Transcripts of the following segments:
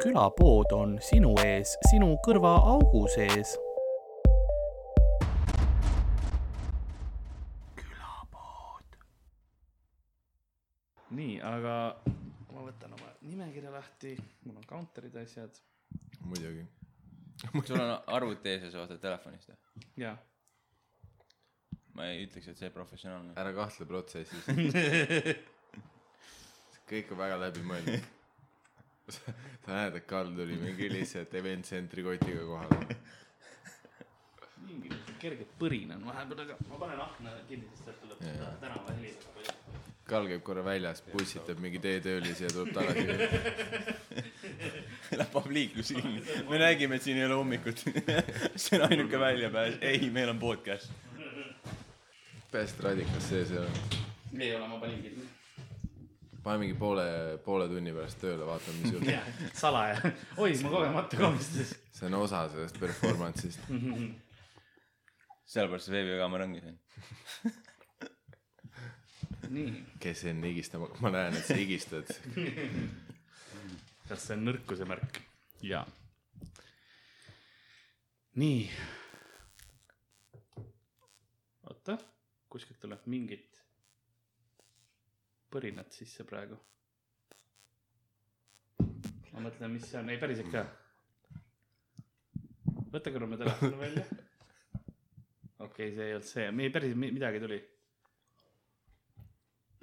külapood on sinu ees, sinu kõrvaaugu sees. nii , aga ma võtan oma nimekirja lahti , mul on counter'id ja asjad muidugi . sul on arvuti ees ja sa vaatad telefonist või ? ja ma ei ütleks , et see professionaalne . ära kahtle protsessis . kõik on väga läbimõeldud . sa näed , et Karl tuli mingi lihtsalt event centri kotiga kohale . mingi kerge põrin on vahepeal , aga ma panen akna kinni , sest sealt tuleb seda tänava heli väga palju . Karl käib korra väljas , pussitab mingi teetöölisi ja tuleb tagasi . Läheb liiklusi kinni . me nägime , et siin ei ole hommikut . see on ainuke väljapääs . ei , meil on podcast . pääst radikas sees ja ei ole , ma panin kinni . pane mingi poole , poole tunni pärast tööle , vaatame , mis juhtub . jah , salaja . oi , ma kogemata komistasin . see on osa sellest performance'ist . sellepärast see veebikaamera ongi siin . nii , kes enne higistama , ma näen , et sa higistad . kas see on nõrkuse märk ? jaa . nii . oota , kuskilt tuleb mingit põrinat sisse praegu . ma mõtlen , mis see on , ei päriselt ka . võta korra oma telefon välja . okei okay, , see ei olnud see , ei päriselt mi- midagi tuli .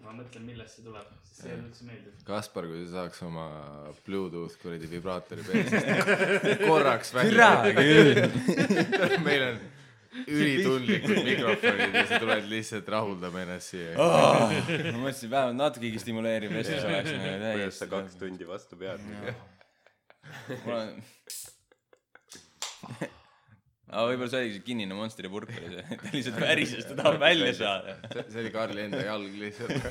ma mõtlen , millest see tuleb , sest see ei ole üldse meeldiv . Kaspar , kui sa saaks oma Bluetooth kuradi vibraatori peale korraks välja . meil on ülitundlikud mikrofonid ja sa tuled lihtsalt rahuldama ennast siia . oh, . ma mõtlesin , vähemalt natukegi stimuleeriv nagu vestlus oleks . kuidas sa kaks tundi vastu pead ? mul on . aga võib-olla see oligi see kinnine Monsteri purk oli see , ta lihtsalt värises , ta tahab välja saada . see oli Karli enda jalg lihtsalt .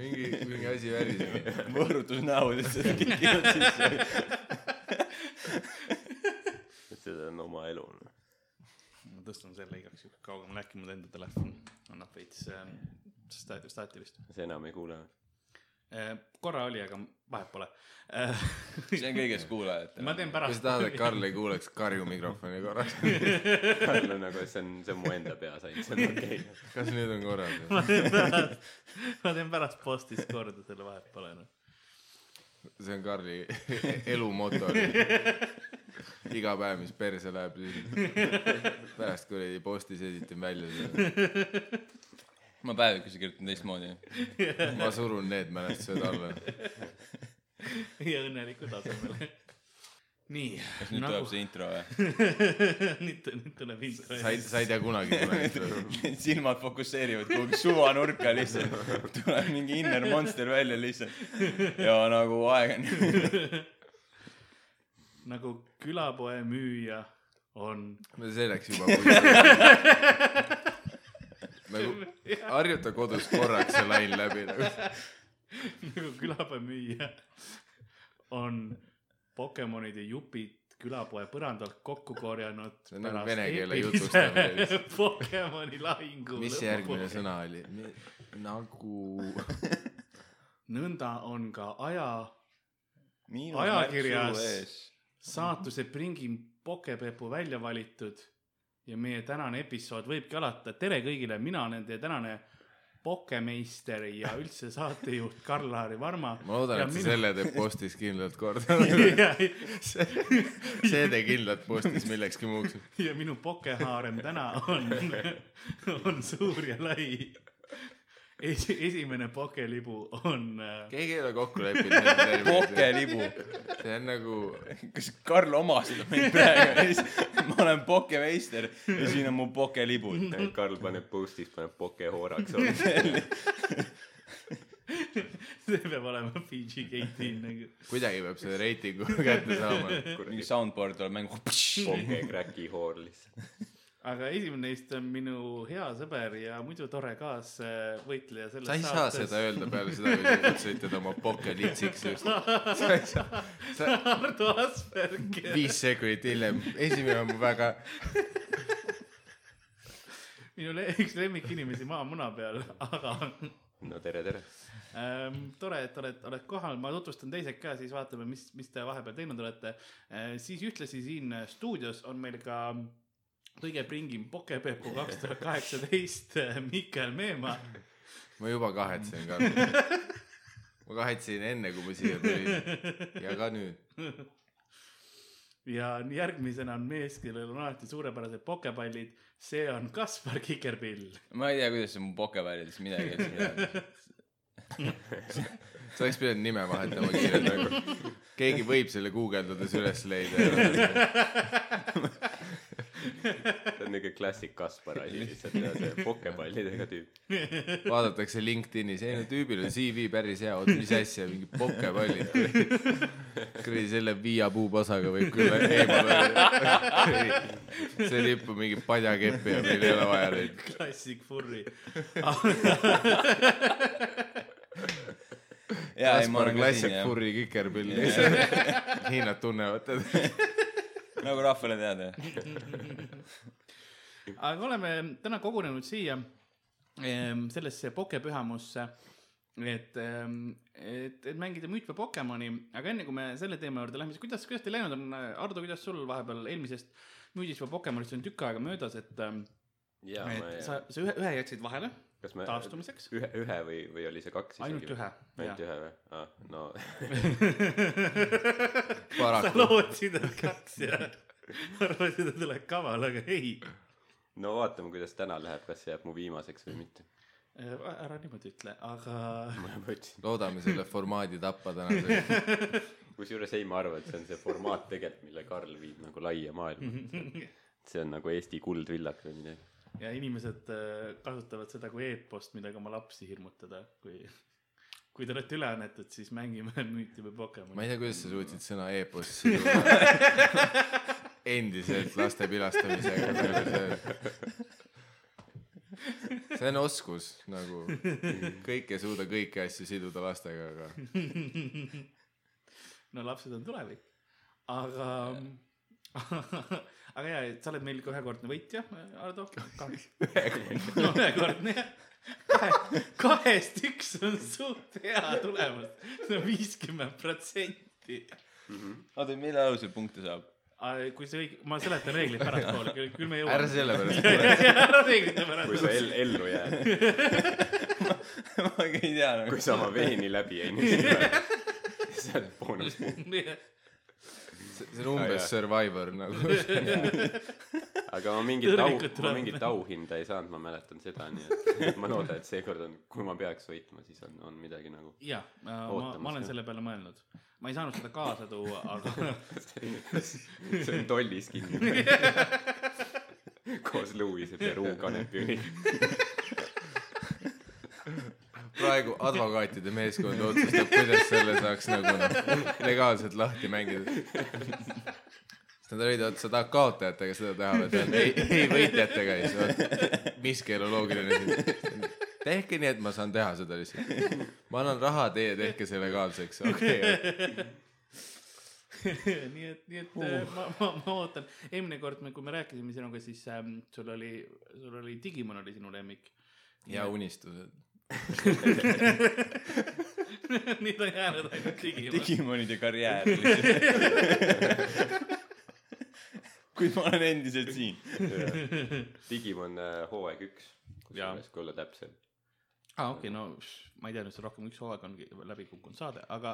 mingi , mingi asi väriseb . võõrutusnäod lihtsalt kikivad sisse . see on oma elu . noh. ma tõstan selle igaks juhuks kaugemale , äkki mul enda telefon annab veits äh, staati- , staatilist sa enam ei kuule ? äh, . korra oli , aga vahet pole äh, . see on kõigest kuulajatele . ma teen kui sa pärast , tahad , et Karl ei kuuleks , karju mikrofoni korraks . Karl on nagu , see on , see on mu enda peas ainult , see on okei okay. . kas nüüd on korras ? ma teen pärast , ma teen pärast postis korda selle , vahet pole noh . see on Karli elumotor . iga päev , mis perse läheb , siis pärast kuradi postis esitan välja selle , ma päevikusse kirjutan teistmoodi . ma surun need mälestused alla . ja õnneliku tasemele . nii , kas nüüd Nagu- tuleb see intro või ? nüüd , nüüd tuleb intro . sa ei , sa ei tea kunagi kunagi . silmad fokusseerivad kuhugi suvanurka lihtsalt . tuleb mingi inner monster välja lihtsalt . ja nagu aeg on . nagu külapoe müüja on . no see läks juba kuskile . nagu harjuta kodus korraks see lain läbi nagu. . nagu külapäevamüüja on Pokemonide jupid külapoe põrandalt kokku korjanud . See on nagu vene keele jutustamine. . Pokemoni lahingu . mis see järgmine ? sõna oli ? nagu . nõnda on ka aja Ajakirjas. ajakirjas . saatuse pringim Pokepepu välja valitud ja meie tänane episood võibki alata . tere kõigile , mina olen teie tänane pokemeister ja üldse saatejuht Karl-Laari Varma . ma loodan , et sa selle teed postis kindlalt korda . selle see tee kindlalt postis millekski muuks . ja minu pokehaarem täna on , on suur ja lai . Esi, esimene pokelibu on äh, keegi ei ole kokku leppinud . pokelibu . see on nagu , kas Karl omastab mind praegu ? ma olen pokemeister ja siin on mu pokelibud . noh, Karl paneb postis , paneb pokehooraks otsa . see peab olema PG-18 nagu . kuidagi peab selle reitingu kätte saama . mingi soundboard tuleb mängu . pokekraki hoor lihtsalt . aga esimene neist on minu hea sõber ja muidu tore kaasvõitleja selles sa ei saa seda öelda peale seda , kui sa kutsusid teda oma pokelitsiks just . sa ei saa , sa Ardo Asperger , viis sekundit hiljem , esimene on mu väga , e-, minu le üks lemmikinimesi maamuna peal , aga no tere , tere . Ähm, tore , et oled , oled kohal , ma tutvustan teised ka , siis vaatame , mis , mis te vahepeal teinud olete äh, . siis ühtlasi siin stuudios on meil ka kõige pringim Pokepepu kaks tuhat kaheksateist Mihkel Meemaa . ma juba kahetsen ka . ma kahetsen enne , kui ma siia tulin ja ka nüüd . ja järgmisena on mees , kellel on alati suurepärased pokepallid , see on Kaspar Kikerpill . ma ei tea , kuidas see mu pokeväljades midagi üldse teab . sa oleks pidanud nime vahetama kiirelt nagu . keegi võib selle guugeldades üles leida . see on niuke klassik Kaspar asi lihtsalt ja see pokepallidega tüüp . vaadatakse LinkedInis , ei no tüübil on CV päris hea , oot mis asja , mingi pokepallid . kuradi selle Via puupasaga võib küll eemale . see lipp on mingi padjakeppi ja meil ei ole vaja neid . klassik furri . jaa , ei ma Kaspar olen ka Klassik siin , jah . Furri kikerpill . Hiinad tunnevad teda . nagu rahvale teada , jah . aga oleme täna kogunenud siia ehm, sellesse pokepühamusse , et , et , et mängida müüt või Pokemoni , aga enne kui me selle teema juurde lähme , siis kuidas , kuidas teil läinud on , Ardo , kuidas sul vahepeal eelmisest müüdist või Pokemonist on tükk aega möödas , et , ja ma et sa ei ,, sa ühe , ühe jätsid vahele kas me taastumiseks , ühe , ühe või , või oli see kaks isegi ? ainult ühe . ainult ühe või ? aa , no sa paraku . lootsid , et kaks ja arvasid , et oled kaval , aga ei . no vaatame , kuidas täna läheb , kas see jääb mu viimaseks või mitte . ära niimoodi ütle , aga ma juba ütlesin , loodame selle formaadi tappa tänaseks . kusjuures ei , ma arvan , et see on see formaat tegelikult , mille Karl viib nagu laia maailma . Mhm. see on nagu Eesti kuldvillak või midagi . ja inimesed äh, kasutavad seda kui e-post , millega oma lapsi hirmutada , kui , kui te olete üle annetud , siis mängime müüti või ma Pokemoni . ei tea , kuidas sa suutsid sõna e-post siia . endiselt laste pilastamisega . see on oskus nagu , kõik ei suuda kõiki asju siduda lastega , aga no lapsed on tulevik , aga , aga ja , et sa oled meil ka ühekordne võitja , Ardo . no ühekordne jah , kahe , kahest üks on suht hea tulemus , see on viiskümmend protsenti . oota , mille alusel punkte saab ? kui see õige , ma seletan reeglid pärastpoole , küll küll me jõuame . ära selle pärast mure . ära reeglite kui pärast sa . el- , ellu jääd , ma ka ei tea nagu kui . sa oma veini läbi ei nüsi , siis sa oled boonus . see on umbes Survivor nagu . aga ma mingit au Tõrvikut , ma tuleb. mingit auhinda ei saanud , ma mäletan seda , nii et ma loodan , et seekord on , kui ma peaks võitma , siis on , on midagi nagu jah , ma , Ootamas ma olen ka. selle peale mõelnud . ma ei saanud seda kaasa tuua , aga see on tollis kinni koos Louise Peruu kanepi praegu advokaatide meeskond otsustab , kuidas selle saaks nagu noh , legaalselt lahti mängida . siis nad olid , oot sa tahad kaotajatega seda teha või ? ta on ei , ei võitjatega ja siis oot , mis geoloogiline siin . tehke nii , et ma saan teha seda lihtsalt . ma annan raha , teie tehke see legaalseks , okei okay, . nii et , nii et äh, ma , ma , ma ootan . eelmine kord , kui me rääkisime sinuga , siis ähm, sul oli , sul oli Digimon oli sinu lemmik . ja unistused . nüüd on jäänud ainult Digimon . Digimonide karjäär . kuid ma olen endiselt siin . Digimon äh, hooaeg üks Jaa. kusjuures kui olla täpsem aa , Ah, okei , no pff, ma ei teadnud seda rohkem , üks hooaeg ongi läbi kukkunud saade , aga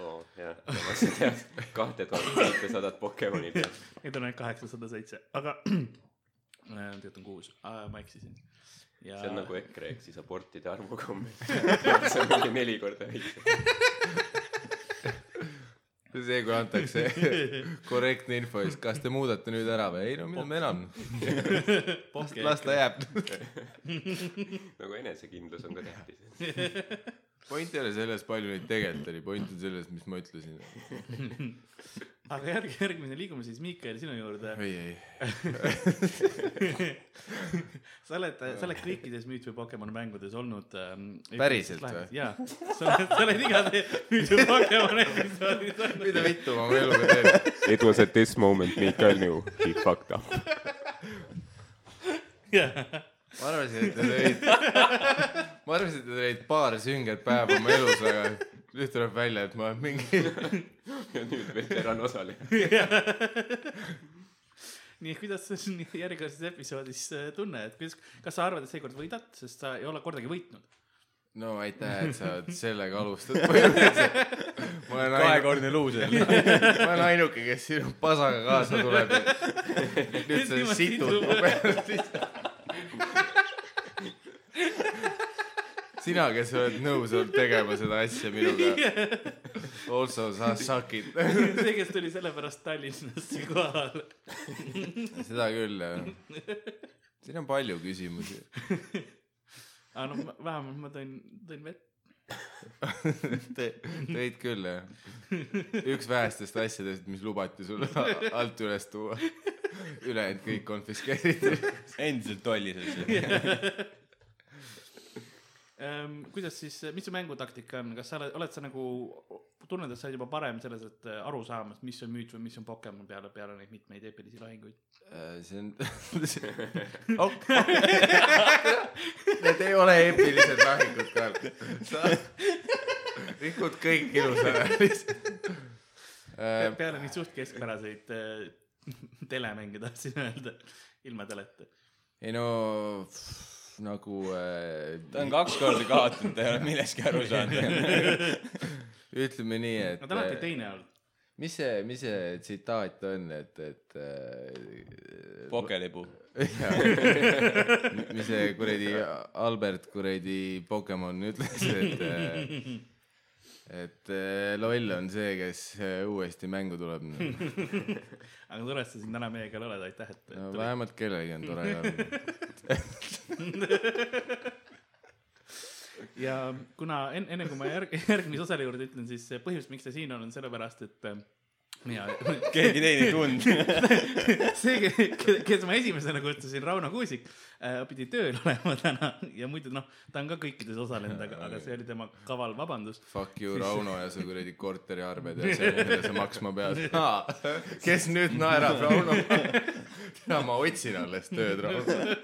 oo Oh, jah ma ei tea kahte tuhat seitsesadat Pokemoni peal nüüd on ainult kaheksasada seitse , aga äh, tegelikult on kuus , ma eksisin . see on nagu EKRE ehk siis abortide arvuga umbes see on mingi neli korda väiksem see , kui antakse korrektne info , siis kas te muudate nüüd ära või ? ei no mida me enam , las ta jääb . nagu enesekindlus on ka tähtis point ei ole selles , palju neid tegelikult oli , point on selles , mis ma ütlesin . aga järg , järgmine , liigume siis Miikael sinu juurde . ei , ei sa oled , sa oled kõikides Müüt või Pokemon mängudes olnud ähm, . Päriselt või? jaa , sa oled , sa oled igas Müüt või Pokemon episoodis olnud . mida vittu ma oma eluga teen ? it was at this moment Mikael knew he fucked up jaa , ma arvasin , et te tõid , ma arvasin , et te tõid paar sünget päeva oma elus , aga nüüd tuleb välja , et ma olen mingi ja nüüd veteran osaline . nii , kuidas sa siin järgmises episoodis äh, tunned , kuidas , kas sa arvad , et seekord võidad , sest sa ei ole kordagi võitnud ? no aitäh , et sa oled sellega alustad põhimõtteliselt . ma olen ainuke , kahekordne luuser . ma olen ainuke , kes sinu pasaga kaasa tuleb . nüüd sa Niimoodi situd mu tuleb. pealt lihtsalt . sina , kes oled nõus olnud tegema seda asja minuga , also sa suck it . see , kes tuli sellepärast Tallinnasse kohale . seda küll jah . siin on palju küsimusi . aga noh , vähemalt ma tõin , tõin vett . Tõid küll jah . üks vähestest asjadest , mis lubati sulle a- alt üles tuua . ülejäänud kõik konfiskeeriti . endiselt tollis , eks ju . Ehm, kuidas siis , mis su mängutaktika on , kas sa oled , oled sa nagu , tunned , et sa oled juba parem selles , et äh, aru saamas , mis on müüt või mis on Pokemon peale , peale neid mitmeid eepilisi lahinguid ? Äh, see on , need ei ole eepilised lahingud ka . sa rikud kõik ilusa ära lihtsalt . Ehm. Äh, peale neid suht keskpäraseid äh, telemänge tahtsin öelda , ilma teleta . ei no pff, nagu ta äh, on kaks korda kaotanud , ta ei ole millestki aru saanud . ütleme nii , et äh, no ta on alati teine olnud . mis see , mis see tsitaat on , et , et äh, pokelipu . mis see kuradi Albert kuradi Pokemon ütles , et äh, et äh, loll on see , kes äh, uuesti mängu tuleb . no aga tore , et sa siin täna meiega jälle oled , aitäh , et no, tulid . vähemalt kellelgi on tore ka . ja kuna en- , enne kui ma järg- , järgmise osale juurde ütlen , siis äh, põhjus , miks ta siin on , on sellepärast , et äh, mina , keegi teine ei tundnud . see , kes ma esimesena kutsusin , Rauno Kuusik äh, , pidi tööl olema täna ja muidu noh , ta on ka kõikides osalenud , aga , aga see oli tema kaval vabandus . Fuck you , Rauno ja su kuradi korteriarved ja see , mida sa maksma pead . kes nüüd naerab , Rauno ? täna ma otsin alles tööd , Rauno .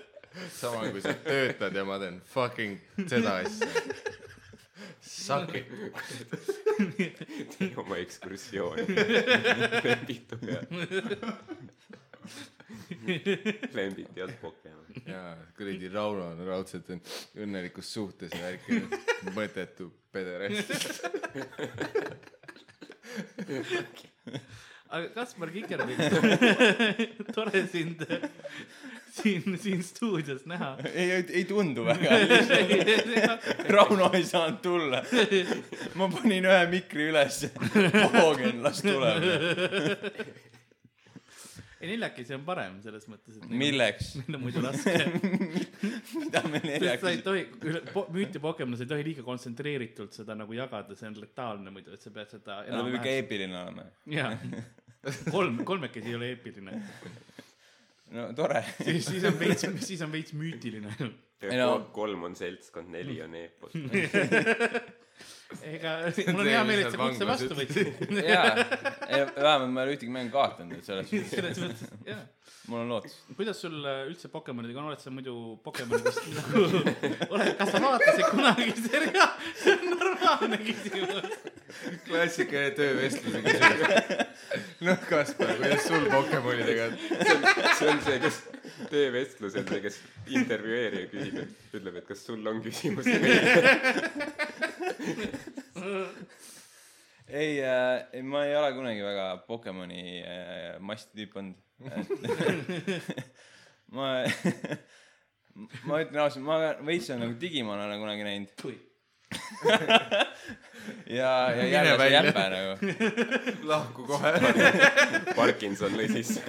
sama kui sa töötad ja ma teen fucking seda asja . Suck it . tee oma ekskursiooni . lembitu peal . lembiti head Pokemon . jaa , kuradi Rauno on raudselt on õnnelikus suhtes ja värki , mõttetu pederast . aga Kaspar Kikerpilt , tore sind siin , siin stuudios näha . ei , ei tundu väga . Rauno ei saanud tulla . ma panin ühe mikri ülesse . Poogen , las tuleb . ei neljakesi on parem selles mõttes , et meil milleks ? on muidu raske . mida sa me ei neljakesi ? tohi , müüti Pokemonis ei tohi liiga kontsentreeritult seda nagu jagada , see on letaalne muidu , et sa pead seda . ta peab ikka eepiline olema . jaa , kolm , kolmekesi ei ole eepiline . no tore . siis , siis on veits , siis on veits müütiline . Ei no- kolm on seltskond , neli on eepos . ega mul on hea meel , et sa kutse Vanglas vastu võtsid . jaa , vähemalt ma ei ole ühtegi mängu kaotanud , et selles suhtes selles mõttes , jah . mul on lootus . kuidas sul äh, üldse Pokemonidega on , oled sa muidu Pokemonidest nagu , oled , kas sa vaatasid kunagi seriaali ? see on normaalne küsimus . klassikaline töövestluse küsimus . noh , Kaspar , kuidas sul Pokemonidega on ? see on see , kes töövestlusel , see , kes intervjueerija küsib , et ütleb , et kas sul on küsimusi meile . ei äh, , ma ei ole kunagi väga Pokemoni äh, masti tüüp olnud . ma , ma ütlen ausalt , ma ka- veits olen nagu Digimon olen kunagi näinud ja , ja Mine jälle see välja. jäpe nagu . lahku kohe . Parkinson lõi sisse .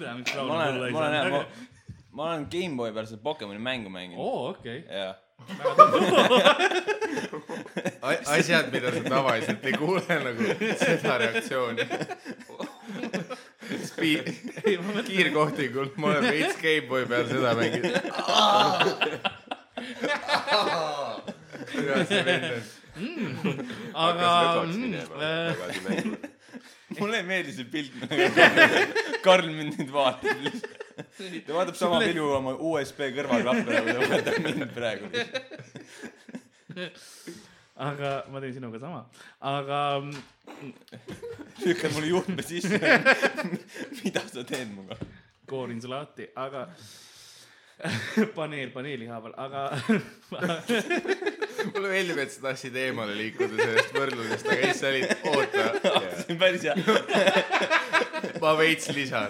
ma olen , ma olen jah , ma , ma olen Gameboy peal seda Pokemoni mängu Oh. mänginud . oo , okei . jah , asjad , mida sa tavaliselt ei kuule nagu seda reaktsiooni . Speed , ei , ma mõtlen , kiirkohtingul , ma olen veits Gameboy peal seda mänginud . kuidas see vend on ? aga . mm, mm, äh. äh, tagasi mängima . mulle ei meeldi see pilt . Karl mind nüüd vaatab lihtsalt . ta vaatab sama pilu oma USB kõrvaklappe nagu ta vaatab mind praegu . aga ma teen sinuga sama , aga mm, lükkad mulle juhtme sisse . mida sa teed minuga ? koorin su lahti , aga paneel paneeli haaval , aga mulle meeldib , et sa tahtsid eemale liikuda sellest võrdlusest , aga siis sa olid , oota , see on päris hea . ma veits lisan .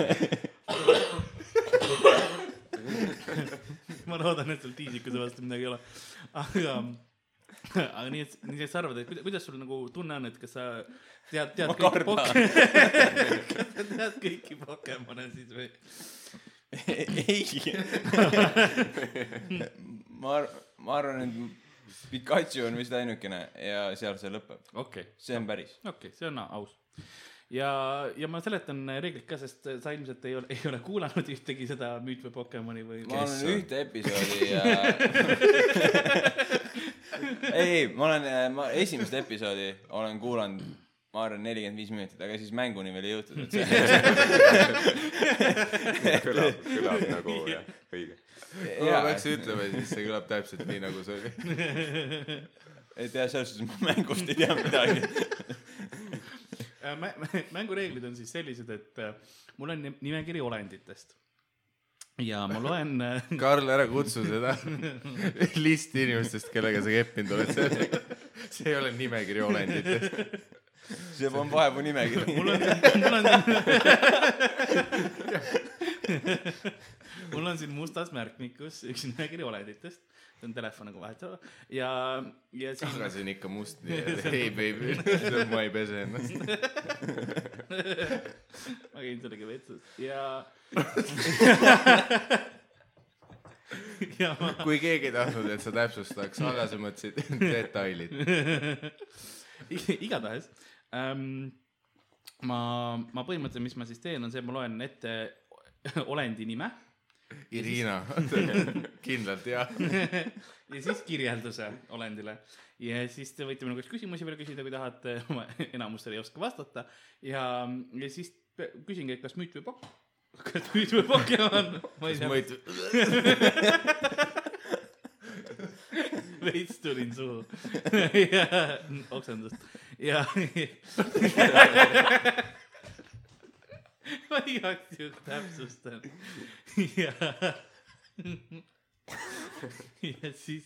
ma loodan , et sul tiisikuse vastu midagi ei ole . aga , aga nii , et , nii et sa arvad , et kuidas, kuidas sul nagu tunne on , et kas sa tead , tead Ma kõiki kardan. Pokemone , kas sa tead kõiki Pokemone siis või ? ei . ma ar- , ma arvan , et Pikachu on vist ainukene ja seal see lõpeb . okei okay. , see on päris . okei okay, , see on aus . ja , ja ma seletan reeglid ka , sest sa ilmselt ei ole , ei ole kuulanud ühtegi seda Müüt või Pokemoni või . ma Kes olen on? ühte episoodi ja ei , ei , ma olen , ma esimest episoodi olen kuulanud , ma arvan , nelikümmend viis minutit , aga siis mänguni veel ei jõutud , et see kõlab , kõlab nagu jah , õige . ma peaks ütlema , siis see kõlab täpselt nii , nagu see oli . et jah , selles suhtes ma mängust ei tea midagi . Äh, mä- mä- mängureeglid on siis sellised , et äh, mul on ni- nimekiri olenditest . ja ma loen äh, Karl , ära kutsu seda listi inimestest , kellega sa keppinud oled , see , see ei ole nimekiri olenditest . see on vahepeal nimekiri . mul on , mul on mul on siin mustas märkmikus üks nimekiri olenditest , see on telefon nagu vahetevahel ja , ja siin aga see on ikka must , nii et ei , baby , ma ei pese ennast . ma käin sellega vetsus ja ja ma kui keegi ei tahtnud , et sa täpsustaks , aga sa mõtlesid detailid . I- igatahes ähm, ma , ma põhimõtteliselt , mis ma siis teen , on see , et ma loen ette olendi nime Irina , kindlalt jah . ja siis kirjelduse olendile ja siis te võite minu käest küsimusi veel küsida , kui tahate , ma enamustele ei oska vastata ja , ja siis pe- küsingi , et kas müüt või pokk , kas müüt või Pokemon , ma ei siis ma tea , ütlen , veits tulin suhu ja oksendust ja ma igaks juhuks täpsustan ja ja siis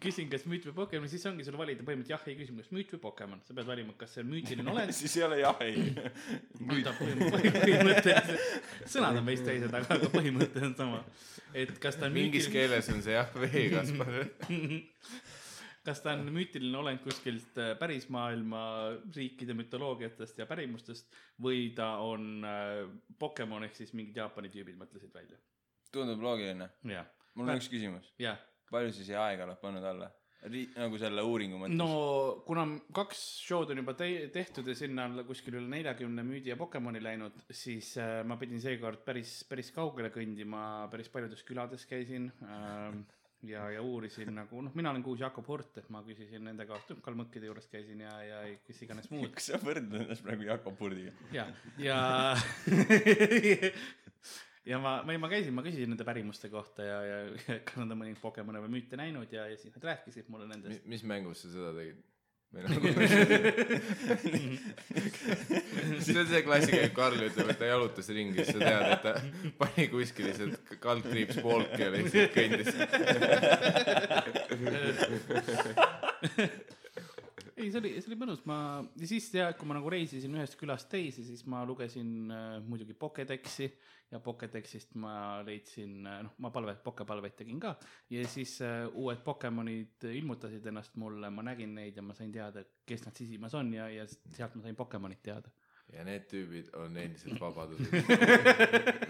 küsin , kas müüt või Pokemon , siis ongi sul valida põhimõtteliselt jah , ei küsimus , müüt või Pokemon , sa pead valima , kas see on müütiline olend , siis ei ole jah , ei . võtab põhimõtteliselt , sõnad on veits teised , aga , aga põhimõte on sama . et kas ta on mingis müütiline , keeles on see jah , vee Kaspar . kas ta on müütiline olend kuskilt äh, pärismaailma riikide mütoloogiatest ja pärimustest või ta on äh, Pokemon ehk siis mingid Jaapani tüübid mõtlesid välja . tundub loogiline . jah , mul on üks küsimus . jah . palju sa siia aega oled pannud alla ? Ri- , nagu selle uuringu mõttes no . kuna kaks show'd on juba te- tehtud ja sinna on kuskil üle neljakümne müüdi ja Pokemoni läinud , siis äh, ma pidin seekord päris , päris kaugele kõndima , päris paljudes külades käisin ähm, ja , ja uurisin nagu noh , mina olen kuus Jakob Hurt , et ma küsisin nende käest , kalmõkkide juures käisin ja , ja kes iganes muud . kas sa võrdled ennast praegu Jakob Purdiga ? ja , ja ja ma , ma , ma käisin , ma küsisin nende pärimuste kohta ja , ja kas nad on mõningaid Pokemone või müüte näinud ja , ja siis nad rääkisid mulle nendest . mis mängus sa seda tegid ? või nagu Mhm. see on see klassika , et Karl ütleb , et ta jalutas ringi , siis sa tead , et ta pani kuskil lihtsalt kaldkriips polki ja lihtsalt kõndis . ei , see oli , see oli mõnus , ma ja siis ja kui ma nagu reisisin ühest külast teise , siis ma lugesin äh, muidugi Pokedexi ja Pokedexist ma leidsin , noh , ma palve , pokepalveid tegin ka ja siis äh, uued Pokemonid ilmutasid ennast mulle , ma nägin neid ja ma sain teada , kes nad sisimas on ja , ja sealt ma sain Pokemonid teada . ja need tüübid on endiselt vabaduses .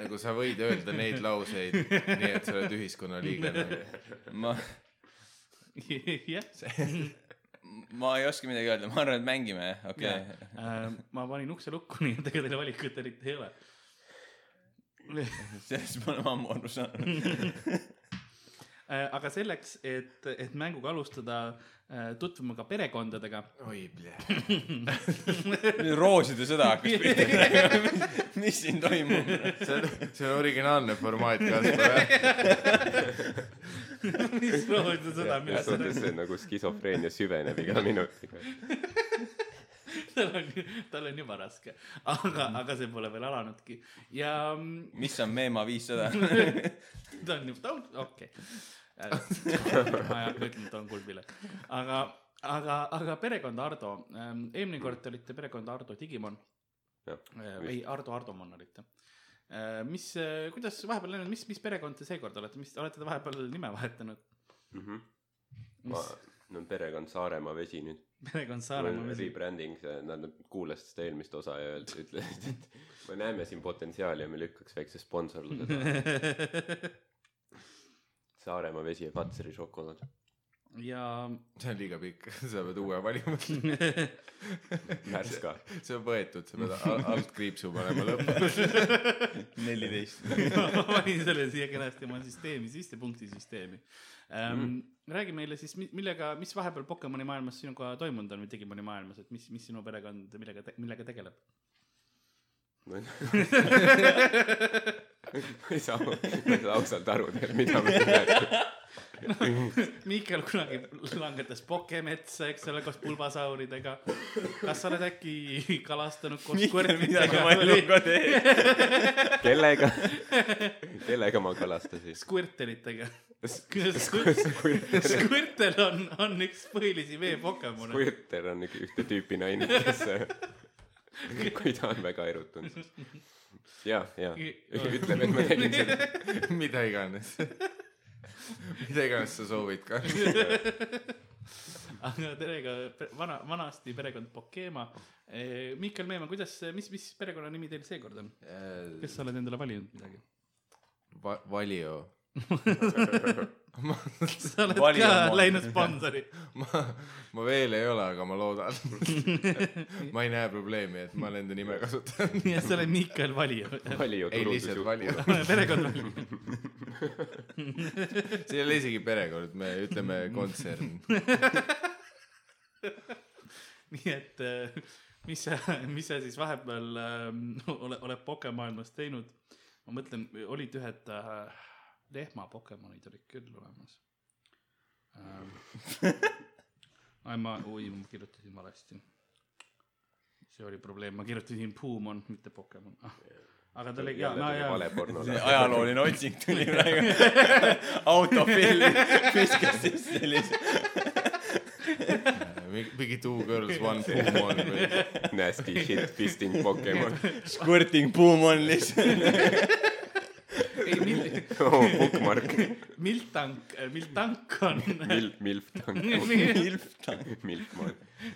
nagu sa võid öelda neid lauseid , nii et sa oled ühiskonna liige . ma , jah , ma ei oska midagi öelda , ma arvan , et mängime , okei Jah. okay. . Äh, ma panin ukse lukku , nii et ega teil valikut eriti ei ole . sellest me oleme ammu aru saanud . Äh, aga selleks , et , et mänguga alustada , tutvume ka perekondadega . oi , plee . rooside sõda hakkas pihta . mis siin toimub ? see on , see on originaalne formaat , Kaspar , jah . mis lood on seda , mis millest sa suhtes see nagu skisofreenia süveneb iga minutiga . tal on , tal on juba raske , aga , aga see pole veel alanudki ja mm, mis on Meema viissada ? ta on juba , okei . ma ei hakka ütlema , et ta on kuldpilet , aga , aga , aga perekond Ardo , eelmine kord te olite perekond Ardo Digimon , ei Ardo Ardomon olite . mis , kuidas vahepeal läinud , mis , mis perekond te seekord olete , mis , olete te vahepeal nime vahetanud ? Mhm. ma mis , no perekond Saaremaa vesi nüüd . perekond Saaremaa vesi ? Rebranding , nad nad kuulasid seda eelmist osa ja öeldi , ütlesid , et me näeme siin potentsiaali ja me lükkaks väikse sponsorluse Mhm. taha . Saaremaa vesi ja Katseri šokolaad . ja see on liiga pikk , sa pead uue valima . Värska . see on võetud , sa pead al- alt kriipsu panema lõppu . neliteist . ma panin selle siia kenasti oma süsteemi sisse , punktisüsteemi ähm, . räägi meile siis , millega , mis vahepeal Pokemoni maailmas sinuga toimunud on või Digimoni maailmas , et mis , mis sinu perekond , millega , millega tegeleb ? ma ei saa , ma ei saa ausalt aru veel , mida me siin räägime . Miikal kunagi langetas Pokemetsa , eks ole , koos pulbasauridega . kas sa oled äkki kalastanud koos mida sa oma skvõrtritega ? eluga teed ? kellega , kellega ma kalastasin ? skvõrteritega . skvõrtel on , on üks põhilisi veepokemone . Squirter on ük- ühte tüüpi naine , kes , kui ta on väga erutunud , siis ja , ja ütleme , et ma tegin seda . mida iganes . mida iganes sa soovid ka . aga perega , vana , vanasti perekond Pokema . Mihkel Meemann , kuidas , mis , mis perekonnanimi teil seekord on ? kes sa oled endale valinud midagi ? Va- , Valio . sa oled Vali ka on läinud sponsori . ma , ma veel ei ole , aga ma loodan . ma ei näe probleemi , et ma nende nime kasutan . nii et sa oled Mihkel Valija . Valio ei , lihtsalt turundusjuht , Valio . perekond Valija . see ei ole isegi perekond , me ütleme kontsern . nii et äh, mis sa , mis sa siis vahepeal ähm, ole , oled pokemaailmas teinud ? ma mõtlen , olid ühed äh, lehmapokemonid olid küll olemas ähm, . ai ma , oi ma kirjutasin valesti . see oli probleem , ma kirjutasin Puumon , mitte Pokemon . aga ta oli jaa , no jälle jaa vale . porno . ajalooline otsing tuli praegu . autofill viskas sisse lihtsalt . Äh, mingi two girls , one boom on või . Nasty shit fisting Pokemon . Squirting boom on lihtsalt . ei , mil- , oo , Oh, bookmark . Miltank , Miltank on , Milf , milf tank . milf ma ,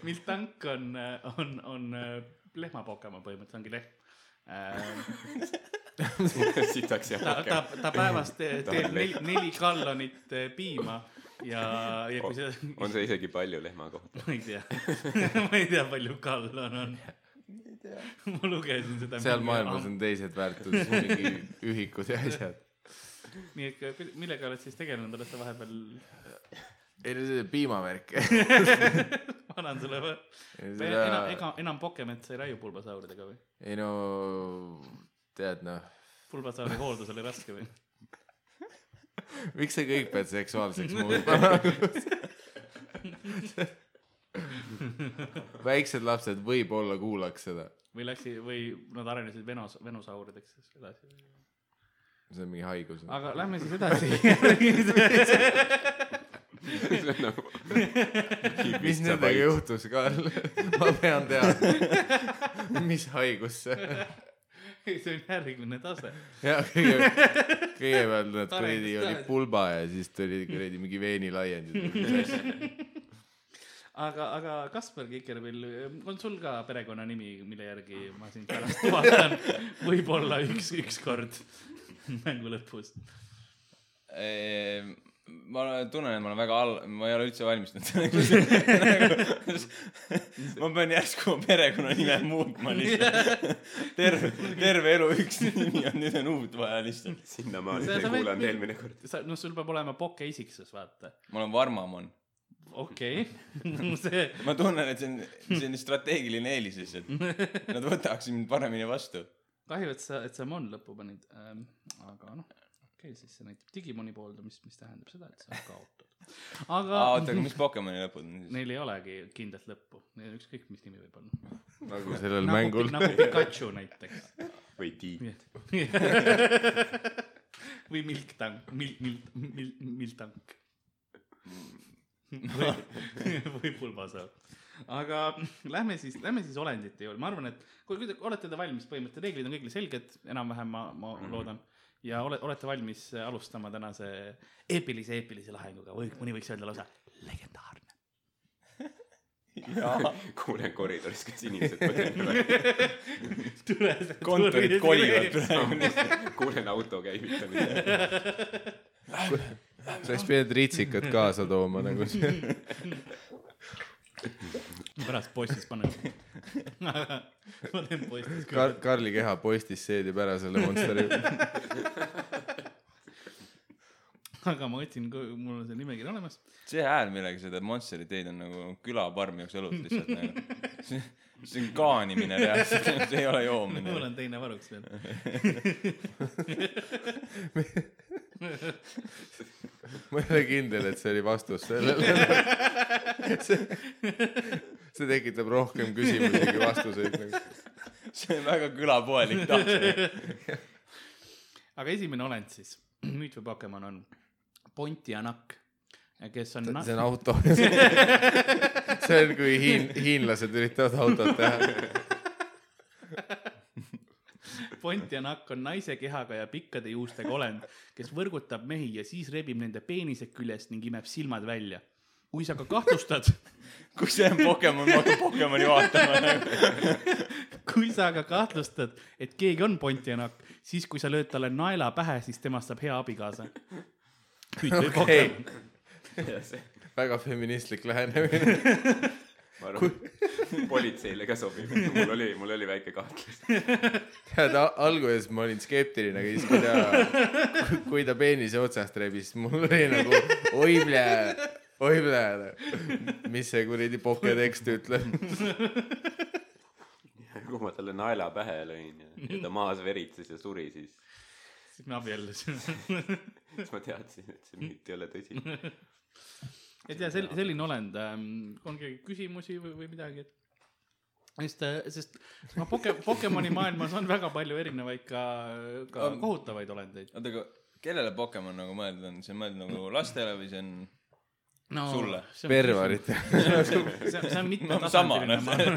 Miltank on , on , on äh, lehmapokemon põhimõtteliselt , ongi lehm ähm, . sitaks ja ta , ta rohkem ., ta päevas te, Ta teeb on neli , neli gallonit eh, piima ja , ja kui see , on see isegi palju lehma kohta . Oh. ma ei tea , ma ei tea , palju gallon on . ma lugesin seda . seal maailmas on ah. teised väärtused , mingi ühikud ja Ah, asjad . nii et kui- millega oled siis tegelenud , oled sa vahepeal , ei , see on piimavärk . ma annan sulle , enam , ei ega enam Pokemonit sa ei raiu pulbasauridega või ? no , tead noh , pulbasauri hooldus oli raske või ? miks sa kõik pead seksuaalseks muutma ? väiksed lapsed võib-olla kuulaks seda , või läksid või nad arenesid venos , venusaurideks siis edasi ? see on mingi haigus . aga lähme siis edasi . mis nendega ? juhtus , Karl ? ma pean teadma , mis haigus see . see on järgmine tase . ja kõige , kõigepealt nad kuradi Arendus oli ka. pulba ja siis tuli kuradi mingi veenilaiendid . aga , aga Kaspar Kikerpill , on sul ka perekonnanimi , mille järgi ma sind pärast tuvastasin ? võib-olla üks , ükskord mängu lõpus . Ehm, ma olen- tunnen , et ma olen väga all , ma ei ole üldse valmistunud . ma pean järsku oma perekonnanime muutma lihtsalt . terve , terve elu üks nimi on , nüüd on uut vaja lihtsalt . sinnamaani Sa- ma ei sa võid- kuulanud eelmine kord . sa , noh , sul peab olema poke isiksus , vaata . ma olen Varmamon . okei okay. , see , ma tunnen , et see on , see on strateegiline eelis lihtsalt . Nad võtaksid mind paremini vastu . kahju , et sa , et sa Mon lõppu panid ähm, , aga noh , okei okay, , siis see näitab Digimoni pooldumist , mis tähendab seda , et sa kaotad . aga oota , aga mis Pokemoni lõpud on siis ? neil ei olegi kindlat lõppu , neil on ükskõik , mis nimi võib olla . nagu sellel nagu mängul ,. nagu Pikachu näiteks . või Tiit . või Milktank , Mil- , Mil- , Mil- , Miltank . või , või Bulbasaur . aga lähme siis , lähme siis olendite juurde , ma arvan , et kui , kui te olete te valmis , põhimõtteliselt reeglid on kõigile selged , enam-vähem ma , ma mm -hmm. loodan . ja ole , olete valmis alustama tänase eepilise , eepilise lahinguga või mõni võiks öelda lausa legendaarne . kuulen koridoris , kas inimesed põgenevad . kontorid kolivad praegu . kuulen auto käivitamist . sa oleks pidanud ritsikad kaasa tooma nagu see . pärast postis panen . ma teen postis ka . Kar- , Karli keha postist seedib ära selle Monsteri . aga ma otsin , mul on see nimekiri olemas . see hääl , millega sa teed Monsteri teed , on nagu külaparm jooks õlut lihtsalt nagu . see see on kaanimine reaalselt , see ei ole joomine mul . on teine varuks veel . ma ei ole kindel , et see oli vastus sellele . see , see tekitab rohkem küsimusi kui vastuseid nagu. . see on väga külapoelik tahtmine . aga esimene olend siis , müüt või Pokemon on Pontianak , kes on . see on auto . see on , kui hiin- , hiinlased üritavad autot teha . Pontianak on naise kehaga ja pikkade juustega olend , kes võrgutab mehi ja siis rebib nende peenise küljest ning imeb silmad välja . kui sa ka kahtlustad , kui see on Pokemon , ma hakkan Pokemoni vaatama nagu . kui sa aga kahtlustad , et keegi on Pontianak , siis kui sa lööd talle naela pähe , siis temast saab hea abikaasa . müüt või okei Pokemon . väga feministlik lähenemine . ma arvan , politseile ka sobib . mul oli , mul oli väike kahtlus . tead , alguses ma olin skeptiline , aga siis kui ta , kui ta peenise otsast rebis , mul oli nagu oi plee , oi plee , mis see kuradi poketekst ütleb . kui ma talle naela pähe lõin ja, ja ta maas veritses ja suri , siis , siis me abiellusime . siis ma teadsin , et see müüt ei ole tõsi . et ja sel- , selline olend ähm, , on kellelgi küsimusi või , või midagi , et sest , sest noh , poke- , Pokemoni maailmas on väga palju erinevaid ka , ka On. kohutavaid olendeid . oota , aga kellele Pokemon nagu mõeldud on , see on mõeldud nagu lastele või see on ? no Sulle. see on- perverit . see on , see on No sama, mitmetasandiline , noh. ma arvan .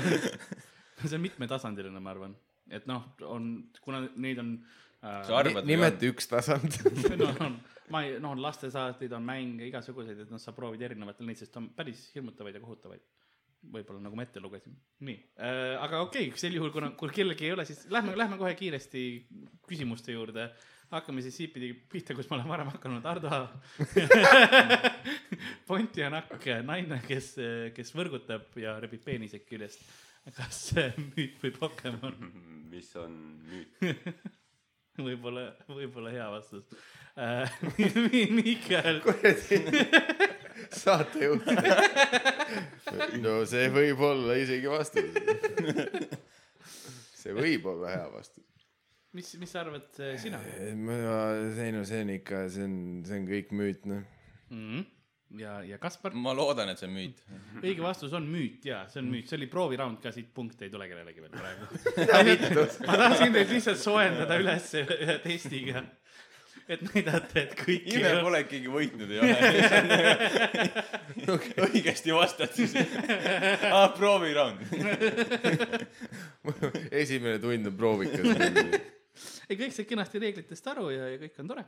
see on mitmetasandiline , ma arvan , et noh , on , kuna neid on Sa äh, , arvad ? nimeta üks tasand . noh , on , ma ei , noh , on lastesaateid , on mänge igasuguseid , et noh , sa proovid erinevatel neid , sest on päris hirmutavaid ja kohutavaid . võib-olla nagu ma ette lugesin , nii äh, , aga okei okay, , sel juhul , kuna , kui kellelgi ei ole , siis lähme , lähme kohe kiiresti küsimuste juurde . hakkame siis siipidi pihta , kus ma olen varem hakanud , Ardo . Pontianak , naine , kes , kes võrgutab ja rebib peenise küljest . kas see on müüt või Pokemon ? mis on müüt ? võib-olla , võib-olla hea vastus äh, . Mihkel , saatejuht . no see võib olla isegi vastus . see võib olla hea vastus . mis , mis sa arvad äh, sina ei no see on ikka , see on , see on kõik müüt noh . mm ? -hmm. ja , ja Kaspar , ma loodan , et see on müüt . õige vastus on müüt ja see on müüt , see oli prooviraund ka , siit punkte ei tule kellelegi veel praegu . ma tahtsin teid lihtsalt soojendada üles ühe testiga , et näidata , et kõik . ime pole , et keegi võitnud ei ole . õigesti Ah, vastad siis . aa , prooviraund . esimene tund on proovikas . ei , kõik said kenasti reeglitest aru ja , ja kõik on tore .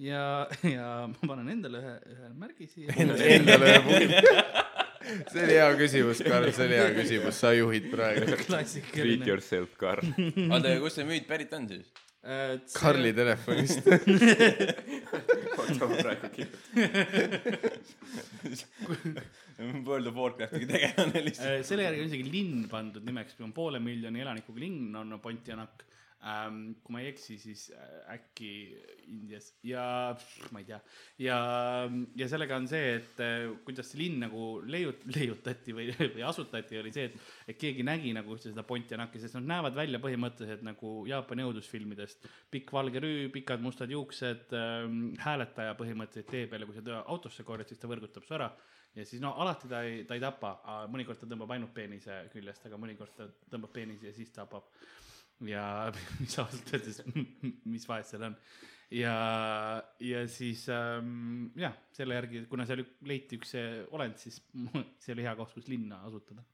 ja , ja ma panen endale ühe , ühe märgi siia . endale ühe punkti . see oli hea küsimus , Karl , see oli hea küsimus , sa juhid praegu . Treat klassikaline . yourself , Karl . oota , aga kust see müüt pärit on siis ? Äh, Karli telefonist . oota , ma praegu kirjutan . World of Warcraftiga tegelane lihtsalt . Äh, selle järgi on isegi linn pandud nimeks , kui on poole miljoni elanikuga linn , on Pontianak . Ähm, kui ma ei eksi , siis äh, äkki Indias ja pff, ma ei tea ja , ja sellega on see , et äh, kuidas see linn nagu leiut- , leiutati või , või asutati , oli see , et , et keegi nägi nagu üldse seda Pontianaki , sest nad näevad välja põhimõtteliselt nagu Jaapani õudusfilmidest . pikk valge rüü , pikad mustad juuksed ähm, , hääletaja põhimõtteliselt tee peal ja kui sa teda autosse korjad , siis ta võrgutab su ära ja siis no alati ta ei , ta ei tapa , mõnikord ta tõmbab ainult peenise küljest , aga mõnikord ta tõmbab peenise ja siis tapab . ja mis ausalt öeldes , mis vahet seal on . ja , ja siis ähm, jah , selle järgi , kuna seal leiti üks see olend , siis see oli hea koht , kus linna asutada .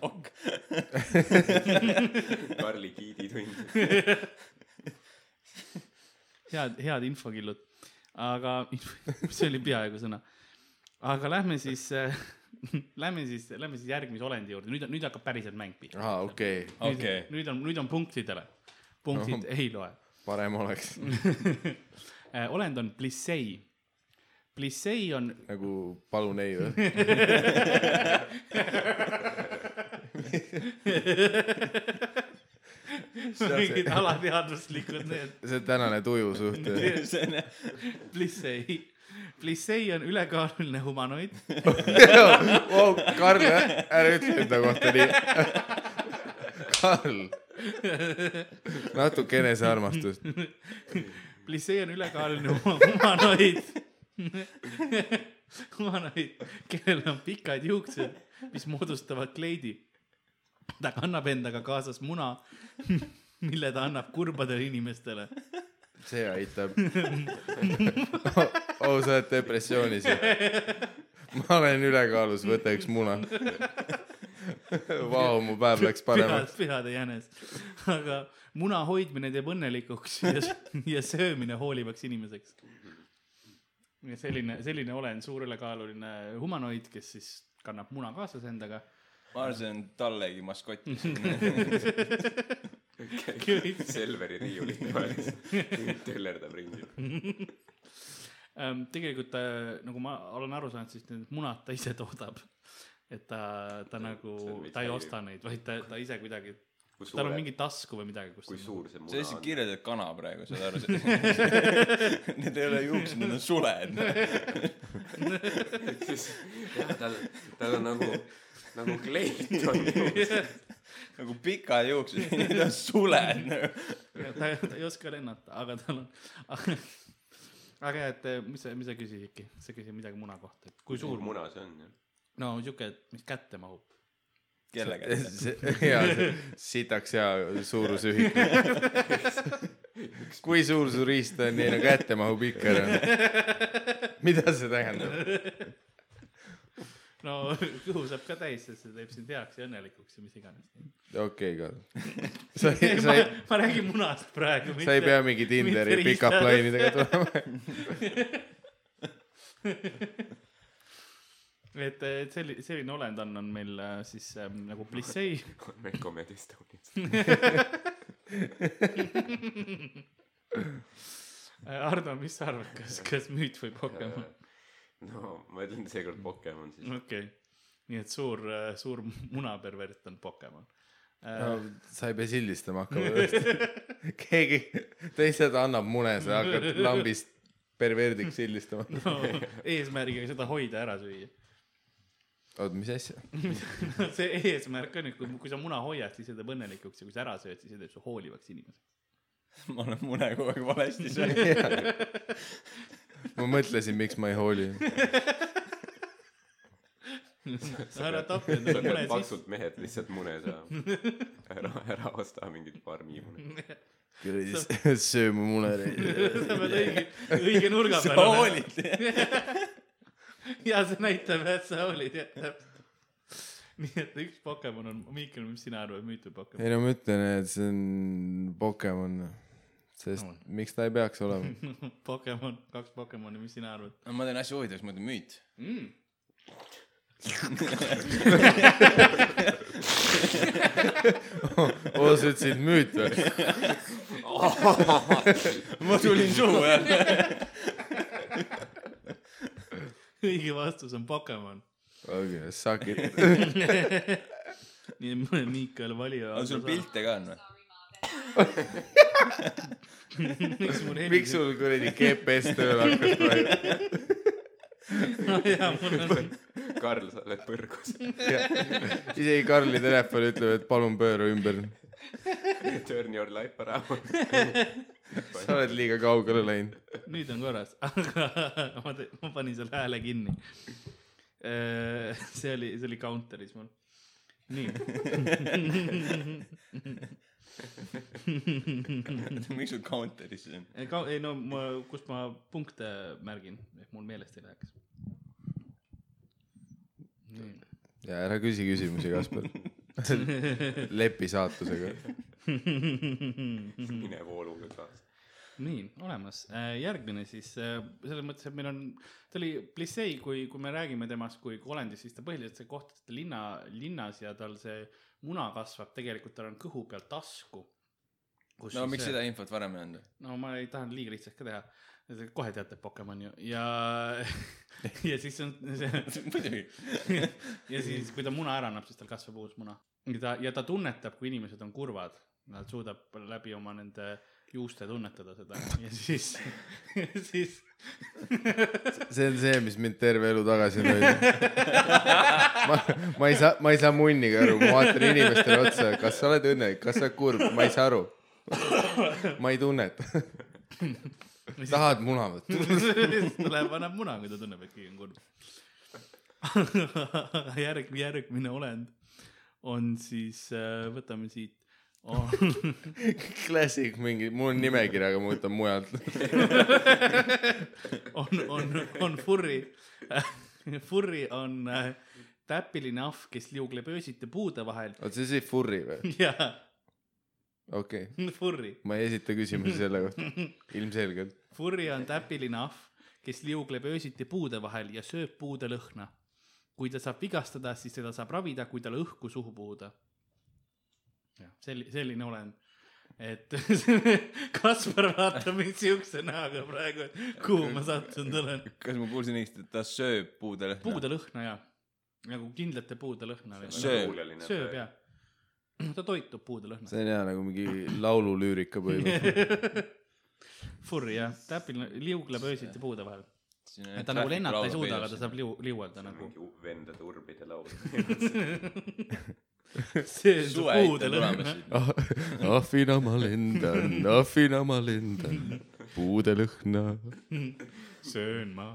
ok . Karli giiditund . head , head infokillud . aga see oli peaaegu sõna . aga lähme siis äh, , lähme siis , lähme siis järgmise olendi juurde , nüüd , nüüd hakkab päriselt mäng pihta . aa , okei okay. , Nüüd- Okei. nüüd on , nüüd on punktidele . punktid No. ei loe . parem oleks olend on plissei . plissei on , nagu palun ei või ? mingid alateadvuslikud need , see on tänane tuju suht . see on jah , plissei . plissei on ülekaaluline humanoid , wow, Karl , ära ütle enda kohta nii . Karl , natuke enesearmastust . plissei on ülekaaluline huma- humanoid . humanoid , kellel on pikad juuksed , mis moodustavad kleidi . ta kannab endaga kaasas muna , mille ta annab kurbadele inimestele see aitab oh, . oh , sa oled depressioonis ju . ma olen ülekaalus , võta üks muna . Vau , mu päev läks pühad paremaks ., pühade jänes . aga muna hoidmine teeb õnnelikuks ja, ja söömine hoolivaks inimeseks . ja selline , selline olen suur ülekaaluline humanoid , kes siis kannab muna kaasas endaga . ma arvan , see on tallegi maskott . Selveri riiulite vahel töllerdab ringi . Ehm, tegelikult ta , nagu ma olen aru saanud , siis need munad ta ise toodab . et ta , ta nagu see on veits , ta ei häiriv. osta neid , vaid ta , ta ise kuidagi , kui tal suur on , mingi tasku või midagi , kus kui suur see sa muna lihtsalt on ? kirjeldad kana praegu , saad aru , need ei ole juuksed , need on suled . siis jah , tal , tal on nagu , nagu kleit on juures . nagu pikad juuksed , need on suled nagu . Ja ta , ta ei oska lennata , aga tal on , aga jah , et eh, mis sa , mis sa küsisid ikka , sa küsisid midagi muna kohta , et kui suur suur muna , muna see on jah . no siuke , et mis kätte mahub . kelle kätte ? ja sitaks hea suurusühik . kui suur su riist on , nii nagu kätte mahub ikka ära . mida see tähendab ? no kõhu saab ka täis , sest see teeb sind heaks ja õnnelikuks ja mis iganes . okei okay, , Karl . sa ei , ma sa ei ,, ma räägin munast praegu . sa ei pea mingi Tinderi mitte pickup riistad. lainidega tulema . et , eh, et selline , selline olend on , on meil äh, siis ähm, nagu plissei . on meil Comedy Estonias . Ardo , mis sa arvad , kas , kas müüt või Pokemon ? Äh, Mm. no ma ütlen seekord Pokemon siis . okei okay. , nii et suur , suur munapervert on Pokemon . Eh, no sa ei pea sildistama hakkama tõesti . keegi teised annab mune , sa hakkad lambist perverdiks sildistama . no, eesmärgiga seda hoida ära süüa . oot , mis asja ? see eesmärk on , et kui , kui sa muna hoiad , siis see teeb õnnelikuks ja kui sa ära sööd , siis see teeb su hoolivaks inimeseks . ma olen mune kogu aeg valesti söönud . ma mõtlesin , miks ma ei hooli . ära tapa sa endale mune pead sisse . paksult mehed lihtsalt mune saama . ära , ära osta mingit farmimune . kuradi , sööme mune . sa pead õige , õige nurga sa peal olema . hoolid . ja see näitab , et sa hoolid , jah , täpselt . nii et üks Pokemon on , Mihkel , mis sina arvad , müütu Pokemon ? ei no ma ütlen , et see on Pokemon , sest On. miks ta ei peaks olema . Pokemon , kaks Pokemoni , mis sina arvad ma teen asja huvitavaks , ma ütlen müüt . mm. ? oo , Oh, sa ütlesid müüt või ? ma tulin suhu jälle . õige vastus on Pokemon . okei , suck it . nii , Miikal Valio . on sul ? pilte ka on või ? miks mul heliseb ? miks sul kuradi GPS tööle hakkas praegu ? jaa , mul on , Karl , sa oled põrgus . isegi Karli telefon ütleb , et palun pööra ümber . Turn your life around . sa oled liiga kaugele läinud . nüüd on korras , aga ma , ma panin selle hääle kinni . see oli , see oli counter'is mul . nii . miks sul counter'is siis on ? ei , ei no ma , kust ma punkte märgin , et mul meelest ei läheks . nii ja ära küsi küsimusi , Kaspar . lepi saatusega . Mhm. mine vooluga kaasa . nii , olemas . järgmine siis äh, selles mõttes , et meil on , ta oli Plissey , kui , kui me räägime temast kui kui olendist , siis ta põhiliselt see koht , et ta linna , linnas ja tal see muna kasvab , tegelikult tal on kõhu peal tasku . no miks seda infot varem ei olnud ? no ma ei tahanud liiga lihtsaks ka teha . kohe teate Pokemon ju ja ja siis on see muidugi . ja siis , kui ta muna ära annab , siis tal kasvab uus muna . ja ta , ja ta tunnetab , kui inimesed on kurvad . ta suudab läbi oma nende juuste tunnetada seda ja siis , siis . see on see , mis mind terve elu tagasi on hoidnud . ma , ma ei saa , ma ei saa munniga aru , ma vaatan inimestele otsa , kas sa oled õnnelik , kas sa oled kurb , ma ei saa aru . ma ei tunneta . tahad muna või ? ta läheb , annab muna , kui ta tunneb , et keegi on kurb . järg , järgmine olend on siis , võtame siit oh, . Classic mingi , mul on nimekiri , aga ma võtan mujalt . on , on , on furri . furri on äh, täpiline ahv , kes liugleb öösiti puude vahel oota , see sai furry või ? ja okei okay. , furri . ma ei esita küsimusi selle kohta . ilmselgelt . Furry on täpiline ahv , kes liugleb öösiti puude vahel ja sööb puude lõhna . kui ta saab vigastada , siis teda saab ravida , kui tal õhku suhu puhuda . jah , selline , selline olen . et Kaspar vaatab mind siukse näoga praegu , et kuhu ma sattunud olen . kas ma kuulsin õigesti , et ta sööb puude lõhna ? puude lõhna ja , nagu kindlate puude lõhna . Sööb. . sööb ja , ta toitub puude lõhna . see on hea nagu mingi laululüürika põhimõte . Furry jah , täpiline , liugleb öösiti puude vahel . ta nagu lennata ei suuda , aga ta saab liu- , liuelda nagu . mingi vendade urbide laul . see on suve see puude aitab lõhn tulemas . ahvina Ah, ma lendan , ahvina ma lendan , puude lõhna . söön ma .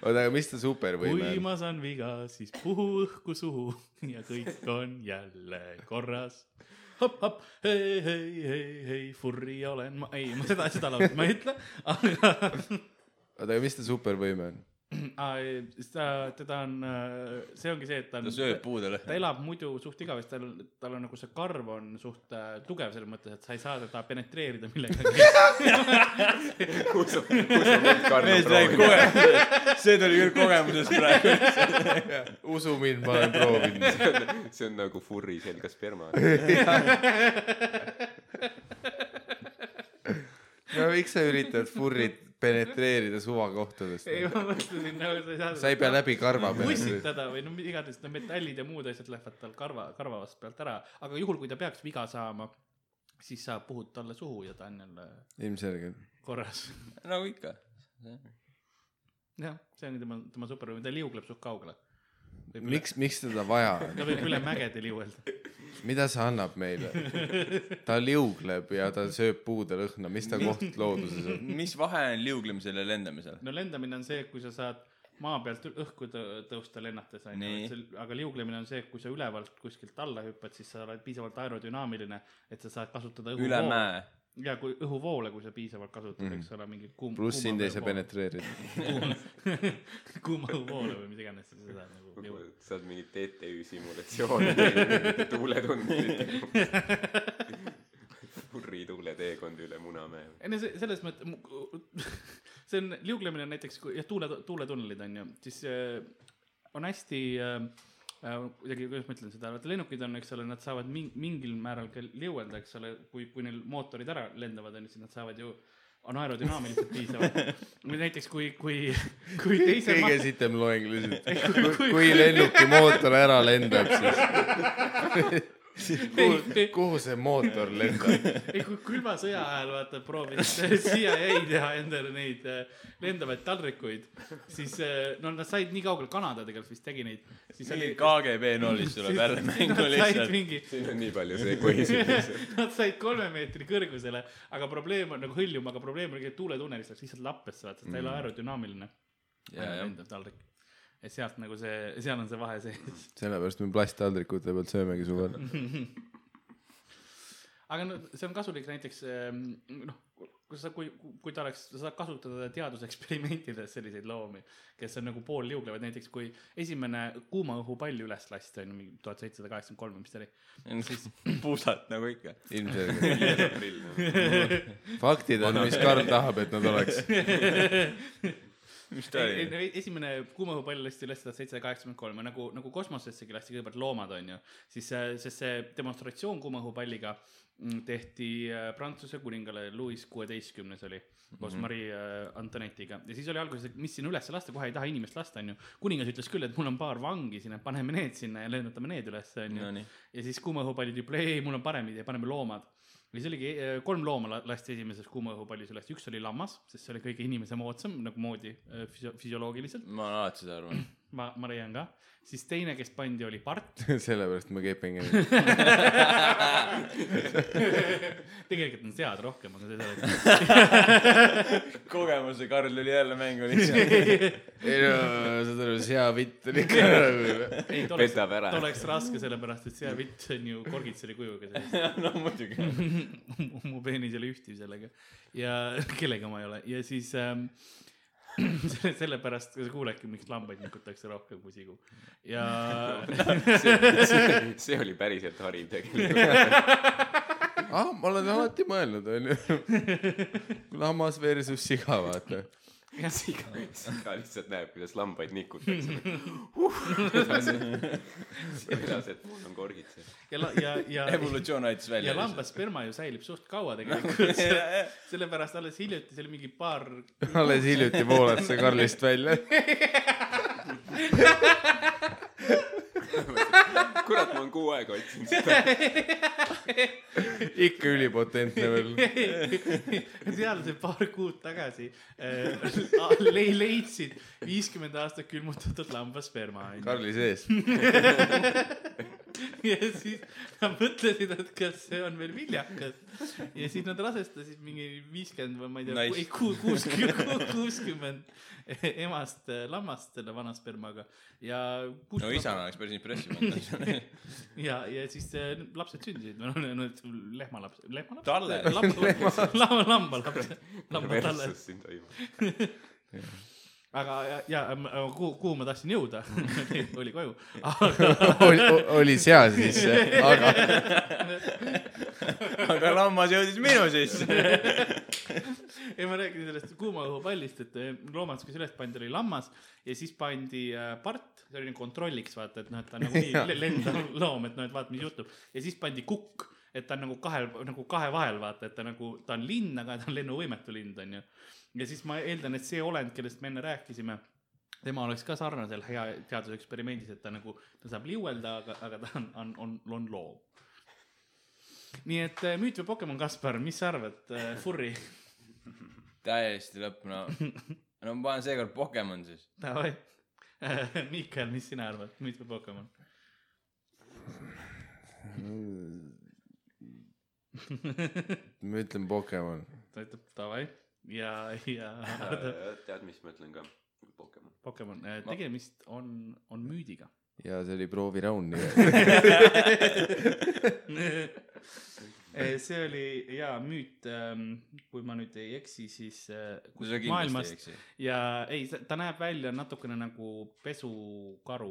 oota , aga mis ta supervõime kui on ? ma saan viga , siis puhu õhku suhu ja kõik on jälle korras . hopp-hopp , hei , hei , hei , hei , furri olen ma , ei , ma seda , seda laulu ma ei ütle , aga oota , aga mis ta supervõime on ? Aa, ei, ta , teda on , see ongi see , et ta on ta sööb puude ta lõhna . elab muidu suht igavesti , tal , tal on nagu see karv on suht äh, tugev selles mõttes , et sa ei saa teda penetreerida millegagi . kus on , kus on mind Karl mees räägib proovinud ? kohe , see tuli küll kogemusest praegu . usu mind , ma olen proovinud . see on nagu furri selga sperma . no miks sa üritad furrit penetreerida suvakohtadest ? ei , ma mõtlesin nagu sa ei saa . sa ei pea läbi karva penetreerima . pussitada või no mis iganes , no metallid ja muud asjad lähevad tal karva , karva vastu pealt ära , aga juhul , kui ta peaks viga saama , siis sa puhud talle suhu ja ta on jälle ilmselgelt . korras . nagu ikka . jah , see ongi tema , tema supervõime , ta liugleb suht kaugele . miks , miks teda vaja on ? ta võib üle mägede liuelda . mida see annab meile ? ta liugleb ja ta sööb puude lõhna , mis ta koht looduses on ? mis vahe on liuglemisel ja lendamisel ? no lendamine on see , kui sa saad maa pealt ül- õhku tõ- tõusta lennates on Nii. ju , aga liuglemine on see , kui sa ülevalt kuskilt alla hüppad , siis sa oled piisavalt aerodünaamiline , et sa saad kasutada üle õhuvool- mäe . ja kui õhuvoole , kui sa piisavalt kasutad mm , -hmm. eks ole , mingit kuum- . pluss sind ei saa penetreerida . penetreerida . kuuma õhuvoole või mis iganes sa seda nagu jõuad . sa oled mingi TTÜ simulatsioon , tuuletund . furri tuuleteekond üle Munamäe . ei no see , selles mõttes , see on , liuglemine on näiteks , kui jah , tuule , tuuletunnelid on ju , siis äh, on hästi äh, äh, kuidagi , kuidas ma ütlen seda , vaata lennukid on , eks ole , nad saavad ming- , mingil määral ka liuelda , eks ole , kui , kui neil mootorid ära lendavad , on ju , siis nad saavad ju , on aerodünaamiliselt piisavad . või näiteks kui , kui , kui teise kõige ma- sitem loeng lihtsalt . kui- kui- kui lennuki mootor ära lendab , siis ei- ei- kuhu see mootor lendab ? ei , kui külma sõja ajal vaata proovis CIA teha endale neid äh, lendavaid taldrikuid , siis äh, no nad said nii kaugele , Kanada tegelikult vist tegi neid , siis oli . mingi KGB noolis tuleb jälle mängu lihtsalt . mingi , siin on nii palju see põhisuus . nad said kolme meetri kõrgusele , aga probleem on nagu hõljuma , aga probleem oli , et tuuletunnelis läks lihtsalt lappesse , vaata , sest ta ei ole aerodünaamiline . Mm. Jaa, jah. lendav taldrik . et sealt nagu see , seal on see vahe sees . sellepärast me plasttaldrikute pealt söömegi suvel . aga no see on kasulik näiteks ähm, noh , kui sa , kui , kui ta oleks , sa saad kasutada teaduseksperimentides selliseid loomi , kes on nagu poolliuglevad , näiteks kui esimene kuuma õhupall üles lasti on ju mingi tuhat seitsesada kaheksakümmend kolm või mis ta oli . puusalt nagu ikka . ilmselgelt . viies aprill . faktid on , mis Karl tahab , et nad oleks . mis ta oli ? esimene kuuma õhupall lasti üles tuhat seitsesada kaheksakümmend kolm ja nagu , nagu kosmosessegi lasti kõigepealt loomad , on ju , siis see , sest see demonstratsioon kuuma õhupalliga mm, tehti äh, Prantsuse kuningale Louis kuueteistkümnes oli koos mm -hmm. Marie äh, Antonettiga ja siis oli alguses , et mis siin üles lasta , kohe ei taha inimest lasta , onju . kuningas ütles küll , et mul on paar vangi siin , et paneme need sinna ja lennutame need üles , onju . Nonii , ja siis kuumaõhupallid ütleb , ei , mul on parem idee , paneme loomad . ja siis oligi , kolm looma la- lasti esimeses kuumaõhupallis üles , üks oli lammas , sest see oli kõige inimese moodsam nagu moodi äh, füsio- , füsioloogiliselt , ma olen alati seda arvanud . ma , ma leian ka . siis teine , kes pandi , oli part , sellepärast ma kepingin . tegelikult on sead rohkem , aga see selleks . kogemuse Karl tuli jälle mängu lihtsalt . ei no , saad aru , see hea vitt on ikka nagu . ei , ta oleks , Petab ära. ta oleks raske , sellepärast et seavitt on ju korgitseri kujuga sees . no muidugi . mu mu peenis ei ole ühtiv sellega ja kellega ma ei ole ja siis ähm, selle- sellepärast sa kuuledki , miks lambaid nikutakse rohkem kui sigu ja see oli päriselt hariv tegelikult . ah , ma olen alati mõelnud , onju . lammas versus siga , vaata . ja siga ta lihtsalt näeb , kuidas lambaid nikutakse . kuidas , et mul on korgid seal . ja la- ja ja evolutsioon aitas välja . ja lambasperma ju säilib suht kaua tegelikult jah. sellepärast alles hiljuti see oli mingi paar alles hiljuti voolas see Karlist välja . kurat , ma olen kuu aega otsinud seda . ikka ülipotentne veel . seal see paar kuud tagasi äh, le- leidsid viiskümmend aastat külmutatud lambasperma onju Karli sees . ja siis nad mõtlesid , et kas see on veel viljakas . ja siis nad rasestasid mingi viiskümmend või ma ei tea Nice. nice. , ei ku- kuuskümmend , kuuskümmend emast äh, lammast selle vana spermaga ja . no isana oleks päris impressive . ja , ja siis äh, lapsed sündisid , no need lehmalaps , lehmalaps . Talle. lamba , lamba , lambalaps , lambatalle . versus siin toimub . aga , ja , ja m- kuhu , kuhu ma tahtsin jõuda , oli koju , aga oli , oli sea sisse , aga aga lammas jõudis minu sisse . ei , ma räägin sellest kuuma õhupallist , et eh, loomad , kes üles pandi , oli lammas ja siis pandi äh, part , see oli nagu kontrolliks vaata , et noh , et ta on nagu nii le- lendav loom , et noh , et vaata , mis juhtub ja siis pandi kukk , et ta on nagu kahel , nagu kahe vahel vaata , et ta nagu , ta on linn , aga ta on lennuvõimetu lind on ju . ja siis ma eeldan , et see olend , kellest me enne rääkisime tema oleks ka sarnasel hea teaduseksperimendis , et ta nagu , ta saab liuelda , aga , aga ta on , on , on , on loom . nii et eh, müüt või Pokemon , Kaspar , mis sa arvad , Furry ? täiesti lõpp , no . no ma panen seekord Pokemon siis . Davai . Miikael , mis sina arvad , mitme Pokemon ? ma ütlen Pokemon . ta ütleb davai ja , ja tead , mis ma ütlen ka ? Pokemon . Pokemon , tegemist on , on müüdiga . ja see oli prooviraund . Äh, see oli jaa müüt , kui ma nüüd ei eksi , siis äh, kus sa kindlasti ei maailmast eksi. ja ei , ta näeb välja natukene nagu pesukaru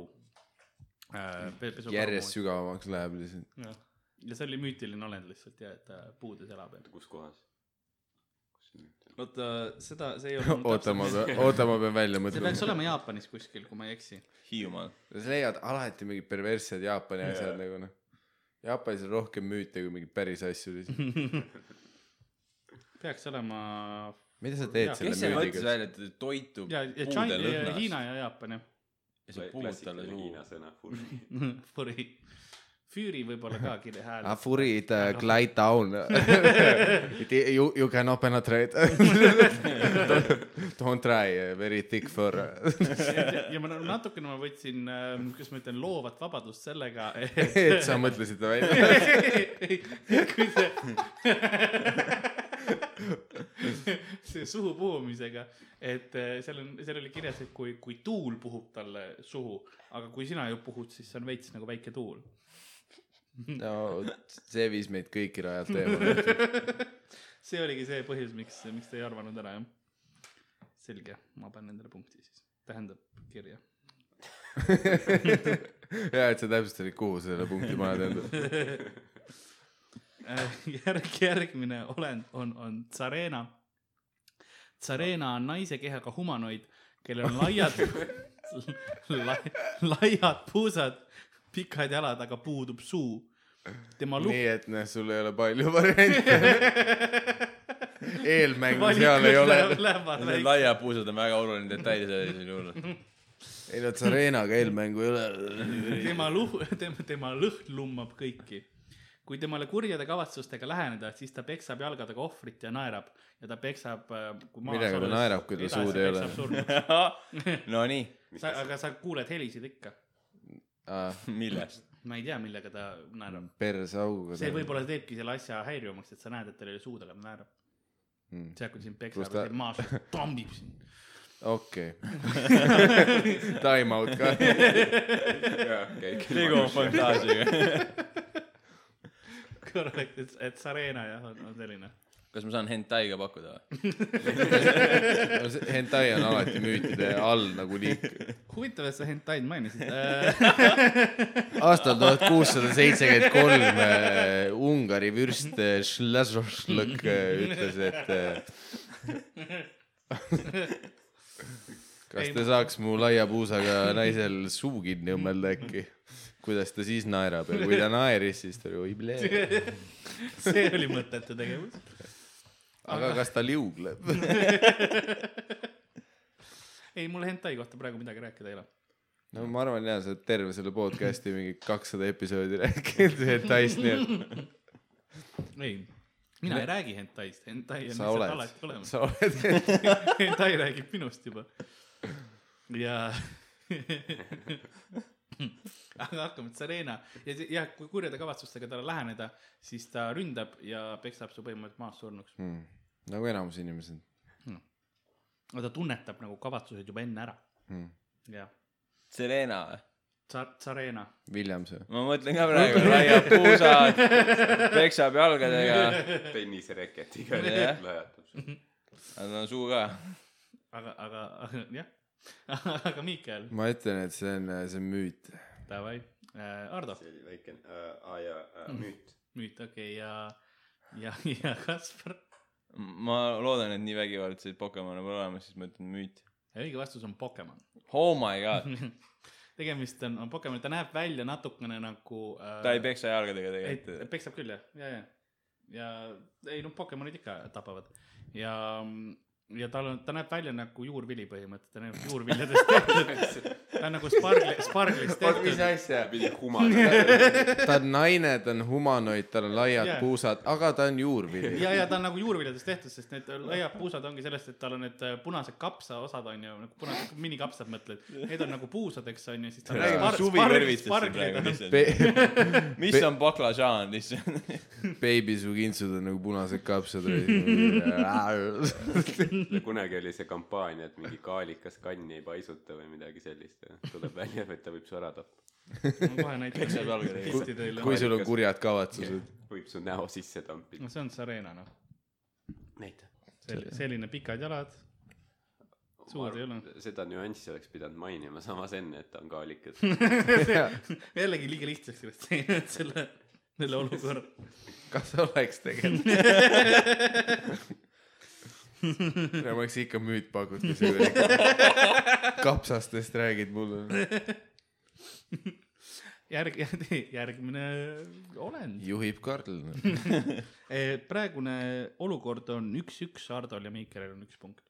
äh, . järjest . sügavamaks läheb lihtsalt . ja see oli müütiline olend lihtsalt ja , et ta puudes elab . kus kohas ? kus see nüüd on ? oota , seda , see ei olnud oota , ma pean , oota , ma pean välja see peaks mõtlema . olema Jaapanis kuskil , kui ma ei eksi . Hiiumaal . sa leiad alati mingid perverssed Jaapani yeah. asjad nagu noh . Jaapanis on rohkem müüte kui mingeid päris asju Mhm. lihtsalt . peaks olema mida sa teed Jaa. selle kes see mõtles müüdiga ? välja , et ta toitub ja , ja puude China , ja Hiina lõhnast ja Jaapan jah . ja sa puud talle suhu ? suhu . Furi , Füüri võib-olla ka kile hääl . Afuri it uh, glide down it, you, you cannot penetrate don't, don't try uh, very thick fur ja ma nagu natukene ma võtsin , kuidas ma ütlen , loovat vabadust sellega , et et sa mõtlesid ta välja kui see see suhu puhumisega , et eh, seal on , seal oli kirjas , et kui , kui tuul puhub talle suhu , aga kui sina ju puhud , siis see on veits nagu väike tuul . no see viis meid kõiki rajalt eemale see oligi see põhjus , miks , miks te ei arvanud ära , jah . selge , ma panen endale punkti siis , tähendab kirja . hea et sa täpsustasid kuhu sa selle punkti paned endale Äh, järg , järgmine olend on , on tsareena . tsareena on naise kehaga humanoid , kellel on laiad la, , laiad puusad , pikad jalad , aga puudub suu . tema lugu nii et noh sul ei ole palju variante eelmängu seal ei ole lähevad Need väiksed . laiad puusad on väga oluline detail sellisel juhul . ei no Tsarenaga eelmängu ei ole tema luh- , tema , tema lõhn lummab kõiki . kui temale kurjade kavatsustega läheneda , siis ta peksab jalgadega ohvrit ja naerab ja ta peksab . äh, Millega ta naerab, kui tal suud ei ole? Nonii , sa , aga sa kuuled helisid ikka . Ah, millest ? ma ei tea , millega ta naerab . Mm. persauguga see võib-olla teebki selle asja häirivamaks , et sa näed , et tal ei ole suud , aga ta naerab . Mm. see , kui sind Kus peksab ta- ja teeb maas , tambib sind . okei time out ka tegu on fantaasiaga . korrekt , et , et Sarena jah , on on selline . kas ma saan hentaiga pakkuda või ? no see hentai on alati müütide all nagu liik . huvitav , et sa hentaid mainisid . aastal tuhat kuussada seitsekümmend kolm äh, Ungari vürst eh, Šležošlõk eh, ütles , et eh, kas te saaks mu laia puusaga naisel suu kinni õmmelda äkki ? kuidas ta siis naerab ja kui ta naeris , siis ta oli oi plee . see oli mõttetu tegevus . aga kas ta liugleb ? ei , mul hentai kohta praegu midagi rääkida ei ole . no ma arvan jaa , sa oled terve selle podcast'i mingi kakssada episoodi rääkinud hentaist , nii et ei , mina ei räägi hentaist , hentai on sa lihtsalt oled alati , olemas . sa oled hentai räägib minust juba . ja aga hakkame , Serena ja , ja kui kurjade kavatsustega talle läheneda , siis ta ründab ja peksab su põhimõtteliselt maas surnuks . mm. . nagu enamus inimesed . aga ta tunnetab nagu kavatsused juba enne ära Mm. . jah , Serena või ? Tsar- , Sarena . Williams või ? ma mõtlen ka praegu , laiad puusad , peksab jalgadega , tennisereketiga Jah. lajatab sulle . aga tal on suu ka . aga , aga , aga jah , aga Miikael , ma ütlen , et see on , see on müüt . davai , Noh. Ardo , see oli väikene , aa jaa , müüt . nüüd okei okay, ja , ja , ja Kaspar ma loodan , et nii vägivaldseid Pokemone pole olemas , siis ma ütlen müüt . ja õige vastus on Pokemon . Oh my god , tegemist on , on Pokemon , ta näeb välja natukene nagu äh, ta ei peksa jalgadega ei, tegelikult . peksab küll jah , ja , ja , ja ei noh , Pokemonid ikka tapavad ja , ja tal on , ta näeb välja nagu juurvili põhimõtteliselt , ta näeb juurviljadest tehtud , ta on nagu spargli , sparglist tehtud . asja ? pidi kumane . ta on naine , ta on humanoid , tal on laiad Jaa. yeah. puusad , aga ta on juurvili . ja , ja ta on nagu juurviljadest tehtud , sest need laiad puusad ongi sellest , et tal on need äh, punased kapsaosad on ju , nagu punased minikapsad mõtled , need on nagu puusadeks on ju , siis ta on räägib nagu spar- sparg- suvivõrvitest siin sparglid praegu on lihtsalt . mis on baklažaan lihtsalt ? Baby su kintsud on nagu punased kapsad . kunagi oli see kampaania , et mingi kaalikas kanni ei paisuta või midagi sellist . tuleb välja , et ta võib su ära tappa . ma kohe näitan Peksab jalgadega. pilti teile . kui sul on kurjad kavatsused . võib su näo sisse tampida no . see on Sarena noh , näita . selline pikad jalad , suud ei ole . seda nüanssi oleks pidanud mainima samas enne , et ta on kaalikas . jällegi liiga lihtsaks sellest teinud selle , selle olukorra . kas oleks tegelikult ? tere , ma oleks ikka müüt pakut , kui sa kuidagi kapsastest räägid mulle . järg , järgmine olend . juhib Karl . praegune olukord on üks-üks , Hardol ja Meikeril on üks punkt .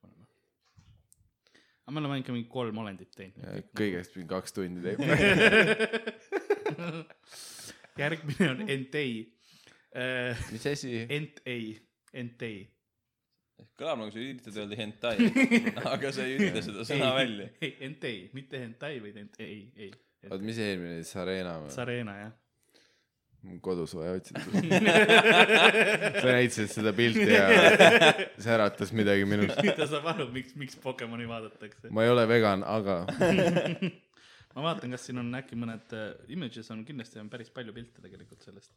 aga me oleme ikka mingi kolm olendit teinud . kõigest mingi kaks tundi teeb . järgmine on Entei . E, mis asi ? Entei , Entei . kõlab nagu sa üritad öelda hentai , aga sa ei ütle seda sõna välja . Entei , mitte Entai , vaid Entei , ei . oot , mis eelmine oli , Sarena või ? Sarena jah . Mul kodus vaja otsida . sa näitasid seda pilti ja see äratas midagi minus . ta saab aru , miks , miks Pokemoni vaadatakse . ma ei ole vegan , aga ma vaatan , kas siin on äkki mõned äh, images on , kindlasti on päris palju pilte tegelikult sellest .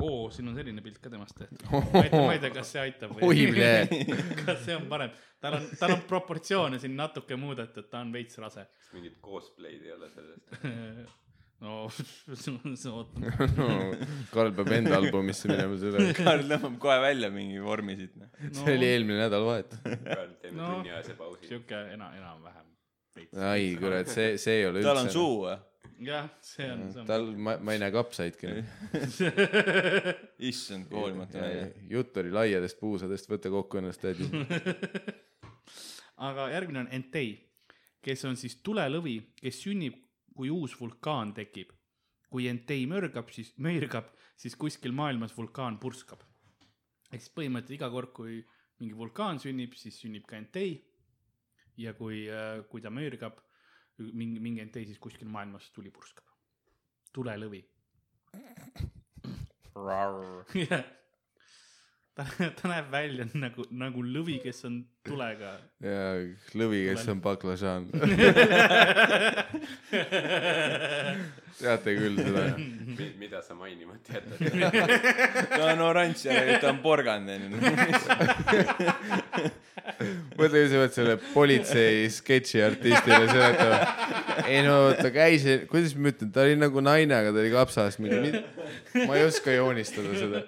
oo , siin on selline pilt ka temast tehtud . ma ei tea , ma ei tea , kas see aitab Oi, plee. . kas see on parem , tal on , tal on proportsioone siin natuke muudetud , ta on veits rase . mingit cosplay'd ei ole sellest . no ootame . Karl peab enda albumisse minema selle . Karl tõmbab kohe välja mingi vormi siit . noh. see oli eelmine nädalavahetus . teeme No. tunniajase pausi . sihuke ena- , enam-vähem . ai kurat , see , see ei ole üldse . tal on suu või ? jah , see on , see on . tal , ma , ma ei näe kapsaidki . issand , koolimata välja . jutt oli laiadest puusadest , võta kokku ennast , tädi . aga järgmine on Entei , kes on siis tulelõvi , kes sünnib , kui uus vulkaan tekib . kui Entei mürgab , siis , möirgab , siis kuskil maailmas vulkaan purskab . ehk siis põhimõtteliselt iga kord , kui mingi vulkaan sünnib , siis sünnib ka Entei . ja kui , kui ta möirgab , mingi , mingi Entei , siis kuskil maailmas tuli purskab . tulelõvi . jah . ta , ta näeb välja nagu , nagu lõvi , kes on tulega ja lõvi , kes on baklažaan . teate küll seda . mida sa mainimata jätad ? ta on oranž ja ta on porgand onju . mõtle , kui sa pead selle politsei sketši artistile seletama . ei no ta käis , kuidas ma ütlen , ta oli nagu naine , aga ta oli kapsas . ma ei oska joonistada seda .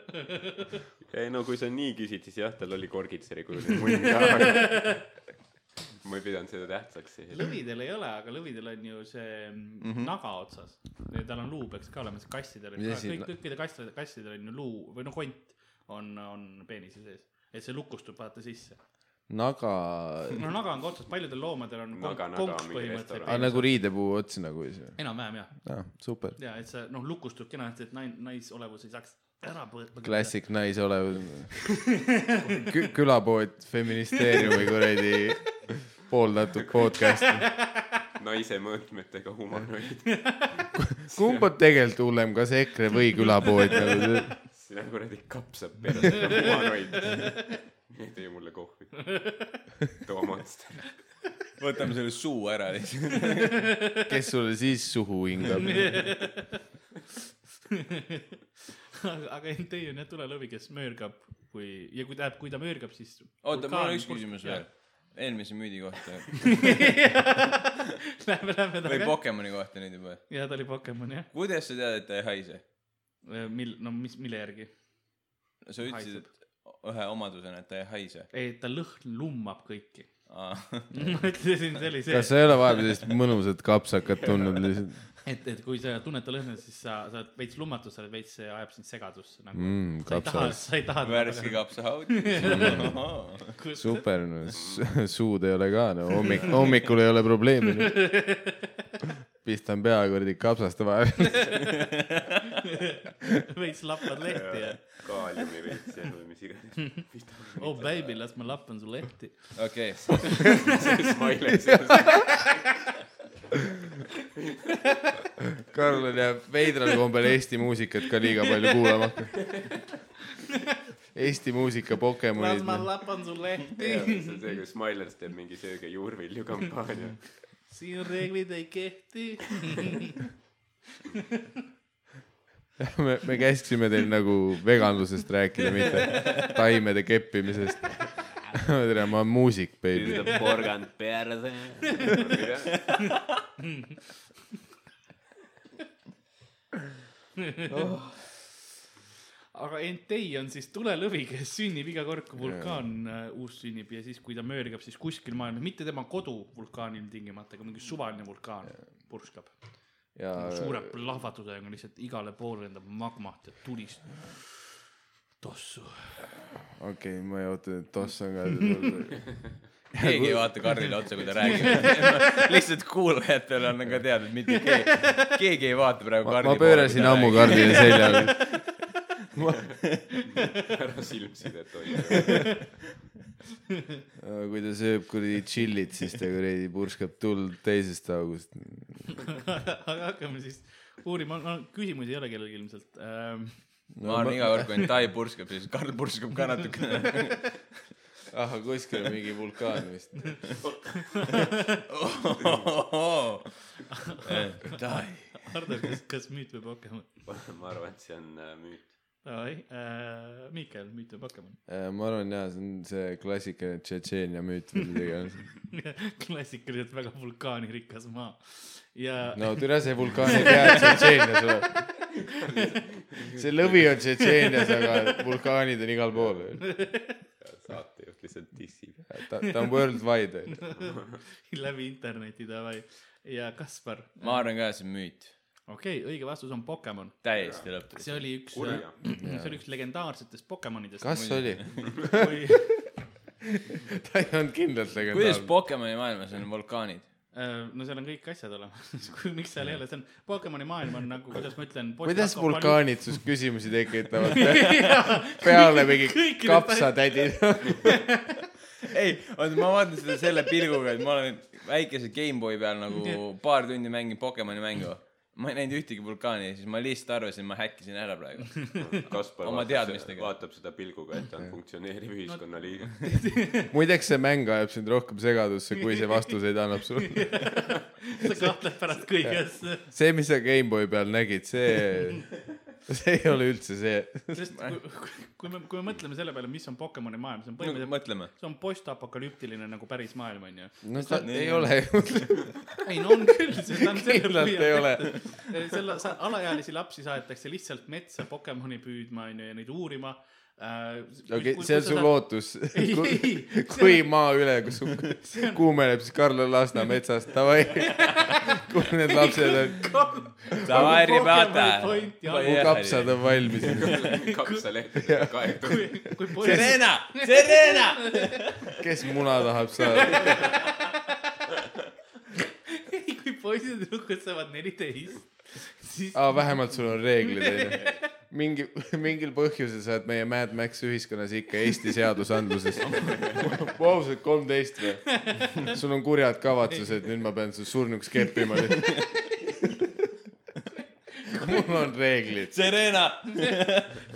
ei no kui sa nii küsid , siis jah , tal oli korgitseri kujuline munn ka . ma ei pidanud seda tähtsaks . lõvidel ei ole , aga lõvidel on ju see mm -hmm. naga otsas . tal on luu peaks ka olema , sest kassidel on Mis ka , asi- kõik , kõikide kassidel , kassidel on ju luu või no kont on , on peenise sees . et see lukustub vaata sisse . naga , no naga on ka otsas , paljudel loomadel on konk- Naga-naga on konks mingi põhimõtteliselt restoran. aga peenise nagu riidepuu ots nagu siis või ? otsas. enam-vähem jah , aa , super . ja et see noh , lukustub kenasti , et nain- , naisolevus ei saaks ära põe- . klassik naise olev Kü- külapood feministeeriumi kuradi pooldatud podcast . naise mõõtmetega humanoid . kumb on tegelikult hullem , kas EKRE või külapood nagu see ? sina kuradi kapsad peres , humanoid . tee mulle kohvi . too monster . võtame selle suu ära lihtsalt . kes sulle siis suhu hingab ? aga aga ei, teie on jah tulelõvi , kes möörgab , kui , ja kui ta , kui ta möörgab , siis . oota , mul on üks küsimus veel . eelmise müüdi kohta Lähme , lähme või tagasi . Pokemoni kohta nüüd juba . ja ta oli Pokemon jah . kuidas sa tead , et ta ei haise ? mil- , no mis , mille järgi ? sa ütlesid , et ühe omadusena , et ta ei haise . ei , ta lõhn lummab kõiki . Mm. ma ütlesin , see oli kas see , sa ei ole vahepeal sellist mõnusat kapsakat tundnud lihtsalt et , et kui sa tunned ta lõhna , siis sa , sa oled veits lummatud , sa oled veits , see ajab sind segadusse nagu mm, . mm, ? sa ei taha , kapsas , sa ei taha . värske kapsahaud . super , suud ei ole ka , no hommik , hommikul ei ole probleemi . pistan pea kuradi kapsaste vahele . veits lappad lehti ja kaaliumi veits ja või mis iganes . oh baby , las ma lappan su lehti . okei , Smiley sees . Karl jääb veidral kombel Eesti muusikat ka liiga palju kuulama . Eesti muusika las ma Pokemonid . lappan su see lehti , on see , kui Smilers teeb mingi sööge juurvilju kampaania . siin reeglid ei kehti . me , me käsksime teil nagu veganlusest rääkida , mitte taimede keppimisest . tere , ma olen muusik , baby . porgand perse . aga Entei on siis tulelõvi , kes sünnib iga kord , kui vulkaan äh, uus sünnib ja siis , kui ta möörgab , siis kuskil maailmas , mitte tema kodu vulkaan ilmtingimata , aga mingi suvaline vulkaan purskab . ja suure plahvatusega lihtsalt igale poole lendab magmat ja tulist . tossu . okei okay, , ma ei oota , et toss on ka . keegi ei vaata Karlile otsa , kui ta räägib . lihtsalt kuulajatele on ka teada , et mitte keegi , keegi ei vaata praegu ma, Karli ma pöörasin ammu . kardile seljale . ära silmsidet hoida . kui ta sööb kuradi tšillit , siis ta kuradi purskab tuld teisest august . aga hakkame siis uurima , küsimusi ei ole kellelgi ilmselt ähm, . ma arvan , iga kord , kui Entai purskab , siis Karl purskab ka natukene . ahah , kuskil on mingi vulkaan vist . Eh, Entai . Hardo , kas , kas müüt või Pokemon ? ma arvan , et see on äh, müüt . ai äh, , Miikael , müüt või Pokemon ? Äh, ma arvan jaa , see on see klassikaline Tšetšeenia müüt või midagi iganes . klassikaliselt väga vulkaanirikas maa ja no. no türa see vulkaani pea Tšetšeenias oleb . see lõvi on Tšetšeenias , aga vulkaanid on igal pool . saatejuht lihtsalt dissib . ta , ta on worldwide . läbi interneti davai ja Kaspar , ma arvan ka , see on müüt . okei okay, , õige vastus on Pokemon , täiesti lõpp . see oli üks , Kurja. see oli üks legendaarsetest Pokemonidest . kas oli ? oli ? ta ei olnud kindlalt kuidas legendaarne . Pokemoni maailmas on vulkaanid ? Äh, no seal on kõik asjad olemas , miks seal ei ole , see on Pokemoni maailm on nagu , kuidas ma ütlen . kuidas vulkaanid sinust küsimusi tekitavad ? peale mingi Kõik need kapsatädid . ei , oota , ma vaatan seda selle pilguga , et ma olen väikese GameBoy peal nagu paar tundi mänginud Pokemoni mängu . ma ei näinud ühtegi vulkaani , siis ma lihtsalt arvasin , ma häkkisin ära praegu . Kaspar Oma vaatab, teadmistega. vaatab seda pilguga , et ta on funktsioneeriv ühiskonnaliige . muideks see mäng ajab sind rohkem segadusse , kui see vastuseid annab sulle . sa kahtled pärast kõiges , see , mis sa Gameboy peal nägid , see , see ei ole üldse see . sest kui, kui me , kui me mõtleme selle peale , mis on Pokemoni maailm , see on põhimõtteliselt mõtleme . see on postapokalüptiline nagu päris maailm onju . no ta ei ole ju . ei no on küll , sest ta on Kindlalt ei ole. tehtud. selle sa- alaealisi lapsi saadetakse lihtsalt metsa Pokemoni püüdma onju ja neid uurima . Äh, okei , see on su . lootus . Ei, kui, ei, kui see maa üle , kus kuumeneb siis Karl Lasna metsast , davai . kus need lapsed on , Davai , ribata . mu kapsad on valmis . kapsalehtedega kaetud . kui , kui poiss , Serena , Serena . kes muna tahab saada ? kui poisid lukutsevad neliteist , siis aa , vähemalt sul on reeglid , onju . mingi , mingil põhjusel sa oled meie Mad Max ühiskonnas ikka Eesti seadusandluses . ma ausalt , kolmteist või ? sul on kurjad kavatsused , nüüd ma pean su surnuks keppima . mul on reeglid . Serena .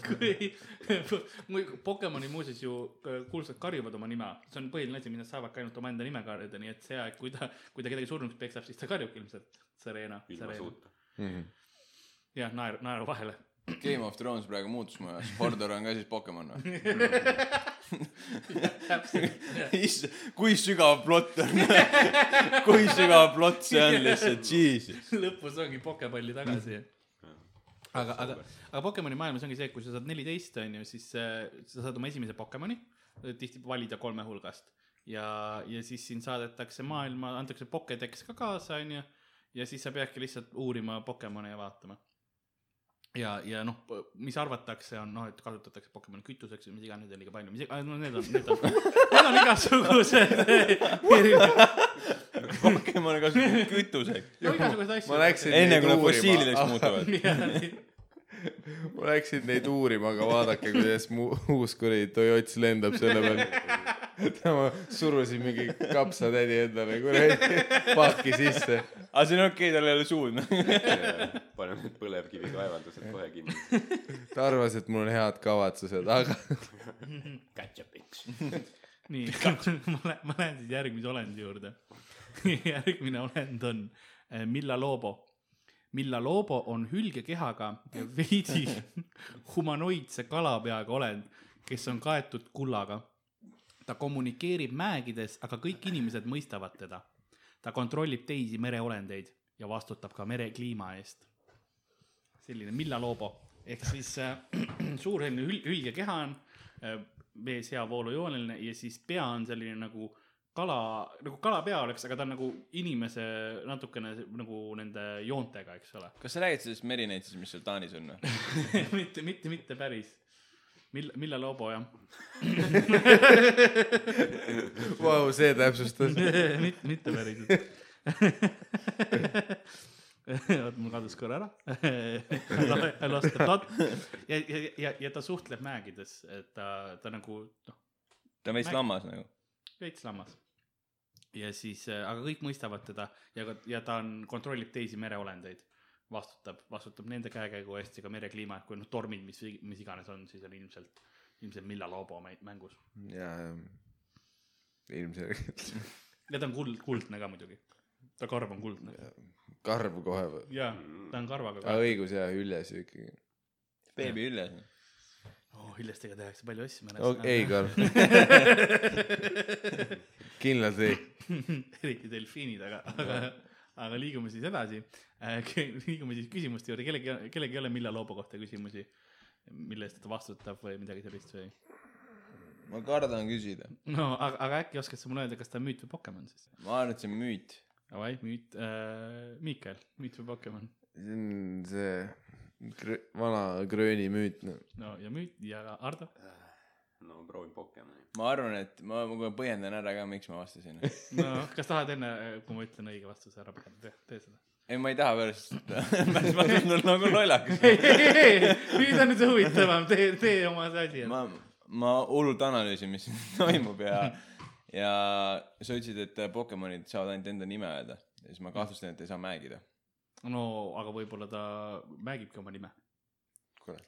kui mu- Pokemoni muuseas ju äh, kuulsad karjuvad oma nime , see on põhiline asi , mida saavadki ainult omaenda nime karjuda , nii et see aeg , kui ta , kui ta kedagi surnuks peksab , siis ta karjubki ilmselt Serena . ilma suuta . jah , naer , naeru vahele . Game of Thrones praegu muutus mu jaoks , Hordor on ka siis Pokemon või ? täpselt , kui sügav plott on ? kui sügav plott see on lihtsalt , jesus . lõpus ongi pokepalli tagasi . aga , aga , aga Pokemoni maailmas ongi see , et kui sa saad neliteist , on ju , siis äh, sa saad oma esimese Pokemoni , tihti valida kolme hulgast . ja , ja siis sind saadetakse maailma , antakse Pokedex ka kaasa , on ju , ja siis sa peadki lihtsalt uurima Pokemone ja vaatama . ja , ja noh , mis arvatakse , on noh , et kasutatakse Pokemoni kütuseks või mis iganes , neid on liiga palju , mis iganes , no need on , need on , need on igasugused . Pokemon kasutab kütuseid . no igasuguseid asju . ma läksin enne neid kui nad uurima , fossiilideks muutuvad . ma läksin neid uurima , aga vaadake , kuidas mu uus kuradi Toyots lendab selle peal . ma surusin mingi kapsatädi endale kuradi paki sisse . aga see on okei okay, , tal ei ole suud . noh. paneme need põlevkivikaevandused kohe kinni . ta arvas , et mul on head kavatsused , aga Ketšupiks . nii , ma lähen , ma lähen siis järgmise olendi juurde . järgmine olend on eh, Milla Lobo . Milla Lobo on hülgekehaga ja veidi humanoidse kalapeaga olend , kes on kaetud kullaga . ta kommunikeerib mägides , aga kõik inimesed mõistavad teda . ta kontrollib teisi mereolendeid ja vastutab ka merekliima eest . selline Milla Lobo ehk siis äh, suur selline ül- , hüljekeha on , vees hea voolujooneline ja siis pea on selline nagu kala , nagu kalapea oleks , aga ta on nagu inimese natukene nagu nende joontega , eks ole . kas sa räägid sellest Merineitsist , mis seal Taanis on noh? või ? mitte , mitte , mitte päris . Mill- , Milla Loobo jah . Vau , see täpsustas . mitte , mitte päriselt oot , mul kadus korra ära I lost the thought . ja , ja , ja , ja ta suhtleb mägides , et ta , ta nagu noh , ta on veits Ma- lammas nagu . veits lammas . ja siis , aga kõik mõistavad teda ja , ja ta on , kontrollib teisi mereolendeid . vastutab , vastutab nende käekäigu eest ja ka merekliima , et kui noh , tormid , mis , mis iganes on , siis on ilmselt , ilmselt Milla Loobo mä- mängus . ja ilmselgelt ja ta on kuld , kuldne ka muidugi . ta karv on kuldne . karv kohe või ? jaa , ta on karvaga ka aa . õigus jaa , Ülles ju ikkagi . beebi noh. Ülles . oh , Hillestega tehakse palju asju , ma ei karv , kindlalt ei . eriti delfiinid , aga , aga , aga liigume siis edasi . liigume siis küsimuste juurde , kellelgi , kellelgi ei ole Milla Loobo kohta küsimusi , mille eest ta vastutab või midagi sellist või ? ma kardan küsida . no aga , aga äkki oskad sa mulle öelda , kas ta on müüt või Pokemon siis ? ma arvan , et see on müüt . Davai , müüt äh, , Miikael , müüt või Pokemon ? see on see krö- vana Grööni müüt , noh . no ja müüt ja Ardo ? no proovin Pokemoni . ma arvan , et ma , ma kohe põhjendan ära ka , miks ma vastasin . no kas tahad enne , kui ma ütlen õige vastuse ära , tee , tee seda . ei , ma ei taha pärast , pärast ma tundun nagu lollakas . ei , ei , ei , nüüd on nüüd see huvitavam , tee , tee oma see asi . ma , ma hullult analüüsin , mis toimub ja , ja sa ütlesid , et Pokemonid saavad ainult enda nime öelda . ja siis ma kahtlustan , et ei saa mängida . no aga võib-olla ta märgibki oma nime .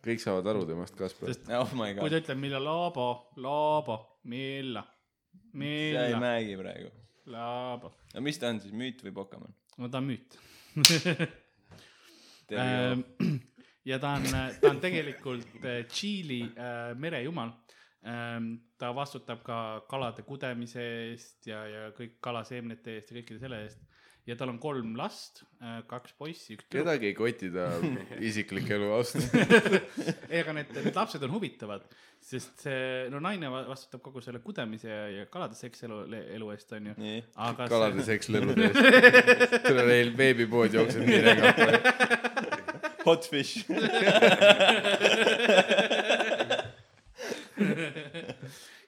kõik saavad aru temast , Kaspar . sest oh my kui god ta , ütleb , millal laabo , laabo , milla , sa ei milla , mängi praegu . laabo . no mis ta on siis , müüt või Pokemon ? no ta on müüt . Ähm. Ehm... ja ta on , ta on tegelikult äh, Tšiili äh, merejumal . ta vastutab ka kalade kudemise eest ja , ja kõik kalaseemnete eest ja kõikide selle eest ja tal on kolm last , kaks poissi , üks tüdruk . kedagi ei koti ta isiklik elu vastu . ei , aga need , need lapsed on huvitavad , sest see , no naine va- vastutab kogu selle kudemise ja, ja kalade sekselu , elu eest , onju . nii , aga kalade sekslelude eest . tule neil beebipood jookseb nii rega . hot fish . see ,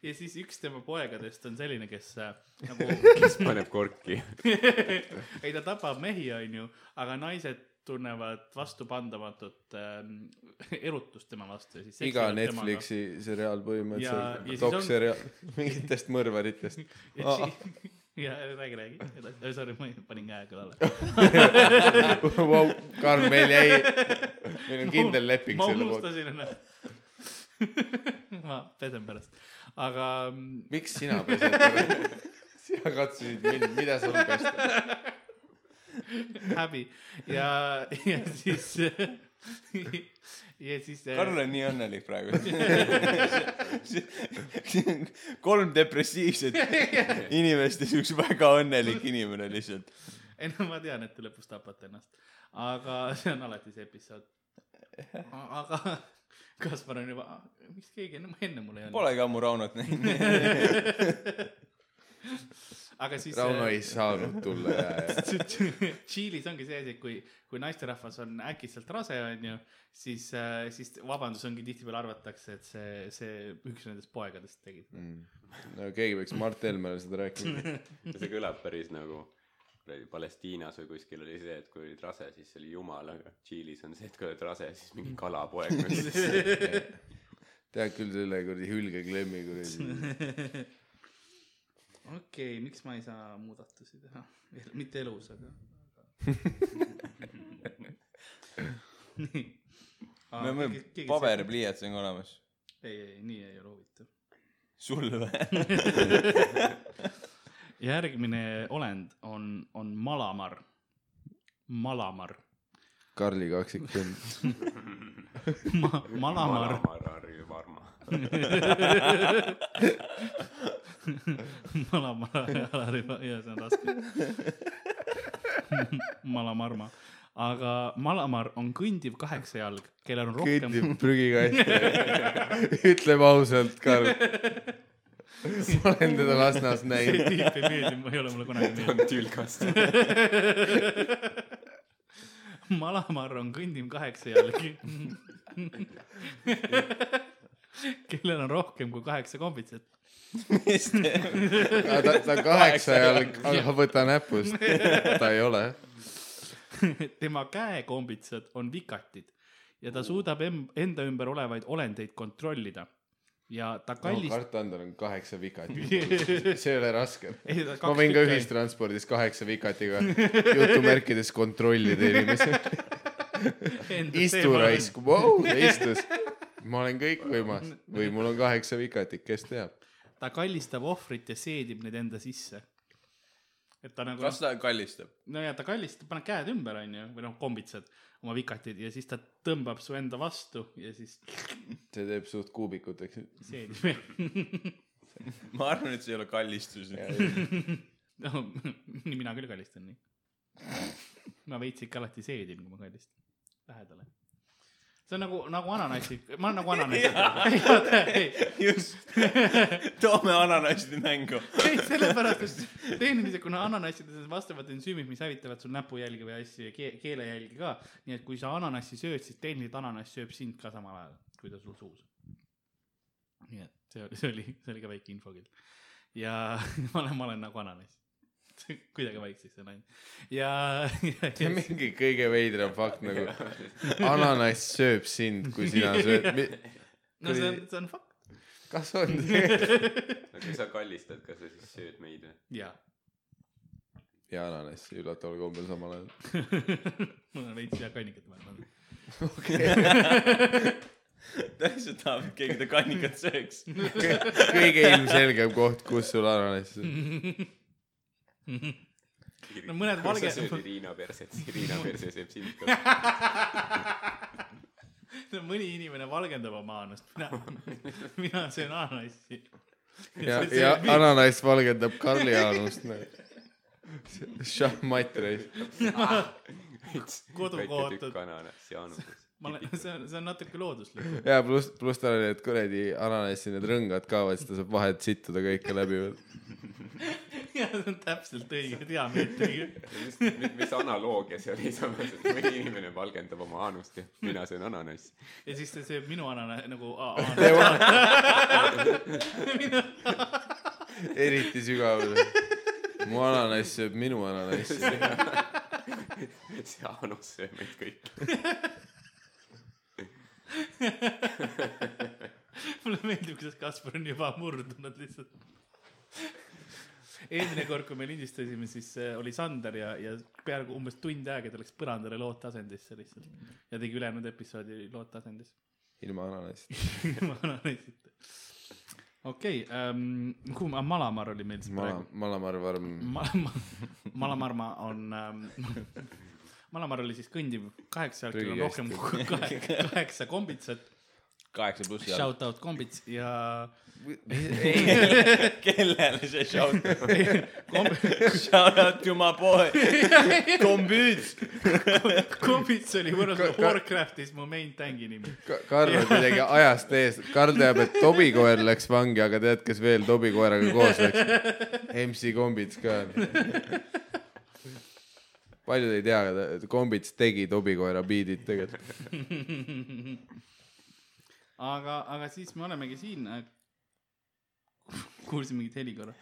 ja siis üks tema poegadest on selline , kes äh, nagu , kes paneb korki ? ei ta tapab mehi , onju , aga naised tunnevad vastupandamatut ähm, erutust tema vastu ja siis . iga . Netflixi seriaal Ja- ja siis põhimõtteliselt , on- dokseriaal , mingitest mõrvaritest . ja siis- ja räägi , räägi , edasi , sorry , ma panin käe kõlale . Vau , Karl , meil jäi , meil on kindel leping ma selle poolt . unustasin ennast . ma pesen pärast , aga mm, miks sina pesed ? sina katsusid mind , mida sul pesta . häbi ja , ja siis ja siis . äh, Karl on nii õnnelik praegu . kolm depressiivset inimest ja see üks väga õnnelik inimene lihtsalt . ei no ma tean , et te lõpus tapate ennast , aga see on alati see episood . aga Kaspar on juba , miks keegi enne , enne mulle ei öelnud . Pole ka mu Raunot näinud . aga siis . Rauno ei saanud tulla ja , ja Tšiilis ongi see asi , et kui , kui naisterahvas on äkitselt rase , onju , siis , siis vabandus ongi tihtipeale arvatakse , et see , see üks nendest poegadest tegi seda . mm. . no keegi peaks Mart Helmele seda rääkima . see kõlab päris nagu kuradi Palestiinas või kuskil oli see , et kui olid rase , siis see oli jumal , aga Tšiilis on see , et kui oled rase , siis mingi kalapoeg . tead küll selle kuradi hülgeklemmi kuradi . okei okay, , miks ma ei saa muudatusi teha ? mitte elus , aga . me võime , paberpliiats on ka olemas . ei , ei , nii ei ole huvitav . sul või ? järgmine olend on , on malamar . malamar Karli kaksikvend . Ma, . malamar , Malamar , Varma . malamar , ja see on raske . malamarma , aga Malamar on kõndiv kaheksajalg , kellel on rohkem kõndib prügikasti . ütleme ausalt , Karl . ma olen teda Lasnas see näinud . tüüp ei meeldi , ei ole mulle kunagi on tüülkast . meeldinud . Malamar on kõndiv kaheksajalg , kellel on rohkem kui kaheksa kombitset . mis te , Äh, ta , ta on kaheksa jalg , aga võta näpust . ta ei ole . tema käekombitsad on vikatid ja ta suudab em- enda ümber olevaid olendeid kontrollida ja ta no kallist- Kart Andor on kaheksa vikati . see ei ole raske . ei, ta ma kaks võin ka tükki ainult. ühistranspordis kaheksa vikatiga jutumärkides kontrollida inimesi . Enda istu teema on- raisk , vau , ta istus . ma olen kõikvõimas või mul on kaheksa vikatit , kes teab . ta kallistab ohvrit ja seedib need enda sisse et ta nagu kas ta kallistab ? no ja ta kallistab paneb käed ümber onju või noh kombitsad oma vikatid ja siis ta tõmbab su enda vastu ja siis see teeb suht kuubikut , eks . seedib ma arvan , et see ei ole kallistus . no nii mina küll kallistan nii ma veits ikka alati seedin kui ma kallistan lähedale see on nagu nagu ananassi ma olen nagu ananassi ei oota ei just , toome ananasside mängu . ei sellepärast et tehniliselt kuna ananassides on vastavad ensüümid mis hävitavad sul näpujälgi või asju ja kee- keelejälgi ka nii et kui sa ananassi sööd siis tehniliselt ananass sööb sind ka samal ajal kui ta sul suus on nii et see oli see oli see oli ka väike infokild ja ma olen ma olen nagu ananass kuidagi vaikseks see naine ja, ja, see on mingi kõige veidram fakt nagu , ananass sööb sind , kui sina sööd . ja no see on see on fakt kas on ? no kui sa kallistad , kas sa siis sööd meid või ? jaa ja ananass üllataval kombel samal ajal . mul on veits hea kannikat vaja panna ta lihtsalt tahab , et keegi ta kannikat sööks . kõige ilmselgem koht , kus sul ananass on . No mõned valge- kui sa sööd Riina perset , siis Riina perse sööb sind ka . no mõni inimene valgendab oma anast , mina , mina söön ananassi . ja , ja ananass valgendab Karli anust nagu . šahmat reis . Kodukohatud. väike tükk ananassi Jaanuses . ma olen , see on , see on natuke looduslik . ja pluss , pluss tal oli , et kuradi ananassi need rõngad kaovad , siis ta saab vahet sittuda kõike läbi . ja see on täpselt õige diameetriga . mis , mis analoogia see oli samas , et mõni inimene valgendab oma anust ja mina söön ananassi . ja siis ta sööb minu anana- nagu a- Te ananassi . olete eriti sügaval . mu ananass sööb minu ananassi . see anus sööb meid kõiki . mulle meeldib , kuidas Kaspar on juba murdunud lihtsalt . eelmine kord , kui me lindistasime , siis äh, oli Sander ja , ja peaaegu umbes tund aega ta läks põrandale loodtasendisse lihtsalt ja tegi ülejäänud episoodi loodtasendis . ilma ananassita. . ilma ananassita . okei ähm, , kuhu ma , Malamar oli meil siis mala praegu ,. malamar varm . Malamar , Malamarma on ähm, , Malamar oli siis kõndiv kaheksa , rohkem kui kaheksa, kaheksa kombitsat , kaheksa pluss jalg . shout out kombits ja kellele see shout , komb- , shout out to my boy , kombüüts . kombits oli võrreldes Ka- ka- Warcraftis mu main tank'i nimi . Karl on kuidagi ajast ees , Karl teab , et Tobi koer läks vangi , aga tead , kes veel Tobi koeraga koos läks ? MC Kombits ka . paljud ei tea , et Kombits tegi Tobi koera biidid tegelikult . aga , aga siis me olemegi siin . kuulsin mingit heli korra .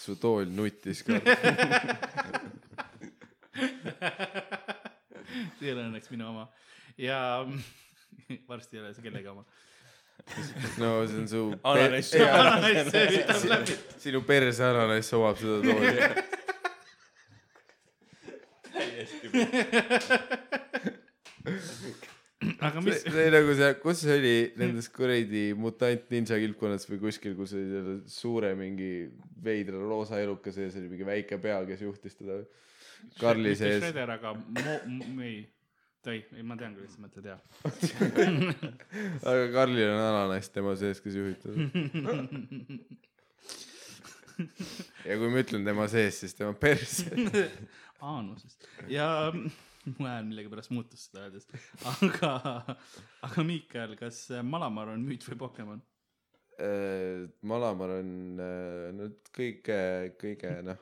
su tool nuttis ka . see ei ole õnneks minu oma ja varsti ei ole see kellegi oma . no see on su . Ananass. ananass söövitab läbi . sinu perse ananass omab seda tooli . aga mis , see oli nagu see , kus see oli nendes kuradi mutant ninja kilpkonnades või kuskil , kus oli selle suure mingi veidra roosa eluka sees oli mingi väike pea , kes juhtis teda . Karli mitte sees , Shredder , aga mo- , mo- , ei , ei , ei ma tean , kuidas sa mõtled , jah . aga Karlil on ananass tema sees , kes juhib teda . ja kui ma ütlen tema sees , siis tema perse . aanusest ja mu hääl millegipärast muutus seda öeldes , aga , aga Miikael , kas Malamar on müüt või Pokemon ? Äh, Malamar on äh, nüüd kõige , kõige noh ,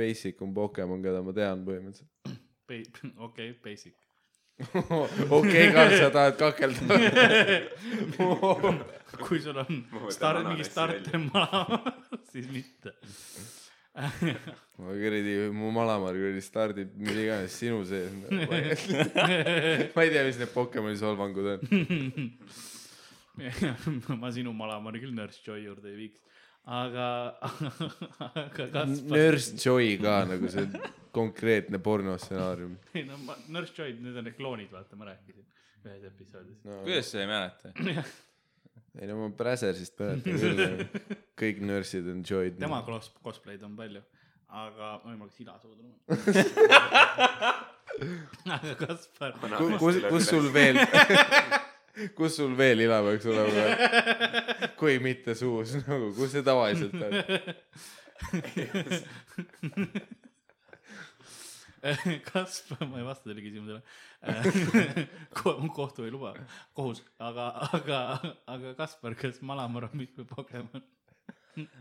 basic um Pokemon , keda ma tean põhimõtteliselt . okei , basic . okei , Karl , sa tahad kakelda ? kui sul on Ma võtan star- , ananassi mingi starter Malamar , siis mitte . ma kuradi , mu malamar kuradi stardib mille iganes sinu sees . ma ei tea , mis need Pokemoni solvangud on . ma sinu Malamari küll Nurse Joy juurde ei viiks , aga , aga Kaspar , Nurse Joy ka nagu see konkreetne pornostsenaarium ei no ma , Nurse Joy , need on need kloonid , vaata , ma rääkisin ühes episoodis . no, . kuidas sa ei mäleta ? ei no ma Bräsersist mäletan küll . kõik nurse'id on Joy'd . tema kos- , cosplay'd on palju , aga , oi mul läks ila suuda minema . aga Kaspar , kus , kus sul veel , kus sul veel ila peaks olema ? kui mitte suus , nagu kus see tavaliselt on ? Kaspar , ma ei vasta teile küsimusele . kohtu ei luba , kohus , aga , aga , aga Kaspar , kas Malamar on mitme Pokemon ?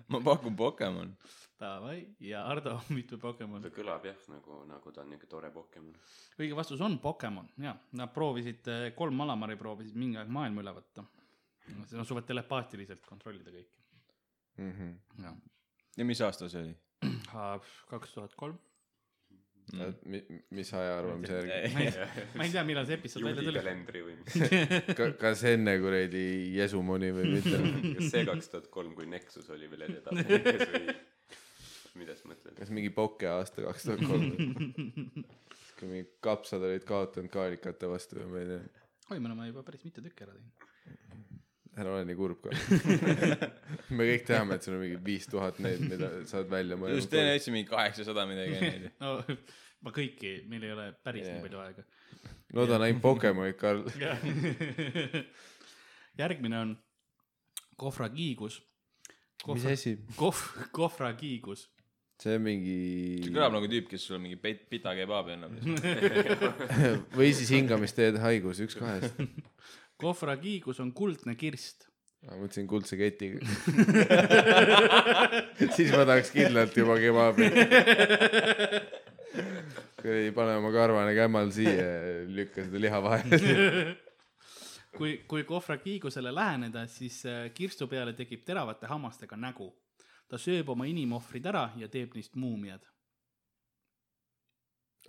ma pakun Pokemon . Davai ja Ardo on mitme Pokemon ta ? kõlab jah , nagu , nagu ta on niuke tore Pokemon . õige vastus on Pokemon ja nad proovisid , kolm Malamari proovisid mingi aeg maailma üle võtta . seda suudavad telepaatiliselt kontrollida kõike . Mhm. jah , ja mis aasta see oli ? Ah, kaks tuhat kolm . mis ajaarvamise järgi ? ma Mm. ei- ma ei tea , millal see episood välja juuli tuli . kalendri või mis , kas enne kuradi Jesumoni või mitte ? kas see kaks tuhat kolm , kui Nexus oli veel edetabelis või mida sa mõtled ? kas mingi poke aasta kaks tuhat kolm kui mingi kapsad olid kaotanud kaalikate vastu või ma ei tea oi , me oleme juba päris mitu tükki ära teinud . ära ole nii kurb ka me kõik teame et sul on mingi viis tuhat neid mida sa oled välja just teine mõelnud ütles mingi kaheksasada midagi . no ma kõiki , meil ei ole päris yeah. Jaa. nii palju aega . loodan ainult Pokemonid Karl järgmine on kohvrakiigus . mis asi kohv , kohvrakiigus . see on see mingi kõlab nagu tüüp , kes sulle mingi pet- , pita kebaabi annab . või siis hingamisteed haigus üks kahest kohvrakiigus on kuldne kirst . ma mõtlesin kuldse ketiga siis ma tahaks kindlalt juba kebaabi kuradi pane oma karvane kämmal siia ja lükka seda liha vahele kui , kui kohvrakiigusele läheneda , siis äh, kirstu peale tekib teravate hammastega nägu . ta sööb oma inimohvrid ära ja teeb neist muumiad .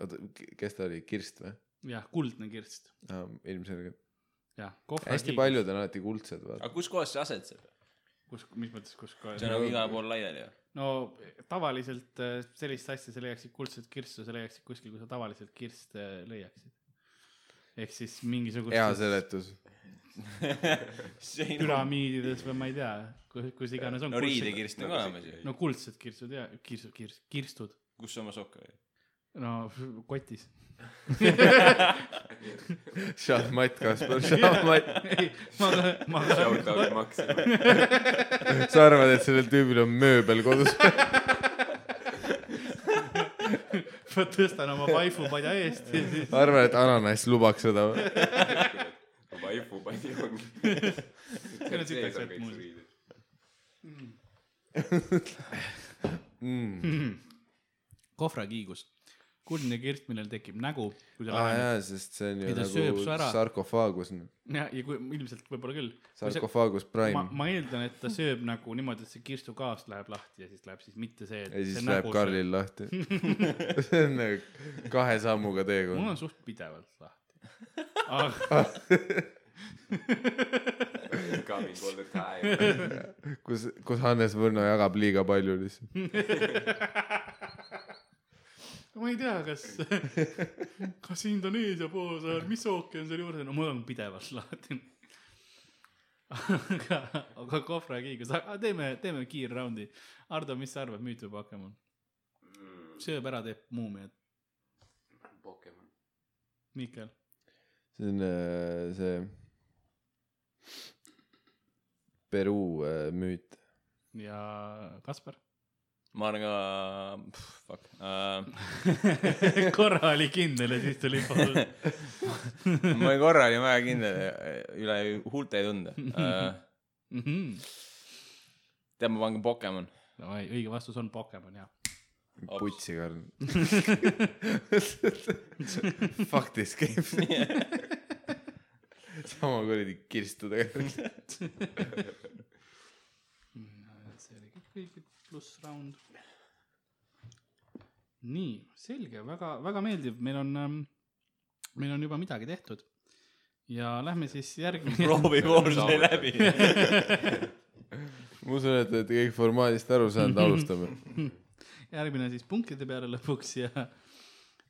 oota , kes ta oli , Kirst või ? jah , kuldne kirst . aa , ilmselgelt . jah , hästi . paljud on alati kuldsed , vaata . aga kus kohas see asetseb ? kus , mis mõttes , kus kohas see on ? nagu igal pool laiali ju . no tavaliselt äh, sellist asja sa leiaksid kuldset kirstu , sa leiaksid kuskil , kus sa tavaliselt kirste leiaksid . ehk siis hea mingisugustes seletus . püramiidides või ma ei tea , kus , kus iganes on no . nagu riidekirst Nagu on ka olemas ju . no kuldsed kirstud ja kirstud , kirs- , kirstud , kus sa oma sokke hoiad ? no f- kotis . Šahmat , Kaspar , šahmat . ei , ma , ma , Shout out Maxima . sa arvad , et sellel tüübil on mööbel kodus ? ma tõstan oma vaifu padja eest ja siis arvad , et ananass lubaks seda või ? Vaipu pani ongi . on siuke sealt muuseas. kohvrakiigus , kuldne kirst , millel tekib nägu , kui ta aa läheneb jaa , sest see on ju Ei, ta sööb su nagu ära. sarkofaagus , ja , ja kui ilmselt võib-olla küll . sarkofaagus ma , prime . ma eeldan , et ta sööb nagu niimoodi , et see kirstu kaas läheb lahti ja siis läheb siis mitte see . ja siis läheb . Karlil lahti . see on nagu kahe sammuga mul teekond . on suht pidevalt lahti . aga Coming all the time . kus , kus Hannes Võrno jagab liiga palju lihtsalt . ma ei tea , kas , kas Indoneesia poolsaar , mis ookean seal juures on , no mul on pidevalt lahti . aga , aga kohvra kiigus , Ah, teeme , teeme kiirraundi . Ardo , mis sa arvad , müüt või Pokemon ? sööb ära , teeb muumiat . Pokemon . Mihkel , see on äh, see Peruu äh, müüt . ja Kaspar , ma olen ka , fuck uh, , korra oli kindel ja siis tuli pool . ma olin korra olin väga kindel , üle huulte ei tundnud uh, . tead , ma panen ka Pokemon . Mhm. no ei , õige vastus on Pokemon jah . putsikarn Fuck this game sama kuradi kirstudega see oli kõik õige , pluss round . nii , selge , väga , väga meeldiv , meil on , meil on juba midagi tehtud . ja lähme siis järgmine . proovi pool sai läbi . ma usun , et te olete kõik formaadist aru saanud , alustame järgmine siis punktide peale lõpuks ja ,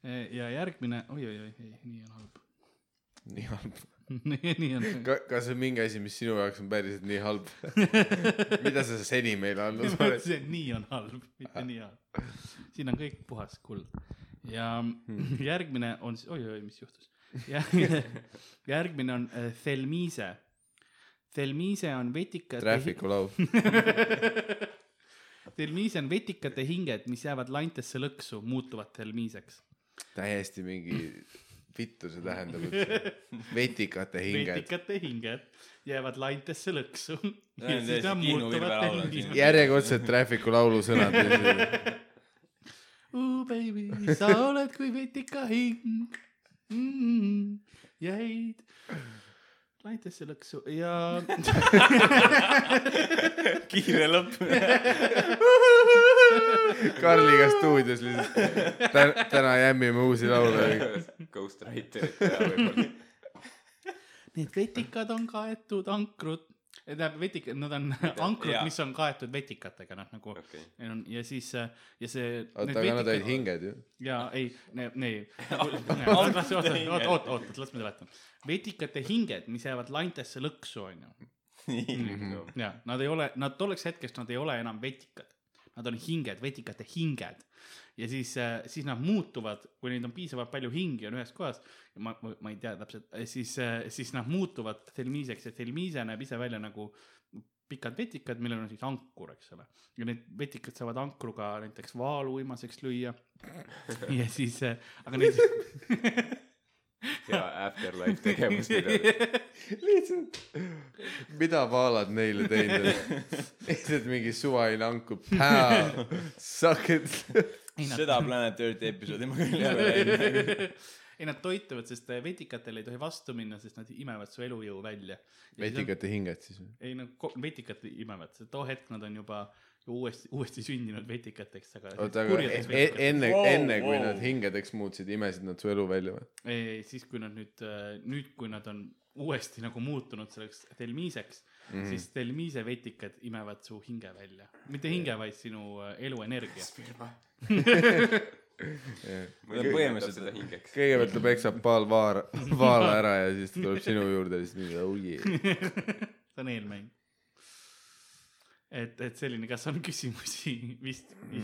ja järgmine oi, , oi-oi , ei , nii on halb . nii halb nii on . Ka, kas on mingi asi , mis sinu jaoks on päriselt nii halb mida sa seni meile andnud ma oled ütlesin , et nii on halb , mitte nii halb . siin on kõik puhas kuld ja Hmm. järgmine on siis , oi-oi , mis juhtus ? järgmine on äh, Thelmise . Thelmise on vetikate . Traffic'u laul Thelmise on vetikate hinged , mis jäävad lantesse lõksu , muutuvad Thelmiseks . täiesti mingi vittu see tähendab üldse vetikate hinged vetikate hinged jäävad lantesse lõksu . on täiesti Kihnu Virve laul on siin. järjekordselt Traffic'u laulu sõnad Uh, baby , sa oled kui vetika hing mm, . jäid laitesse lõksu ja kiire lõpp . Karliga stuudios lihtsalt Tän, täna jämmime uusi laule Ghostwriterit teha võib-olla . need vetikad on kaetud ankrut , tähendab vetikad , nad on ankrud , jaa. mis on kaetud vetikatega , noh nagu Okei. neil on ja siis äh, ja see . oota aga nad olid . hinged ju ja ei , ei , Ankrute oot , oot , hinged. oot , oot , las ma seletan . vetikate hinged , mis jäävad lantesse lõksu , onju ja nad ei ole , nad tolleks hetkeks nad ei ole enam vetikad , nad on hinged , vetikate hinged . ja siis , siis nad muutuvad , kui neid on piisavalt palju hingi on ühes kohas , ma, ma , ma ei tea täpselt , siis , siis nad muutuvad telmiiseks ja telmiise näeb ise välja nagu pikad vetikad , millel on siis ankur , eks ole . ja need vetikad saavad ankruga näiteks vaalu uimaseks lüüa . ja siis , aga neid hea afterlife tegevus , mida lihtsalt mida vaalad neile teinud on lihtsalt mingi suvaline anku pää suck it ei, nad- seda Planet Earthi episoodi ma küll ei ole näinud . ei , nad toituvad , sest äh, vetikatel ei tohi vastu minna , sest nad imevad su elujõu välja . vetikate hinged siis või ei no ko- vetikad imevad , sest too hetk nad on juba ju uuesti , uuesti sündinud vetikateks , aga . oota aga e- e- enne Wow, enne kui wow. nad hingedeks muutsid imesid nad su elu välja või ei , siis kui nad nüüd , nüüd , kui nad on uuesti nagu muutunud selleks telmiiseks mm , Mhm. -hmm. siis telmiise vetikad imevad su hinge välja . mitte hinge , vaid sinu äh, eluenergia . ma ei kujuta põhimõtteliselt- seda hingeks . kõigepealt ta peksab paal vaara vaala ära ja siis ta tuleb sinu juurde ja siis nii oh yeah see on eelmäng . et , et selline , kas on küsimusi vist mm. ?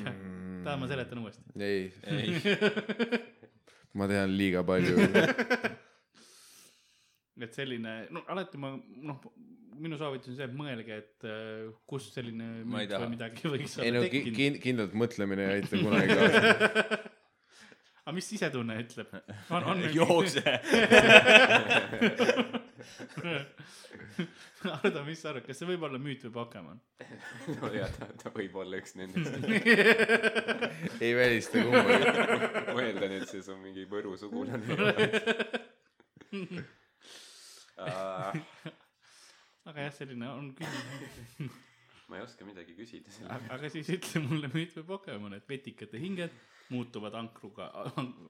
tahad , ma seletan uuesti ? ei ei , ma tean liiga palju et selline , no alati ma noh , minu soovitus on see , et mõelge , et äh, kust selline Ma ei müüt taha. või midagi võiks ei no olla ki- tekkinud . kin- kindlalt mõtlemine ei aita kunagi kaasa aga mis sisetunne ütleb ? on , on jookse . Hardo , mis sa arvad , kas see võib olla müüt või Pokemon ? no ja ta , ta võib olla üks nendest . ei välista kumbagi ma eeldan , et see on mingi Võru sugulane . Ah, aga jah , selline on küsimus . ma ei oska midagi küsida selle kohta . aga siis ütle mulle müüt või Pokemon , et vetikate hinged muutuvad ankruga ,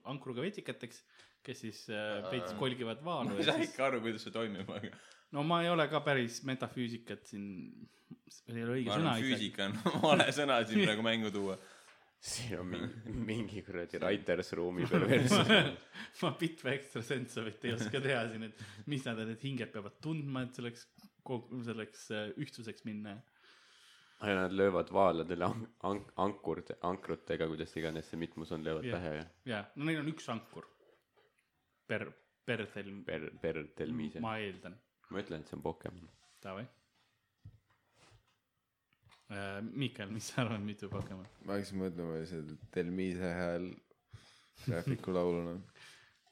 ankruga vetikateks , kes siis äh, veits kolgivad vaalu ma ei ja saa siis ikka aru , kuidas see toimib , aga no ma ei ole ka päris metafüüsikat siin , see ei ole õige ma sõna arvan , isegi . füüsika on vale sõna siin praegu mängu tuua . siin on mingi , mingi kuradi Writers Roomi perverss . ma Pitve ekstrasensovit ei oska teha siin , et mis nad , need hinged peavad tundma , et selleks , selleks äh, ühtsuseks minna . ja nad löövad vaaladele an- , an- , ankurd , ankrutega , kuidas iganes see mitmus on , löövad Jah. pähe ja ja , no neil on üks ankur per , per telm , per , per telmise . ma eeldan , ma ütlen , et see on Pokemon . davai . Miikel , mis sa arvad , mitu Pokemon ? ma hakkasin mõtlema lihtsalt , et Telmise hääl Räpiku lauluna .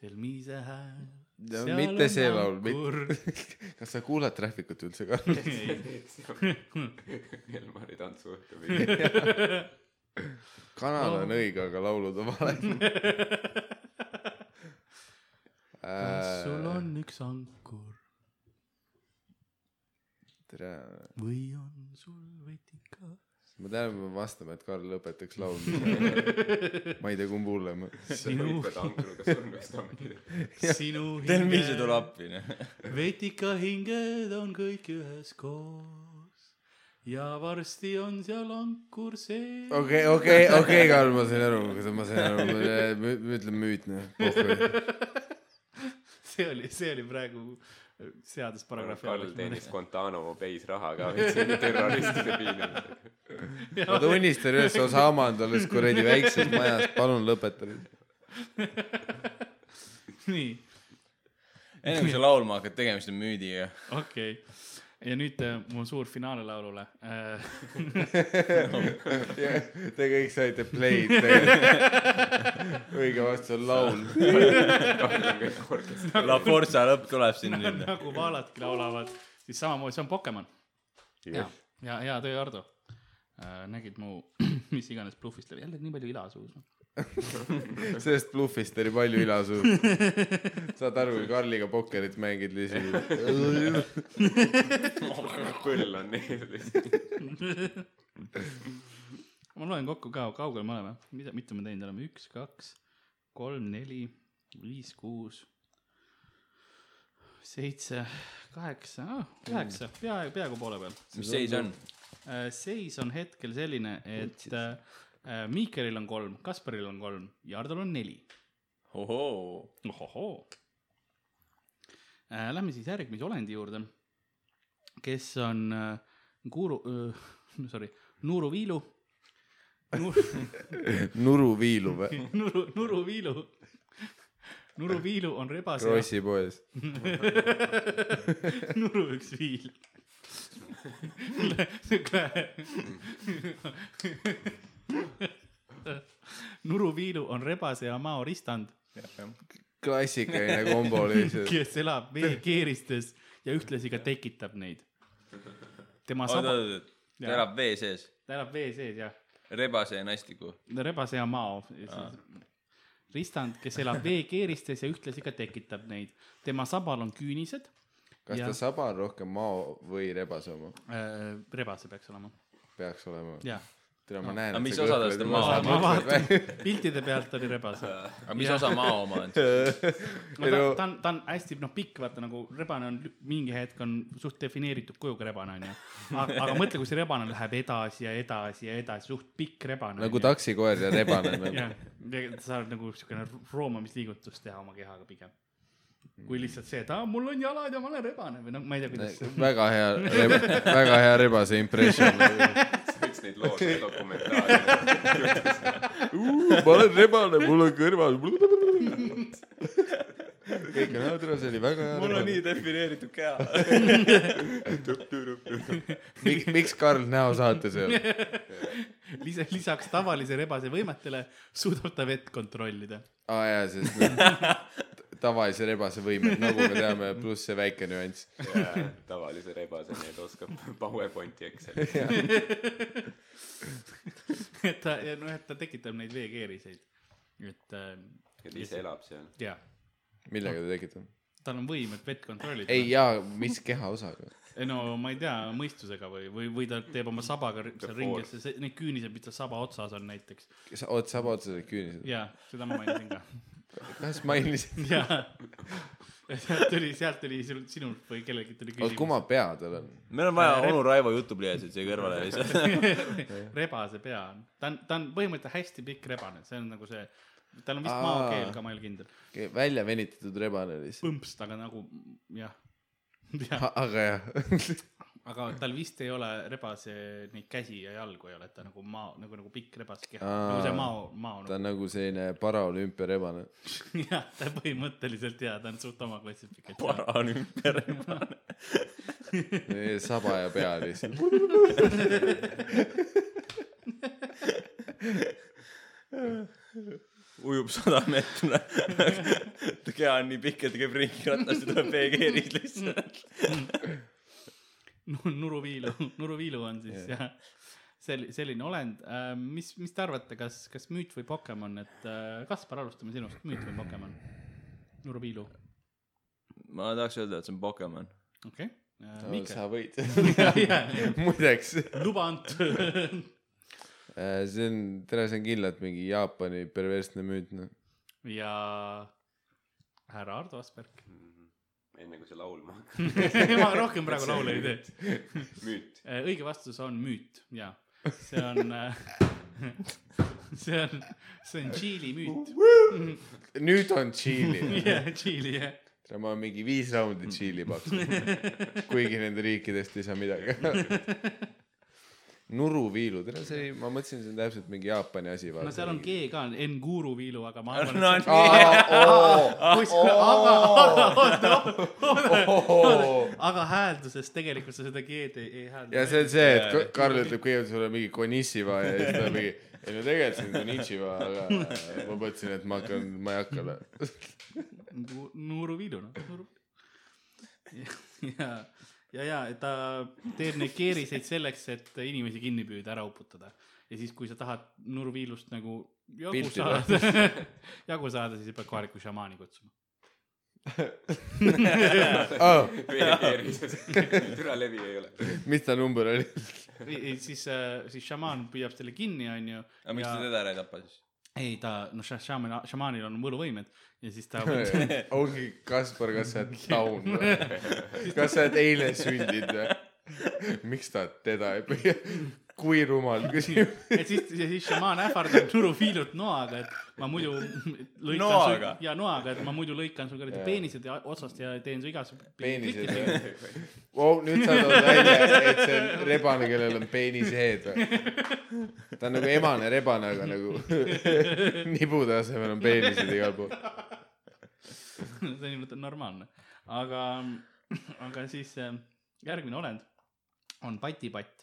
Elmise hääl . Ja mitte see laul, mitte- kas sa kuulad Räpikut üldse ka ? Elmari tantsuõhtu või ? kanal on õige , aga laulud on valed . Ah. kas sul on üks ankur tere , või on sul vetika ? ma tean , et me vastame , et Karl lõpetaks laulma . ma ei tea , kumb hullem . sinu , ikka tankruga surnuks tankida . sinu tervise tuleb appi , noh . vetika hinged on kõik üheskoos ja varsti on seal ankur sees . okei , okei , okei , Karl , ma sain aru , ma sain aru , ma ütlen müütne . see oli , see oli praegu Eh, seadusparagrahv . Nagu Karl teenis Guantano Bay's raha ka veits terroristide piinamisega . ma tunnistan üles , Osamand alles kuradi väikses majas , palun lõpeta nüüd . nii , enne kui sa laulma hakkad , tegemist on müüdiga . okei okay. . ja nüüd äh, mu suur finaale laulule . äh, Te kõik saite play'd tegelikult . õige vastus on laul . La Forza lõpp tuleb siin nüüd . nagu vaaladki laulavad , siis samamoodi , see on Pokemon . ja , ja hea töö , Ardo . nägid mu , mis iganes bluffist oli , jälle nii palju ila suus . sellest bluffist oli palju ila suur . saad aru , kui Karliga pokkerit mängid lihtsalt . põll on neil lihtsalt . ma loen kokku ka , kaugel me oleme , mida , mitu me teinud oleme , üks , kaks , kolm , neli , viis , kuus , seitse , kaheksa , üheksa , peaaegu , peaaegu poole peal . mis seis on ? Äh, seis on hetkel selline , et äh, äh, Miikelil on kolm , Kasparil on kolm ja Hardol on neli . ohoo , ohohoo . Äh, Lähme siis järgmise olendi juurde , kes on äh, Guru , sorry , Nuru Viilu . Nuru , nuru viilub Nuru , Nuru Viilu . Nuru Viilu on rebase , Rossi poes . Nuru üks viil . sihuke Nuru Viilu on rebase ja mao ristand , klassikaline kombo lihtsalt . kes elab veekeeristes ja ühtlasi ka tekitab neid . tema oot , oot , saba , oot , ta Jaa. elab vee sees , ta elab vee sees jah , rebase ja nastiku . rebase ja mao . ristand , kes elab veekeeristes ja ühtlasi ka tekitab neid , tema sabal on küünised , kas ta saba on rohkem mao või rebase oma ? Äh, rebase peaks olema , peaks olema . jah . tere , ma näen . aga mis osa tast on mao oma ? piltide pealt oli rebase aga mis osa mao oma on ? no ta , ta on , ta on hästi noh , pikk , vaata nagu rebane on lü- mingi hetk on suht defineeritud kujuga rebane onju . aga aga mõtle , kui see rebane läheb edasi ja edasi ja edasi , suht pikk rebane . nagu . taksikoer ja rebane nagu . jah , sa saad nagu siukene roomamisliigutust teha oma kehaga pigem . Mm. kui lihtsalt see , et aa , mul on jalad ja ma olen rebane või noh , ma ei tea , kuidas see . väga hea , väga hea rebase impression . võiks neid loote dokumentaare . ma olen rebane , mul on kõrval . kõik on , tere , see oli väga hea . defineeritud keha . miks , miks Karl Näo saates ei ole ? lisa , lisaks tavalise rebase võimetele suudab ta vett kontrollida . aa jaa , sest need tavalise rebase võimed , nagu me teame , pluss see väike nüanss . tavalise rebase need oskab PowerPointi Exceli . et ta , noh , et ta tekitab neid veekeeriseid . et äh, ja ta ise elab seal . jaa , millega ta tekitab ? tal on võim , et vett kontrollida . ei jaa , mis kehaosaga ? ei no ma ei tea , mõistusega või , või , või ta teeb oma sabaga ri- seal The ringi , see , need küünised , mis tal saba otsas on näiteks . oot , saba otsas olid küünised . jaa , seda ma mainisin ka . kas mainisid ? jaa . sealt tuli , sealt tuli sul- sinult või kellelgi tuli oot , kumma küsimus . pea tal on ? meil on vaja onu Raivo jutupliiatsit siia kõrvale lihtsalt . rebase pea on , ta on , ta on põhimõtteliselt hästi pikk rebane , see on nagu see , tal on vist Aa. maokeel ka , ma ei ole kindel . välja venitatud rebane lihtsalt . põmps , aga nagu jah , jah , aga jah aga tal vist ei ole rebase neid käsi ja jalgu ei ole , et ta nagu mao , nagu , nagu pikk rebase keha , Aa. nagu see mao , mao ta on nagu selline paraolümpiarebane . jah , ta põhimõtteliselt jaa , ta on suht oma klassifikatsioon . paranümpia rebane . saba ja pea lihtsalt . ujub sada meetrit . ta keha on nii pikk , et ta käib ringi ratas ja tuleb PG-ris lihtsalt . Nuruviilu , Nuruviilu on siis jah ja. , sel- , selline olend . mis , mis te arvate , kas , kas müüt või Pokemon , et äh, Kaspar , alustame sinust , müüt või Pokemon ? Nuruviilu , ma tahaks öelda , et see on Pokemon . okei Äh, okay. . Miika , sa võid Jah. . muideks , luband . see on , tere , see on kindlalt mingi Jaapani perversne müüt , noh . ja härra Ardo Asperg . Mhm. enne kui sa laulma hakkad . ma rohkem praegu laule ei tee . müüt . Eh, õige vastus on müüt , jaa . see on , see on , see on Tšiili müüt . nüüd on Tšiili . jah , Tšiili jah . tere , ma olen mingi viis raundi Tšiili pakkunud . kuigi nende riikidest ei saa midagi . nuruviilu , tere , see oli , ma mõtlesin , see on täpselt mingi Jaapani asi . no seal on G ka , Nguru viilu , aga ma arvan , no et see aga , kus , aga , aga , oota , oota , aga häälduses tegelikult sa seda G-d ei, ei häälda . ja see on see , et Ka- Karl ütleb kõigepealt sulle mingi konnissiva ja siis ta on mingi , ei no tegelikult see on konnitsiva , aga ma mõtlesin , et ma hakkan , ma ei hakka . Ngu- Nuru Viidu , noh , Nuru . ja , ja , ja ta teeb neid keeriseid selleks , et inimesi kinni püüda , ära uputada . ja siis , kui sa tahad Nuru Viilust nagu jagu Pilti saada , jagu saada , siis pead kohaliku šamaani kutsuma . Oh, veekeerises . türa levi ei ole . mis ta number oli ? siis , siis šamaan püüab selle kinni , onju . aga miks ta teda ära ei tapa siis ? ei , ta , noh , šamaan , šamaanil on võluvõimed ja siis ta ongi Kaspar , kas sa oled taun või ? kas sa oled eile sündinud või ? miks ta teda ei püüa ? kui rumal küsimus . et siis , ja siis šamaan ähvardab Nuru Viilut noaga , et ma muidu lõikan Noaga? su ja noaga , et ma muidu lõikan su kuradi peenised ja otsast ja teen su igas . peenised või ? Vau , nüüd sa tood välja , et see on rebane , kellel on peeniseed või ? ta on nagu emane rebane , aga nagu nibude asemel on peenised igal pool . see on ilmselt normaalne , aga , aga siis äh, järgmine olend on patipatt .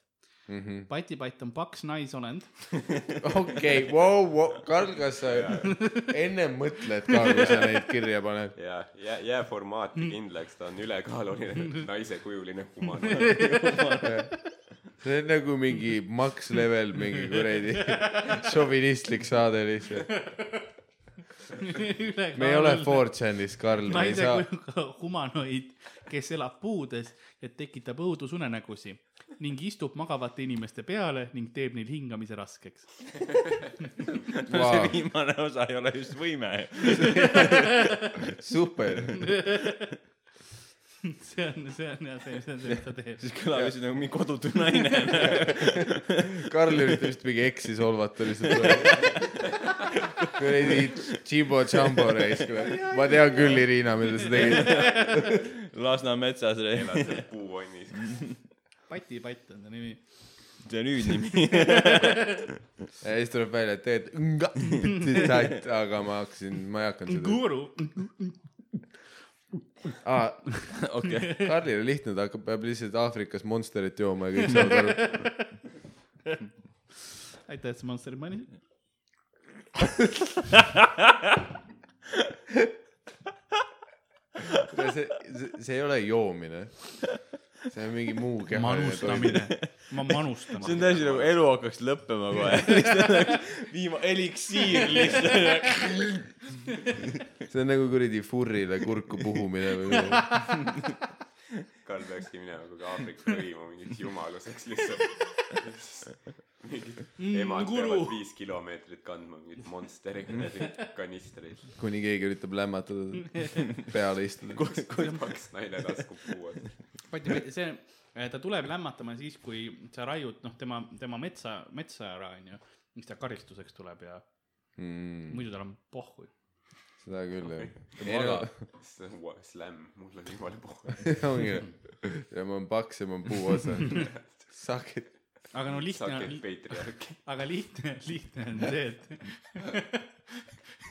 Mhm. patipatt on paks naisolend okei , vau , vau , Karl , kas sa ennem mõtled ka , kui sa neid kirja paned ? ja jää , jää formaati kindlaks , ta on ülekaaluline naisekujuline human . see on nagu mingi max level mingi kuradi šovinistlik saade lihtsalt . me ei ole 4chanis , Karl , me ei naise saa . kujuga humanoid , kes elab puudes ja tekitab õudusunenägusi ning istub magavate inimeste peale ning teeb neil hingamise raskeks . see Vau. viimane osa ei ole just võime . super , see on , see on jah , see , see on see , mis ta teeb . siis kõlab lihtsalt nagu mingi kodutu naine . Karl üritab just mingi eksi solvata lihtsalt . kuradi Jimbo Jumbo reis , ma tean küll , Irina , mida sa tegid . Lasnametsa see , elad seal puuonnis . patipatt on ta nimi . see on hüüdnimi . ja siis tuleb välja , et tegelikult , aga ma hakkasin , ma ei hakanud seda guru . ah, . okei . Karlil on lihtne , ta hakkab , peab lihtsalt Aafrikas Monsterit jooma ja kõik saavad aru . aitäh , et sa Monsterit mainisid . see , see ei ole joomine . see on mingi muu kehaline toit . manustamine , ma see on manustama . täiesti nagu elu hakkaks lõppema kohe . viimane eliksiir lihtsalt . see on nagu kuradi furrile kurku puhumine või nagu, midagi . Karl peakski minema kuhugi Aafrika lõimu mingiks jumaluseks lihtsalt . mingid Mm, emad Mm, guru. peavad viis kilomeetrit kandma mingit monsteri kuradi kanistreid . kuni keegi üritab lämmatada , peale istuda . kaks naine laskub puu otsa . patipatt , see , ta tuleb lämmatama siis , kui sa raiud , noh , tema , tema metsa , metsa ära , onju . mis ta karistuseks tuleb ja Mm. muidu tal on pohhu . Hmm, seda küll jah Maga. . Slam , mul on jumala puhul . ongi . ja ma olen paks ja ma olen puu otsas . Suck it . aga no lihtne saage on , peitriarki . aga lihtne , lihtne on see , et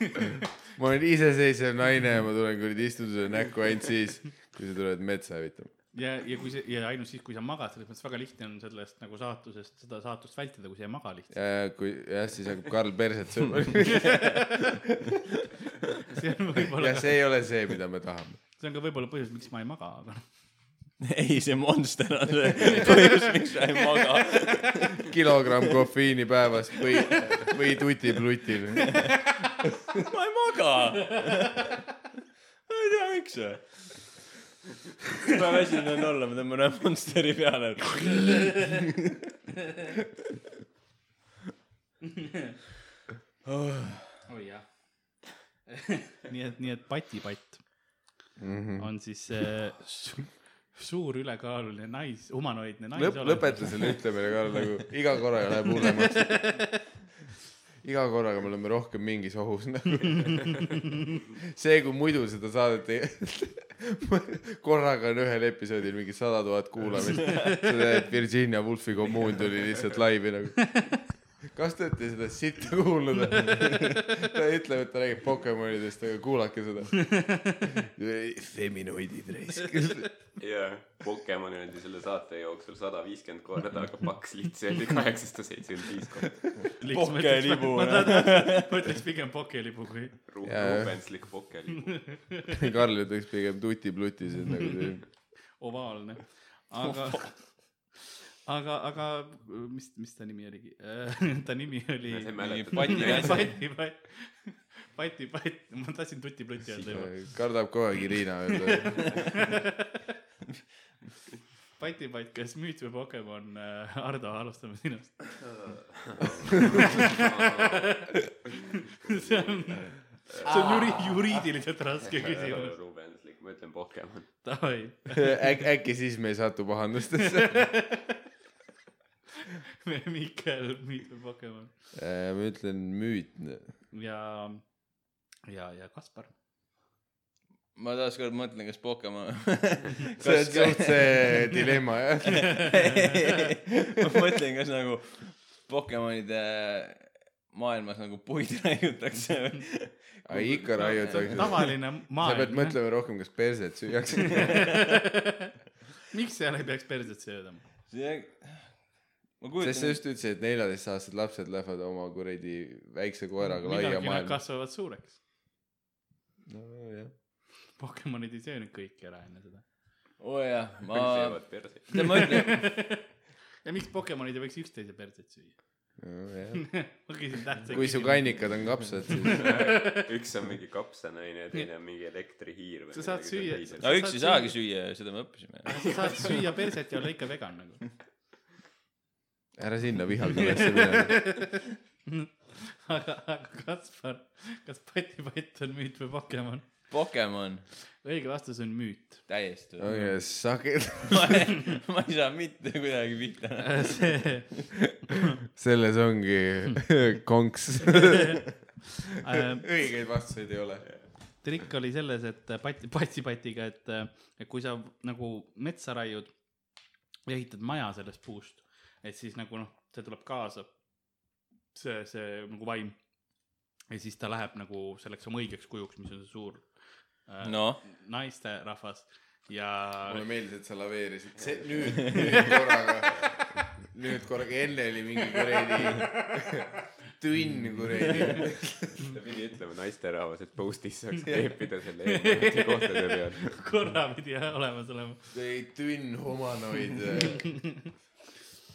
ma olen iseseisev naine ja ma tulen kuradi istun sulle näkku ainult siis , kui sa tuled metsa hävitama . ja , ja kui see ja ainult siis , kui sa magad , selles mõttes väga lihtne on sellest nagu saatusest , seda saatust vältida , kui sa ei maga lihtsalt . ja kui jah , siis hakkab Karl perset sööma . see on võib-olla ja , see ei ole see , mida me tahame . see on ka võib-olla põhjus , miks ma ei maga , aga noh, ei , see Monster on see põhjus , miks sa ei maga . kilogramm kofeiini päevas või , või tutiplutil . ma ei maga . ma ei tea , miks või . ma väsinud olen olla , ma tõmban ühe Monsteri peale . oi jah . nii et , nii et patipatt mm Mhm. -hmm. on siis äh, su suur ülekaaluline nais , humanoidne nais . lõpp , lõpeta selle ütlemine , Karl , nagu iga korraga läheb hullemaks . iga korraga me oleme rohkem mingis ohus nagu . see , kui muidu seda saadet ei , korraga on ühel episoodil mingi sada tuhat kuulamist . sa tead , Virginia Woolfi kommuun tuli lihtsalt laivi nagu . kas te olete seda sitta kuulnud ? ta ütleb , et ta räägib Pokemonidest , aga kuulake seda . feminoidid raisk . jah , Pokemon öeldi selle saate jooksul sada viiskümmend korda , aga paks litsi oli kaheksasada seitsekümmend viis korda . pokelibu, ma jah. tahan- ma ütleks pigem pokelibu kui Jaa. Rubenslik Pokemon . Karl ütleks pigem tutipluti , see on nagu see ovaalne , aga , aga , aga mis , mis ta nimi oligi ? ta nimi oli ma ei Pati mäleta . käsi. Pati , Pati , Pati , Pati , ma tahtsin tutipluti öelda juba . kardab kogu aeg Irina öelda . Pati , Pati , kas müüt või Pokemon ? Ardo , alustame sinust . see on , see on juri- , juriidiliselt raske küsimus . Rubenslik , ma ütlen Pokemon . Davai , äk- , äkki siis me ei satu pahandustesse . Mihkel , müüt või Pokemon Äh, ma ütlen müütne . ja , ja , ja Kaspar . ma taaskord mõtlen , kas Pokemon . see on suht see dilemma jah . ma mõtlen , kas nagu Pokemonide maailmas nagu puid raiutakse või . aga ikka raiutakse . tavaline sa pead maailm , mõtlema rohkem , kas perset süüakse . miks seal ei peaks perset söödama ? see , sest sa ma kujutan , just ütlesid , et neljateistaastased lapsed lähevad oma kuradi väikse koeraga laia midagi nad maailma . kasvavad suureks . nojah . Pokemonid ei söönud kõiki ära enne seda . oo jah , ma , söövad perseid . tead ma ütlen , ja miks Pokemonid ei võiks üksteise perset süüa ? nojah . ma küsin tähtsa kui su . kannikad on kapsad , siis üks on mingi kapsanaine ja teine on mingi elektrihiir või Sa saad süüa- no üks ei saagi süüa , seda me õppisime . sa saad süüa perset ja olla ikka vegan nagu . ära sinna vihakõnesse mine . aga , aga Kaspar , kas patipatt on müüt või Pokemon ? Pokemon , õige vastus on müüt . täiesti . okei , sageli . ma ei , ma ei saa mitte kuidagi pihta . see selles ongi konks . äh, õigeid vastuseid ei ole . trikk oli selles , et äh, pati , patsipatiga , et äh, kui sa nagu metsa raiud ja ehitad maja sellest puust , et siis nagu noh , see tuleb kaasa , see , see nagu vaim . ja siis ta läheb nagu selleks oma õigeks kujuks , mis on see suur äh, noh , naisterahvas ja mulle meeldis , et sa laveerisid , see nüüd , nüüd korraga , nüüd korraga , enne oli mingi kuradi tünn kuradi . ta pidi ütlema naisterahvas , et postis saaks kleepida selle eelnevate kohtade peal . korra pidi jah olemas olema . ei , tünn humanoid . äh,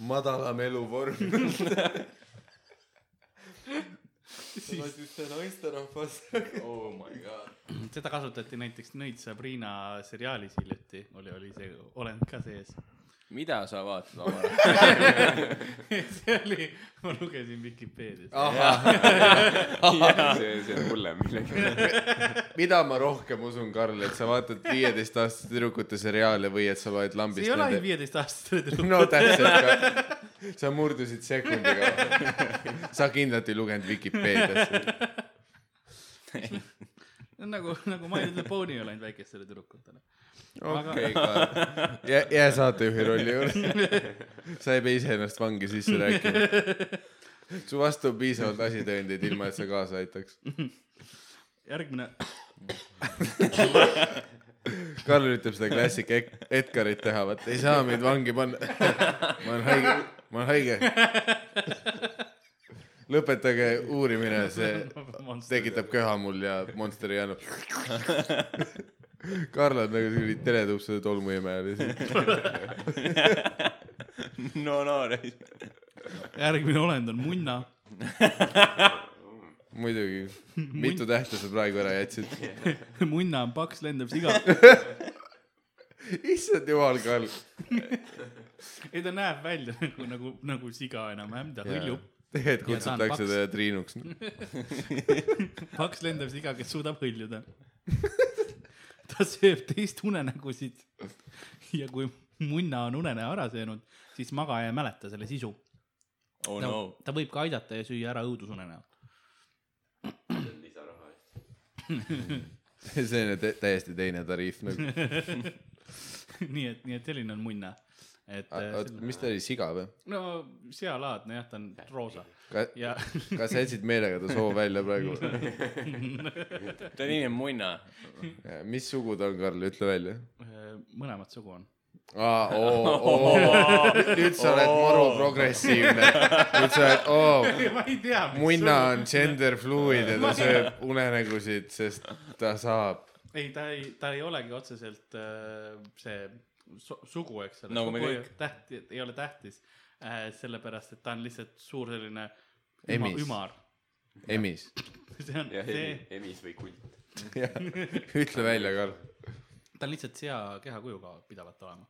madalam eluvorm . sa oled just see naisterahvas . oh my god . seda kasutati näiteks Nõid Sabrina seriaalis hiljuti , oli , oli see olend ka sees mida sa vaatad omal ajal ? see oli , ma lugesin Vikipeediast . see , see on hullem millegi . mida ma rohkem usun , Karl , et sa vaatad viieteistaastaste tüdrukute seriaale või et sa loed see lambist ei ole ainult viieteistaastaste tüdruk . no täpselt ka . sa murdusid sekundiga . sa kindlalt ei lugenud Vikipeediasse . nagu , nagu My Little Pony ei ole ainult väikestele tüdrukutele . okei , Karl . jää , jää saatejuhi rolli juurde . sa ei pea ise ennast vangi sisse rääkima . su vastu on piisavalt asitõendeid , ilma et sa kaasa aitaks . järgmine . Karl üritab seda klassik Ek- Edgarit teha , vaata ei saa mind vangi panna . ma olen haige , ma olen haige . lõpetage uurimine , see tekitab köha mul ja Monster ei andnud . Karl on nagu selline teletõuksuse tolmuimeja lihtsalt . no no , reis . järgmine olend on munna . muidugi , mitu tähte sa praegu ära jätsid ? munna on paks lendav siga . issand jumal , Karl . ei , ta näeb välja nagu , nagu , nagu siga enam-vähem , ta hõljub . tegelikult Ja ta on kutsutakse paks. teda Triinuks . paks lendav siga , kes suudab hõljuda . ta sööb teist unenägusid . ja kui munna on unenäo ära söönud , siis magaja ei mäleta selle sisu . oh ta, no . ta võib ka aidata ja süüa ära õudusunenäod . lisaraha eest . selline tä- täiesti teine tariif nagu . nii et , nii et selline on munna . et äh, oot , mis ta oli , siga või ? no sealaadne jah , ta on roosa ja kas sa jätsid meelega ta soo välja praegu ? ta nimi on Munna . mis sugu ta on , Karl , ütle välja . äh, mõlemat sugu on . aa , oo , oo , nüüd sa oled maru progressiivne . nüüd sa oled , oo , ma ei tea . munna on gender fluid ja ta sööb unenägusid , sest ta saab . ei , ta ei , ta ei olegi otseselt äh, see su sugu , eks ole . Nagu me sugu kõik. ei- tähti- ei ole tähtis äh, , sellepärast et ta on lihtsalt suur selline üma, Emis. ümar . emis . see on jah , see , emis või kult . ütle välja , Karl . ta on lihtsalt sea kehakujuga pidavat olema .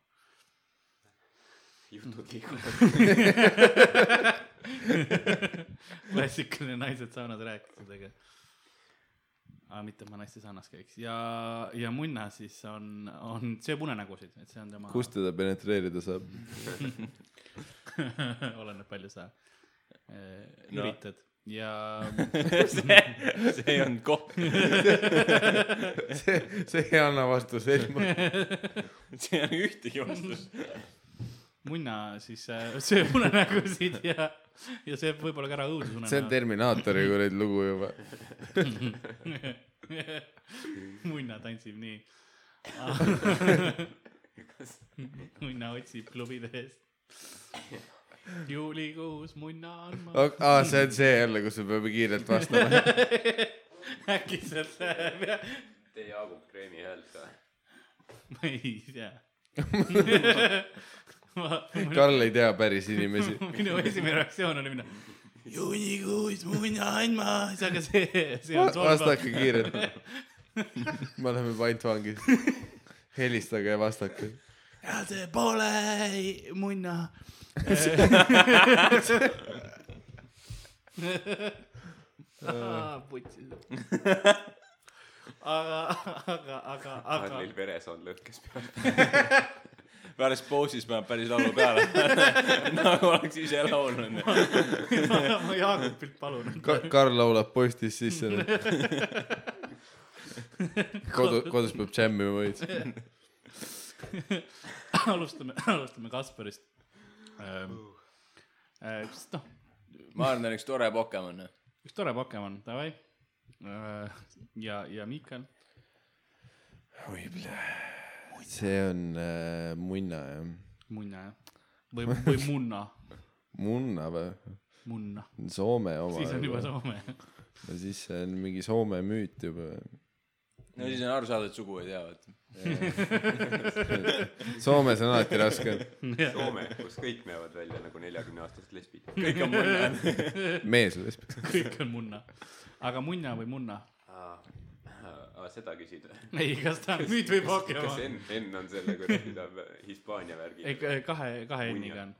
jutud liiguvad . klassikaline naised saunas rääkis midagi . aga mitte et ma naiste saunas käiks ja , ja munna siis on , on , sööb unenägusid , et see on tema . kust teda penetreerida saab ? oleneb palju sa eh, No. üritad ja see , see ei olnud koht . see , see ei anna vastuseid . siin ei ole ühtegi vastust . munna siis äh, sööb unenägusid ja , ja sööb võib-olla ka ära õudusunenäod . see on Terminaatori kuradi lugu juba . munna tantsib nii munna otsib klubides juulikuus munna on ma aa , see on see jälle , kus me peame kiirelt vastama . äkki sealt läheb ja Tee Jaagup Kreemi häält ka . ma ei tea ma minu, Karl ei tea päris inimesi . minu esimene reaktsioon oli minna juunikuus munna on ma siis aga see see on solvav vastake kiirelt . me oleme pantvangis . helistage ja vastake . ja see pole munna putsi aga , aga , aga , aga Karlil veresoon lõhkes peal . pärast pausis paneb päris laulu peale . nagu oleks ise laulnud . ma, ma Jaagupilt palun , Karl laulab postis sisse . kodu , kodus peab džämmima veits . alustame , alustame Kasparist . sest noh , ma arvan , ta on üks tore Pokemon . üks tore Pokemon , davai . ja , ja Miikal , see on äh, munna jah . munna jah , või , või munna , munna või ? munna , Soome oma . siis on juba . Soome . siis see on mingi Soome müüt juba . no siis on aru saada , et sugu ei tea , vaata . Soomes on alati raske . Soome , kus kõik näevad välja nagu neljakümne aastased lesbid . kõik on Munna . mees lesb . kõik on munna , aga munna või munna ? aa , seda küsid või ? ei , kas ta on müüt või kas Pokemon ? N , N on selle kuradi ta Hispaania ei värgi ?, kahe , kahe N-iga on .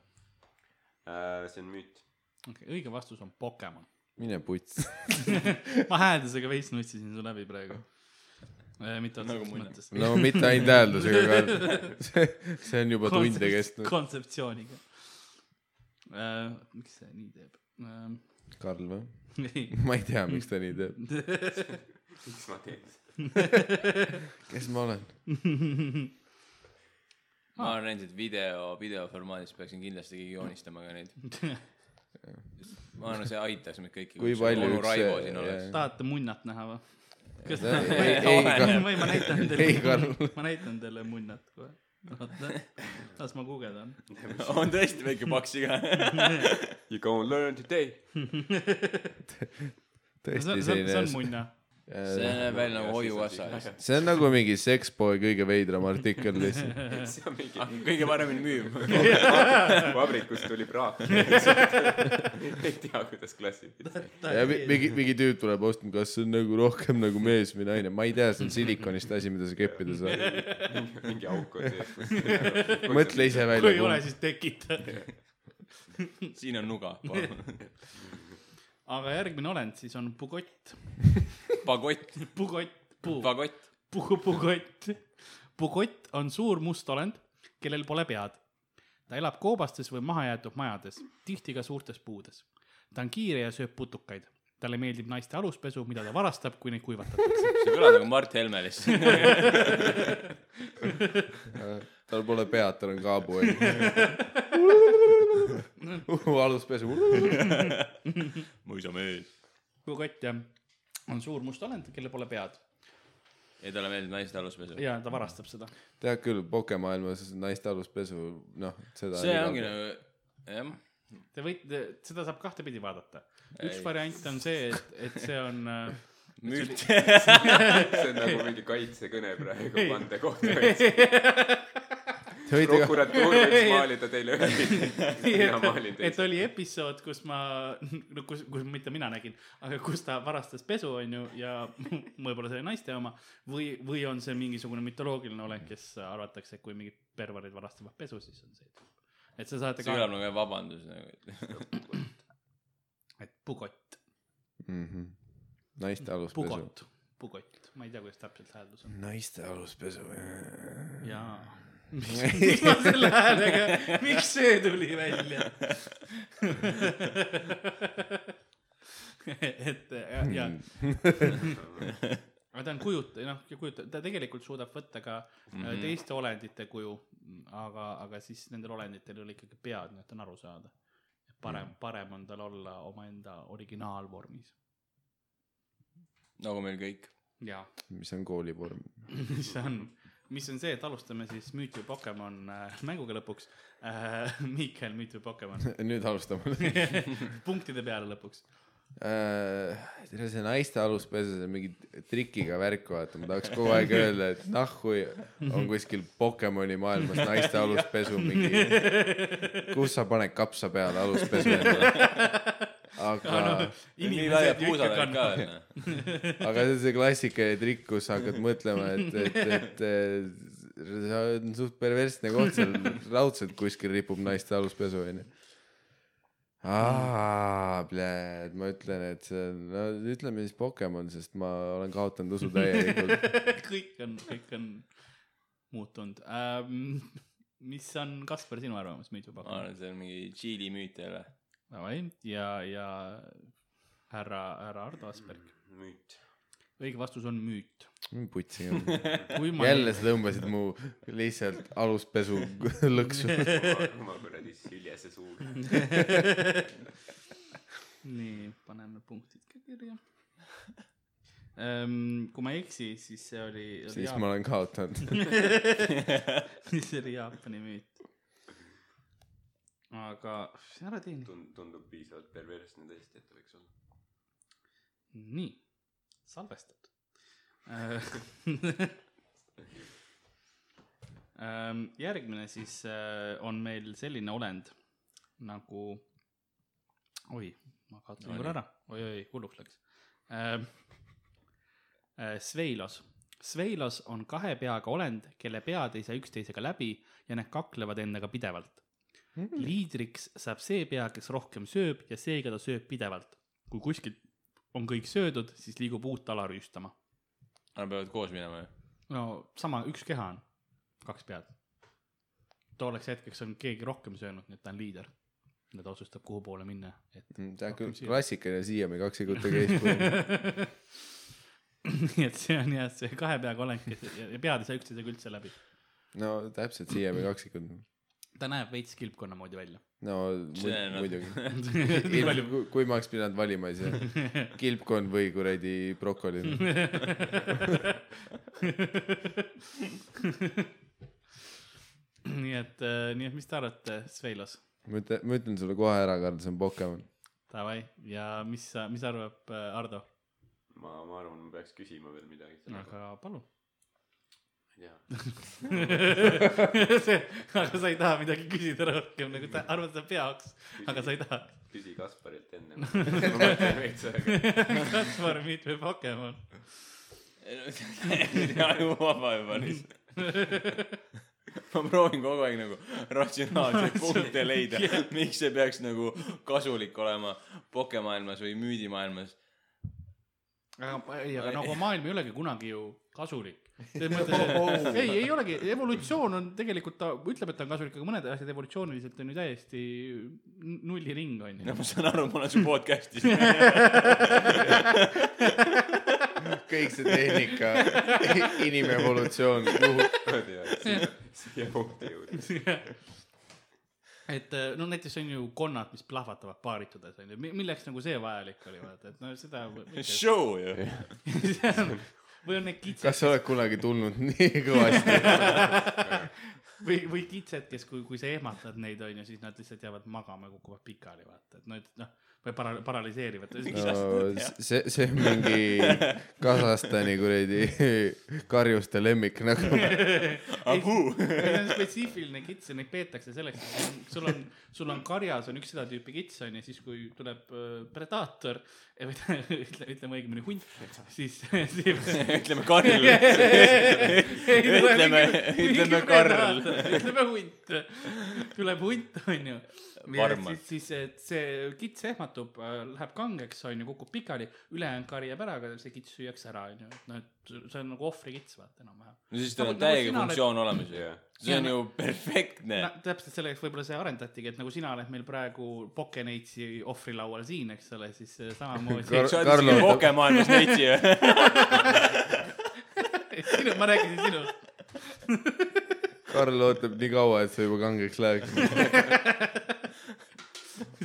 see on müüt . okei , õige vastus on Pokemon . mine puts . ma hääldusega veits nutsisin su läbi praegu . mitte Nagu otseses munna. mõttes . no mitte ainult hääldusega , Karl . see , see on juba tunde kestnud . kontseptsiooniga . miks see nii teeb ? Karl või ? ei , ma ei tea , miks ta nii teeb . miks ma teen seda ? kes ma olen ? ma arvan endiselt video , videoformaadis peaksin kindlasti keegi joonistama ka neid . ma arvan , see aitaks meid kõiki . Kui palju onu üks Raivo see- siin oleks . tahate munnat näha või ? kas Ei, või, ei, ei, või ma näitan ei, Karl. teile , ma näitan teile munnat kohe . oota , las ma guugeldan . on tõesti väike paks iga . You gonna learn today . see tõesti on , see on selline . munna . see näeb välja nagu hoiukassa . see on nagu mingi seksboy kõige veidram artikkel lihtsalt . nagu- see on mingi Ah, kõige paremini müüb . vabrikust tuli praak . ei tea , kuidas klassifitsiga . ja mi- mingi , mingi tüüp tuleb ostma , kas see on nagu rohkem nagu mees või naine , ma ei tea , see on silikonist asi , mida sa keppida saad . mingi auk on sees . mõtle ise kui ei ole , välja . siis tekita . siin on nuga . aga järgmine olend siis on pugott , pagott , pugott , puu , pagott . pugu , pugott . pugott on suur must olend , kellel pole pead . ta elab koobastes või mahajäetud majades , tihti ka suurtes puudes . ta on kiire ja sööb putukaid . talle meeldib naiste aluspesu , mida ta varastab , kui neid kuivatatakse . see kõlab nagu Mart Helme lihtsalt . tal pole pead , tal on kaaboi . aluspesu . mõisamees . pugott jah , on suur must olend , kellel pole pead ei , talle meeldib naiste aluspesu . ja ta varastab seda . tead küll , pokemaailmas naiste aluspesu , noh , seda . see ongi . nagu , jah . Te võite , seda saab kahtepidi vaadata . üks Ei. variant on see , et , et see on äh, müüt . see on nagu mingi kaitsekõne praegu vandekohtumees . Te võite ka , prokuratuur võiks maalida teile ühe pildi , mina maalin et teise . oli episood , kus ma , no kus , kus mitte mina nägin , aga kus ta varastas pesu , onju , ja võib-olla see oli naiste oma või , või on see mingisugune mütoloogiline olend , kes arvatakse , et kui mingid perverid varastavad pesu , siis on see . et sa saate see ka , kõlab nagu vabandus nagu . et pugott , Mhm. naiste aluspesu . pugott , pugott , ma ei tea , kuidas täpselt hääldus on . naiste aluspesu . jaa . miks ma selle häälega , miks see tuli välja ? et ja , ja aga ta on kujut- , noh , kujuta- , ta tegelikult suudab võtta ka mm -hmm. teiste olendite kuju , aga , aga siis nendel olenditel ei ole ikkagi pead , nii et on aru saada . parem mm , -hmm. parem on tal olla omaenda originaalvormis . nagu meil kõik . jaa , mis on koolivorm . mis on , mis on see , et alustame siis Müüt või Pokemon äh, mänguga lõpuks äh, . Miikael , Müüt või Pokemon nüüd alustame . punktide peale lõpuks . teil on Äh, see naiste aluspesu , see on mingi trikiga värk , vaata , ma tahaks kogu aeg öelda , et nahhui on kuskil Pokemoni maailmas naiste aluspesu mingi , kus sa paned kapsa peale aluspesu endale . aga , nii laia puusa peal ka noh, veel . aga see on see klassikaline trikk , kus sa hakkad mõtlema , et , et , et eh, see on suht perversne koht seal , raudselt kuskil ripub naiste aluspesu onju . aa , pljääd , ma ütlen , et see on , no ütleme siis Pokemon , sest ma olen kaotanud usu täielikult . kõik on , kõik on muutunud ähm, . mis on , Kaspar , sinu arvamus Müüt või ma Pokemon ? arvan , et see on mingi Tšiili müüt jälle . Davai , ja , ja härra , härra Ardo Asperg . müüt . õige vastus on müüt . putsiga , kui ma jälle sa tõmbasid mu lihtsalt aluspesu lõksu . oma kuradi süljese suuga . Mm. nii , paneme punktid ka kirja ähm, . kui ma ei eksi , siis see oli , oli siis ma olen kaotanud . Jaap- siis oli Jaapani müüt . aga , mis ära teen , Tund- , tundub piisavalt perversne tõesti , et võiks olla . nii , salvestatud Äh, ähm, . järgmine siis äh, on meil selline olend nagu , oi , ma kaotan küll ära , oi-oi , hulluks läks ähm, . äh, Sveilos , Sveilos on kahe peaga olend , kelle pead ei saa üksteisega läbi ja need kaklevad endaga pidevalt . liidriks saab see pea , kes rohkem sööb ja seega ta sööb pidevalt . kui kuskilt on kõik söödud , siis liigub uut ala rüüstama . Nad peavad koos minema ju . no sama , üks keha on , kaks pead . tolleks hetkeks on keegi rohkem söönud , nii et ta on liider . ja ta otsustab , kuhu poole minna , et tead küll , klassikaline siiamaani kaks sekundit eespool . nii et see on jah , see kahe peaga olek , kes ja ja pead ei saa üksteisega üldse läbi . no täpselt siiamaani kaks sekundit . ta näeb veits kilpkonna moodi välja . no mu- See on- muidugi . nii palju . kui ma oleks pidanud valima , siis kilpkonn või kuradi brokoli . nii et , nii et mis te arvate , Sveilos ? ma ütlen , ma ütlen sulle kohe ära , Karl , see on Pokemon . Davai , ja mis sa , mis arvab äh, Ardo ? ma , ma arvan , ma peaks küsima veel midagi selle kohta , aga palun . ma ei tea . see , aga sa ei taha midagi küsida rohkem , nagu ta arvad , et sa peaks , aga sa ei taha . küsi Kasparilt enne . ma mõtlen veits aega . Kaspar , mitme Pokemon ? ajuvaba juba lihtsalt . ma proovin kogu aeg nagu ratsionaalseid punkte leida , miks see peaks nagu kasulik olema pokemaailmas või müüdimaailmas . aga , ei , aga nagu maailm ei olegi kunagi ju kasulik . ei , ei olegi , evolutsioon on tegelikult , ta ütleb , et ta on kasulik , aga mõned asjad evolutsiooniliselt on ju täiesti n- nulliring on no ju . ma saan aru , ma olen su podcast'is . kõik see tehnika , inimevolutsioon , siia punkti jõudis . et eh, no näiteks on ju konnad , mis plahvatavad paaritudes on ju , milleks nagu see vajalik oli vaata , et no seda . show ju . või on need kitsed . kas sa oled kunagi tulnud nii kõvasti ? või , või kitsed , kes , kui , kui sa ehmatad neid , onju , siis nad lihtsalt jäävad magama ja kukuvad pikali , vaata , et noh , et noh , või para- , paraliseerivad . no see , see on mingi Kasahstani kuradi karjuste lemmik nagu . Ahuu. see on spetsiifiline kits ja neid peetakse selleks , et sul on , sul on karjas on üks seda tüüpi kits onju , siis kui tuleb äh, predaator eh, või ta- ütle , ütleme õigemini hunt , siis , siis ütleme Karl . ütleme , ütleme Karl . ütleme hunt , tuleb hunt , onju . Varman. siis , siis et see kits ehmatub , läheb kangeks , onju , kukub pikali , ülejäänud karjab ära , aga see kits süüakse ära , onju , et noh , et see on nagu ohvrikits , vaata enam-vähem no siis tal Nagu- on nagu täiega sina oled- funktsioon olemas ju jah . see on ju Eh. perfektne no, . täpselt selleks võib-olla see arendatigi , et nagu sina oled meil praegu Pokeneitsi ohvrilaual siin , eks ole , siis äh, samamoodi Kar- . sa Karl ütlesid ootab- pokemaailmas neitsi ju . sinu , ma rääkisin sinust . Karl ootab nii kaua , et see juba kangeks läheks .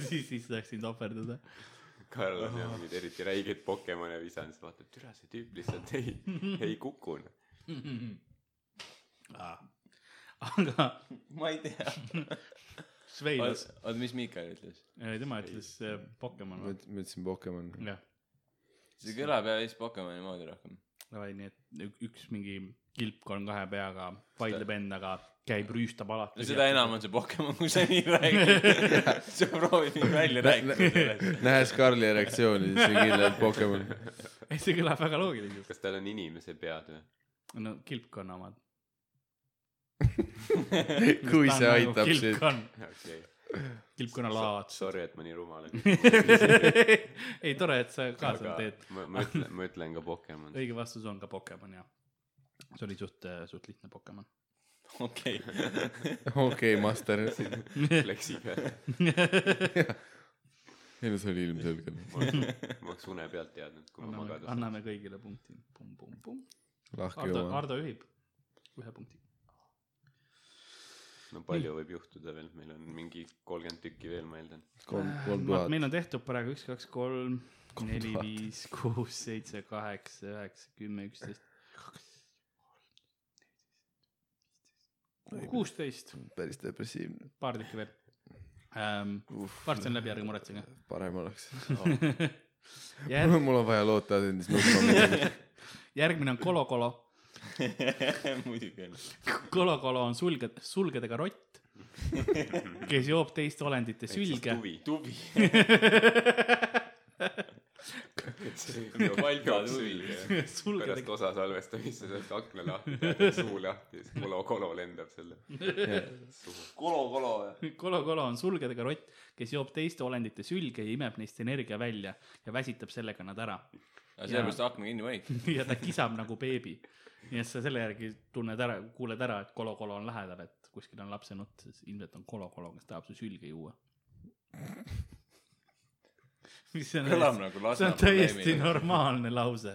siis , siis saaks sind ohverdada . Karl on jah mingeid eriti räigeid Pokemone visanud , siis vaatad , türa see tüüp lihtsalt ei , ei kuku . aga ma ei tea . Sveilas , oot , mis Miikal ütles ? tema ütles äh, Pokemon ma või ? üt- ma ütlesin Pokemon . jah , see kõlab jah vist Pokemoni moodi rohkem . davai , nii et ük- üks mingi kilpkonn kahe peaga vaidleb endaga , käib , rüüstab alati . no seda enam on see Pokemon , kui sa nii räägid . sa proovid mind välja rääkida . nähes Karli reaktsiooni , siis on kindlalt Pokemon . ei , see kõlab väga loogiliselt . kas tal on inimese pead või ? no kilpkonna omad . kui see aitab sind . kilpkonn , okei okay. , kilpkonna laad . sorry , et ma nii rumal ei , tore , et sa ka seda olen teed .. ma , ma ütlen , ma ütlen ka Pokemon . õige vastus on ka Pokemon , jah . see oli suht , suht lihtne Pokemon . okei . okei , master . Läksi peale , ei no see oli ilmselgelt . ma oleks , ma oleks une pealt teadnud , kui ma anname , magada saan . anname kõigile punkti . pumm-pumm-pumm . lahke Ardo , jumal . Ardo juhib ühe punkti . no palju võib juhtuda veel , meil on mingi kolmkümmend tükki veel , ma eeldan . kolm , kolm Äh, Vaat, tuhat . meil on tehtud praegu üks , kaks , kolm , Kolm neli , tuhat. viis , kuus , seitse , kaheksa , üheksa , kümme , üksteist , kuusteist , päris depressiivne . paar tükki veel ähm, . varsti on läbi , ärge muretsege . parem oleks . Jär, mul on vaja loota asendis nutma . järgmine on Kolo-Kolo . muidugi on . Kolo-Kolo on sulged , sulgedega rott , kes joob teiste olendite sülge . tuvi . tubi . Valga tuvi. pärast sulgedega , osa salvestamist sa saad akna lahti teha , suu lahti , siis kolo-kolo lendab selle suhu . kolo-kolo või ? Kolo-Kolo on sulgedega rott , kes joob teiste olendite sülge ja imeb neist energia välja ja väsitab sellega nad ära . aga sellepärast akna kinni panid . ja ta kisab nagu beebi . nii et sa selle järgi tunned ära , kuuled ära , et Kolo-Kolo on lähedal , et kuskil on lapsenutt , siis ilmselt on Kolo-Kolo , kes tahab su sülge juua . mis on kõlab nagu see on Lasna täiesti . normaalne lause .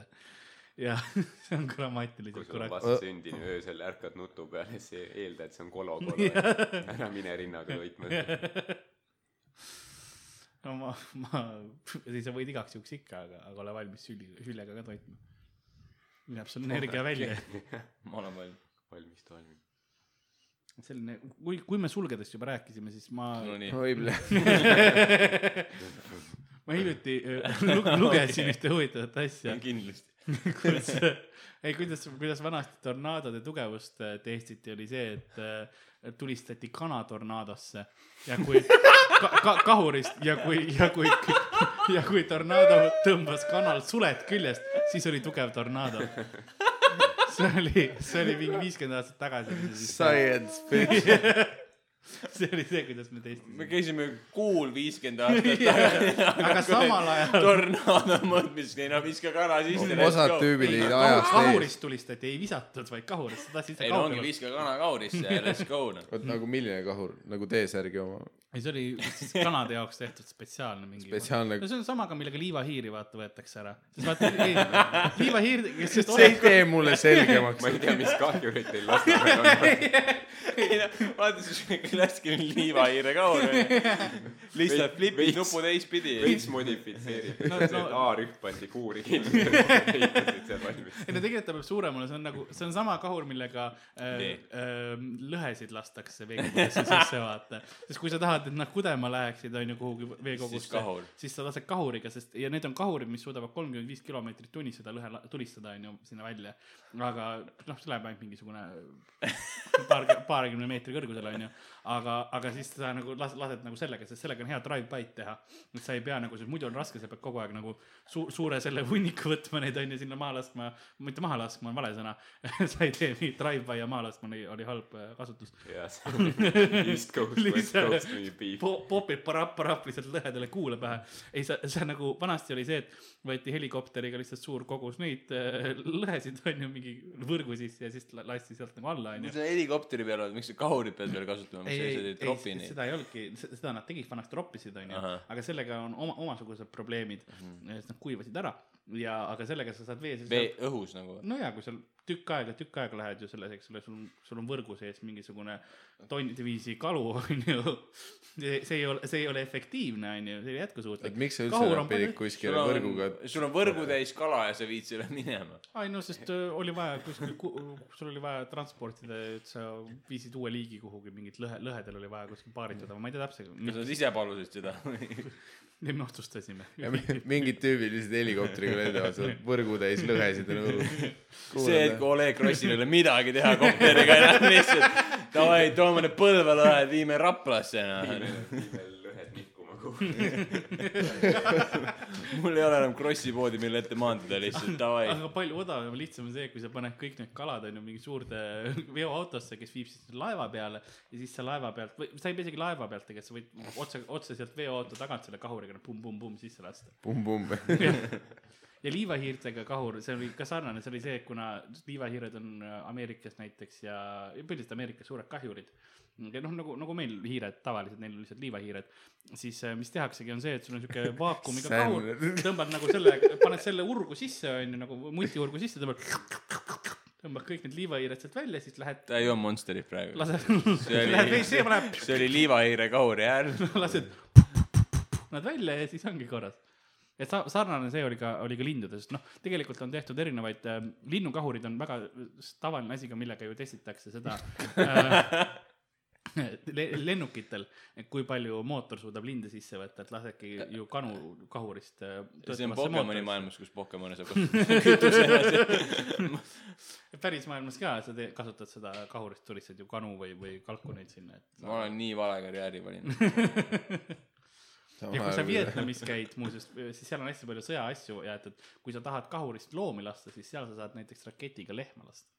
ja see on grammatiliselt kui sul on korrekt- . vastsündinu Äh. öösel ärkad nutu peale , siis eeldad , see on kolo-kolo . ära mine rinnaga võitma . no ma , ma , ei sa võid igaks juhuks ikka , aga , aga ole valmis süli , hüljega ka toitma . läheb sul energia välja . ma olen valmis . valmis toimib . selline , kui , kui me sulgedest juba rääkisime , siis ma , Nonii , võib-olla . ma hiljuti äh, lu- lugesin ühte huvitavat asja , kindlasti . kus , ei kuidas , kuidas vanasti tornaadode tugevust äh, testiti , oli see , et äh, tulistati kana tornaadosse ja kui ka, ka, kahurist ja kui , ja kui , ja kui tornaado tõmbas kanal suled küljest , siis oli tugev tornaado . see oli , see oli mingi viiskümmend aastat tagasi . Science , bitch . see oli see , kuidas me me testisime . käisime kuul viiskümmend aastat tagasi . aga samal ajal tornaado mõõtmiski , no viska kana sisse . osad tüübid ei kahu- ajast ees . kahurist tulistati , ei visatud , vaid kahurist , sa tahtsid ei ise no ongi , kaugele . viska kana kaurisse ja let's go noh . vot nagu milline kahur , nagu T-särgi oma . ei , see oli siis kanade jaoks tehtud spetsiaalne mingi . Spetsiaalne- no see on samaga , millega liivahiiri vaata võetakse ära . siis vaata , ei , liivahiir , sest see ei ole- tee mulle selgemaks ma . ei tea , mis kahjurid teil Lasnamäel on . ei noh , vaata see klassikaline liivahiire kaur on ju . lihtsalt Veits- flipid veits- nupu teistpidi . veits modifitseeritud No, no, , no. no- A-rühm pandi kuuri kinni , ehitasid seal valmis . ei no tegelikult ta peab suurem olema , see on nagu , see on sama kahur , millega äh, Vee. äh, lõhesid lastakse veekogudesse sisse vaata . sest kui sa tahad , et nad kudema läheksid , on ju , kuhugi Siis veekogusse kahur. , siis sa lased kahuriga , sest ja need on kahurid , mis suudavad kolmkümmend viis kilomeetrit tunnis seda lõhe la- tulistada , on ju , sinna välja . aga noh , see läheb ainult mingisugune paar , paarikümne meetri kõrgusele , on ju . aga , aga siis sa nagu las- , lased nagu sellega , sest sellega on hea drive-by'd teha . et sa ei pea nagu , muidu on raske , sa pead kogu aeg nagu su- , suure selle hunniku võtma neid , on ju , sinna maha laskma . mitte maha laskma on vale sõna . sa ei tee nii , drive-by ja maha laskma oli, oli halb äh, kasutus . ja see on East Coast , West Coast mingi beef . po- , popib parap-parap lihtsalt lõhedale kuule pähe . ei , sa , sa nagu vanasti oli see , et võeti helikopteriga lihtsalt suur kogus neid äh, lõhesid onju mingi võrgu sisse ja siis la- lasti sealt nagu alla onju . see helikopteri peal on , miks sa kahurit pead veel kasutama , ei , miks sa ei , ei ei , tropi neid ? seda ei olnudki , seda nad tegid , vanasti roppisid onju Ahah. , aga sellega on oma , omasugused probleemid mm , -hmm. sest nad kuivasid ära ja , aga sellega sa saad vee sees vee , õhus nagu . no ja kui seal tükk aega , tükk aega lähed ju selles , eks ole , sul on , sul on võrgu sees mingisugune tonnide viisi kalu , onju . see ei ole , see ei ole efektiivne , onju , see ei ole jätkusuutlik et . miks sa üldse ära pidid kuskile võrguga sul on võrgutäis kala ja sa viid selle minema . ai no sest öö, oli vaja kuskil ku, , sul oli vaja transportida , et sa viisid uue liigi kuhugi , mingit lõhe , lõhedel oli vaja kuskil paaritada , ma ei tea kas täpselt , nad ise palusid seda ? nii me otsustasime . ja mi- mingid tüübid lihtsalt helikopteriga lendavad seal võrgutäis lõhesid on õhus . see , et kui Oleg Grossil ei ole midagi teha kopteriga enam lihtsalt , davai , toome need Põlva-lõhed , viime Raplasse , noh . veel lõhed nihkuma kuhugi . mul ei ole enam Grossi poodi , mille ette maanduda lihtsalt , davai . aga palju odavam , lihtsam on see , kui sa paned kõik need kalad onju mingi suurde veoautosse , kes viib siis laeva peale ja siis sa laeva pealt või sa ei pea isegi laeva pealt tegelikult , sa võid otse , otse sealt veoauto tagant selle kahuriga pumm-pumm-pumm sisse lasta . pumm-pumm . ja liivahiirtega kahur , see oli ka sarnane , see oli see , et kuna liivahiired on äh, Ameerikas näiteks ja ja põhiliselt Ameerikas suured kahjurid . noh , nagu , nagu meil hiired tavaliselt , neil on lihtsalt liivahiired , siis äh, mis tehaksegi , on see , et sul on siuke vaakumiga kahur , tõmbad nagu selle , paned selle urgu sisse , onju , nagu mutiurgu sisse , tõmbad , tõmbad kõik need liivahiired sealt välja , siis lähed , ta ei joo Monsterit praegu . lased , See oli- lähed WC-ma , läheb , see oli liivahiire kahuri hääl . lased nad välja ja siis ongi korras . et sa- , sarnane see oli ka , oli ka lindudes , noh , tegelikult on tehtud erinevaid äh, , linnukahurid on väga s- tavaline asi ka , millega ju testitakse seda äh, le, lennukitel , et kui palju mootor suudab linde sisse võtta , et lasedki ju kanu kahurist äh, see on töötavasse Pokemoni mootorisse. maailmas , kus Pokemone saab kasutada . päris maailmas ka , sa te, kasutad seda kahurist , tulistad ju kanu või , või kalkuneid sinna , et ma olen nii vale karjääri valinud . ja kui sa Vietnamis käid muuseas , siis seal on hästi palju sõjaasju ja et , et kui sa tahad kahurist loomi lasta , siis seal sa saad näiteks raketiga lehma lasta .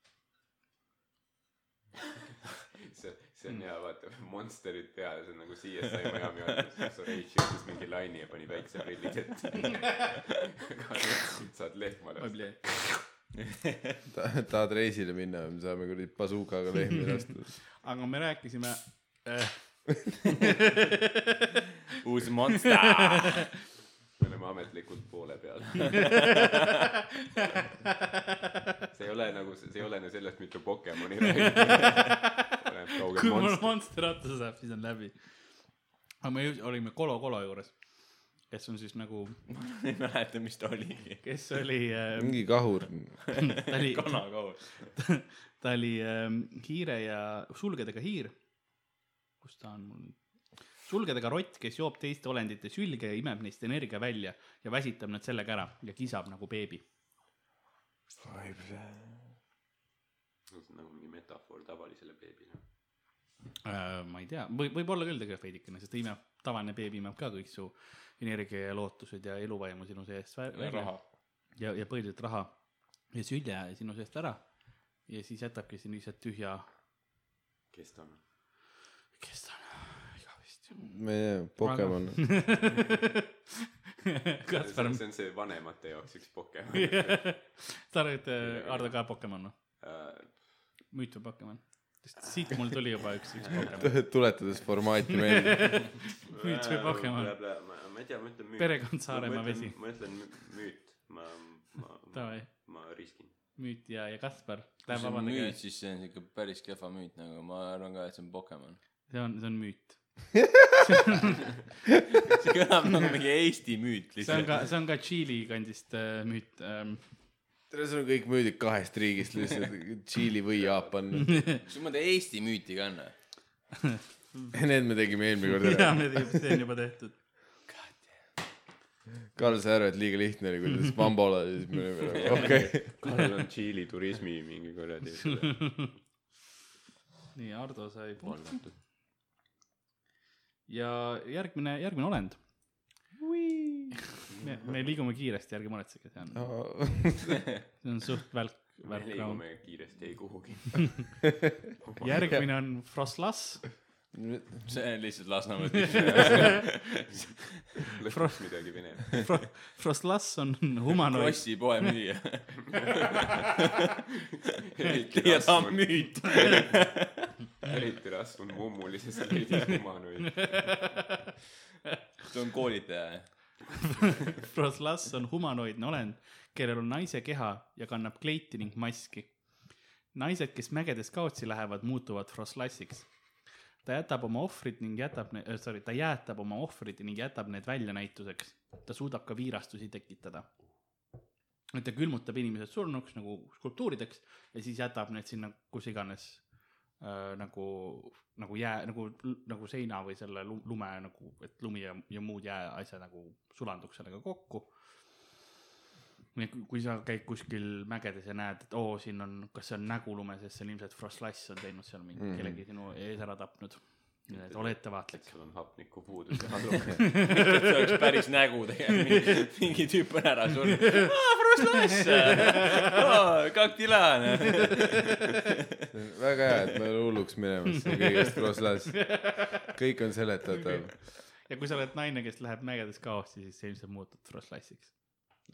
see , see on hea , vaata , monsterid peal , see on nagu CSI Miami alguses , kus Rage jõudis mingi laine ja pani päikseprillid ette . saad lehma lasta . aga tahad reisile minna , me saame kuradi bazookaga lehmi lasta . me rääkisime äh, , uus Monster . me oleme ametlikult poole peal . nagu see , see ei olene sellest , mitu Pokemoni räägib . oleneb kui kaugel mul monster . Monster otsa saab , siis on läbi . aga me ju- olime Kolo Kolo juures , kes on siis nagu , ei mäleta , mis ta oligi . kes oli , mingi kahur . ta oli , kanakaur . ta oli ähm, hiire ja sulgedega hiir . kus ta on mul nüüd ? sulgedega rott , kes joob teiste olendite sülge ja imeb neist energia välja ja väsitab nad sellega ära ja kisab nagu beebi . nagu mingi metafoor tavalisele beebile . Äh, ma ei tea , või võib-olla küll tegelikult veidikene , sest ta imeb , tavaline beebi imeb ka kõik su energia ja lootused ja eluvaimu sinu seest vä- ja välja raha . ja , ja põhiliselt raha ja sülje sinu seest ära ja siis jätabki sind lihtsalt tühja , kes ta on ? kes ta on , igavesti . meie Pokemon . Kaspar , see on see vanemate jaoks üks Pokemon . sa arvad , et äh, Ardo ka Pokemon või ? Äh, müüt või Pokemon ? sest siit mul tuli juba üks , üks Pokemon . tuletades formaati meelde . müüt või Pokemon ? äh, ma ma ei tea , ma ütlen müüt . Perekond Saaremaa vesi. ma ütlen mü- müüt , ma , ma , ma, Davai , ma riskin . müüt ja , ja Kaspar . kui see on vabandage müüt ,, siis see on siuke päris kehva müüt nagu , ma arvan ka , et see on Pokemon . see on , see on müüt . see kõlab nagu mingi Eesti müüt see on lihtsalt . ka , see on ka Tšiili kandist äh, müüt ähm, . tere , sul on kõik müüdid kahest riigist lihtsalt , Tšiili või Jaapan . kas ma teen Eesti müüti ka enne ? Need me tegime eelmine kord ja ära . see on juba tehtud . Karl , sa arvad , et liiga lihtne oli , kui ta ütles Bambola ja siis me olime , okei . Karl on Tšiili turismi mingi kuradi nii , Ardo sai punkti . valvatud . ja järgmine , järgmine olend . me , me liigume kiiresti , ärge muretsege , see on , see on suht välk , me välk raam . liigume kiiresti ei kuhugi . järgmine on Froslas . see on lihtsalt nagu Lasnamäe tüüp . lõpuks midagi vene . Froslas on nagu- humanoid , Krossi poemüüja . ja ta on eriti müüt . rasv on mummulises leidis humanoid . see on koolitaja . Froslas on humanoidne olend , kellel on naise keha ja kannab kleiti ning maski . naised , kes mägedes kaotsi lähevad , muutuvad Froslassiks . ta jätab oma ohvrid ning jätab , sorry , ta jäätab oma ohvrid ning jätab need välja näituseks . ta suudab ka viirastusi tekitada . et ta külmutab inimesed surnuks nagu skulptuurideks ja siis jätab need sinna kus iganes äh, nagu , nagu jää , nagu , nagu seina või selle lu- lume nagu , et lumi ja, ja muud jääasja nagu sulanduks sellega kokku . nii et kui- kui sa käid kuskil mägedes ja näed , et oo , siin on , kas see on nägu lume sees , see on ilmselt Frostlass on teinud seal mingi mm Mhm. -hmm. kellegi sinu ees ära tapnud . nii et ole ettevaatlik . sul on hapnikupuudus ja halb . see oleks päris nägu tegelikult . mingi tüüp on ära surnud . aa , Frosslass . kaktilaan . väga hea , et me oleme hulluks minemas siin kõigest Roslas . kõik on seletatav . ja kui sa oled naine , kes läheb mägedes kaosti , siis sa ilmselt muutud Frostlassiks .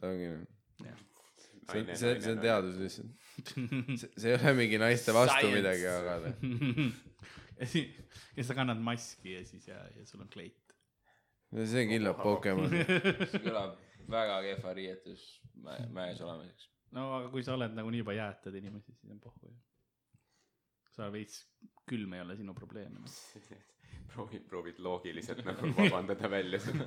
ongi nii . see on , see , see on . teadus lihtsalt . see see ei ole mingi naiste vastu Science. midagi , aga noh. ja siis , ja sa kannad maski ja siis ja , ja sul on kleit . no see on kindlalt Pokemon . see kõlab väga kehva riietus mäe , mäes olemiseks . no aga kui sa oled nagunii juba jäätad inimesi , siis on pohhu ju . sa veits külm ei ole sinu probleem enam . proovid , proovid loogiliselt nagu vabandada välja seda .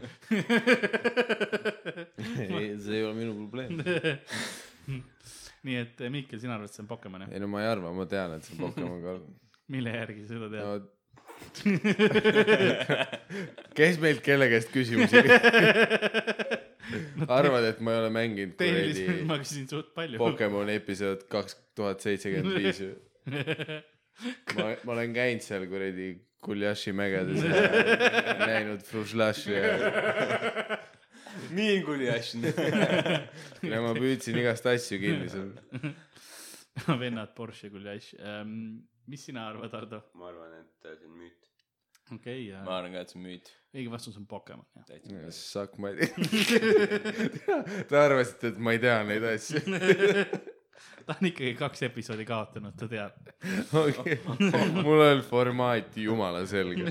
ei , see ei ole minu probleem . nii et Mihkel , sina arvad , et see on Pokemon jah ? ei no ma ei arva , ma tean , et see on Pokemon Go . mille järgi sa seda tead no kes meilt kelle käest küsimusi küsib ? no, ? arvad , et ma ei ole mänginud tehniliselt kuradi ma küsin suht palju . Pokemon episood kaks tuhat seitsekümmend viis ju ? ma , ma olen käinud seal kuradi Guljaši mägedes ja näinud Fružlaši ja , Minguli asju . ja ma püüdsin igast asju kinni seal . vennad Porsche küll ja asju ähm, . mis sina arvad , Ardo ? ma arvan , et äh, see on müüt . okei okay, , ma arvan ka , et see on müüt . õige vastus on Pokemon jah . Suck my dick . Te arvasite , et ma ei tea neid asju ta on ikkagi kaks episoodi kaotanud , ta teab . okay. . mul on formaat jumala selge .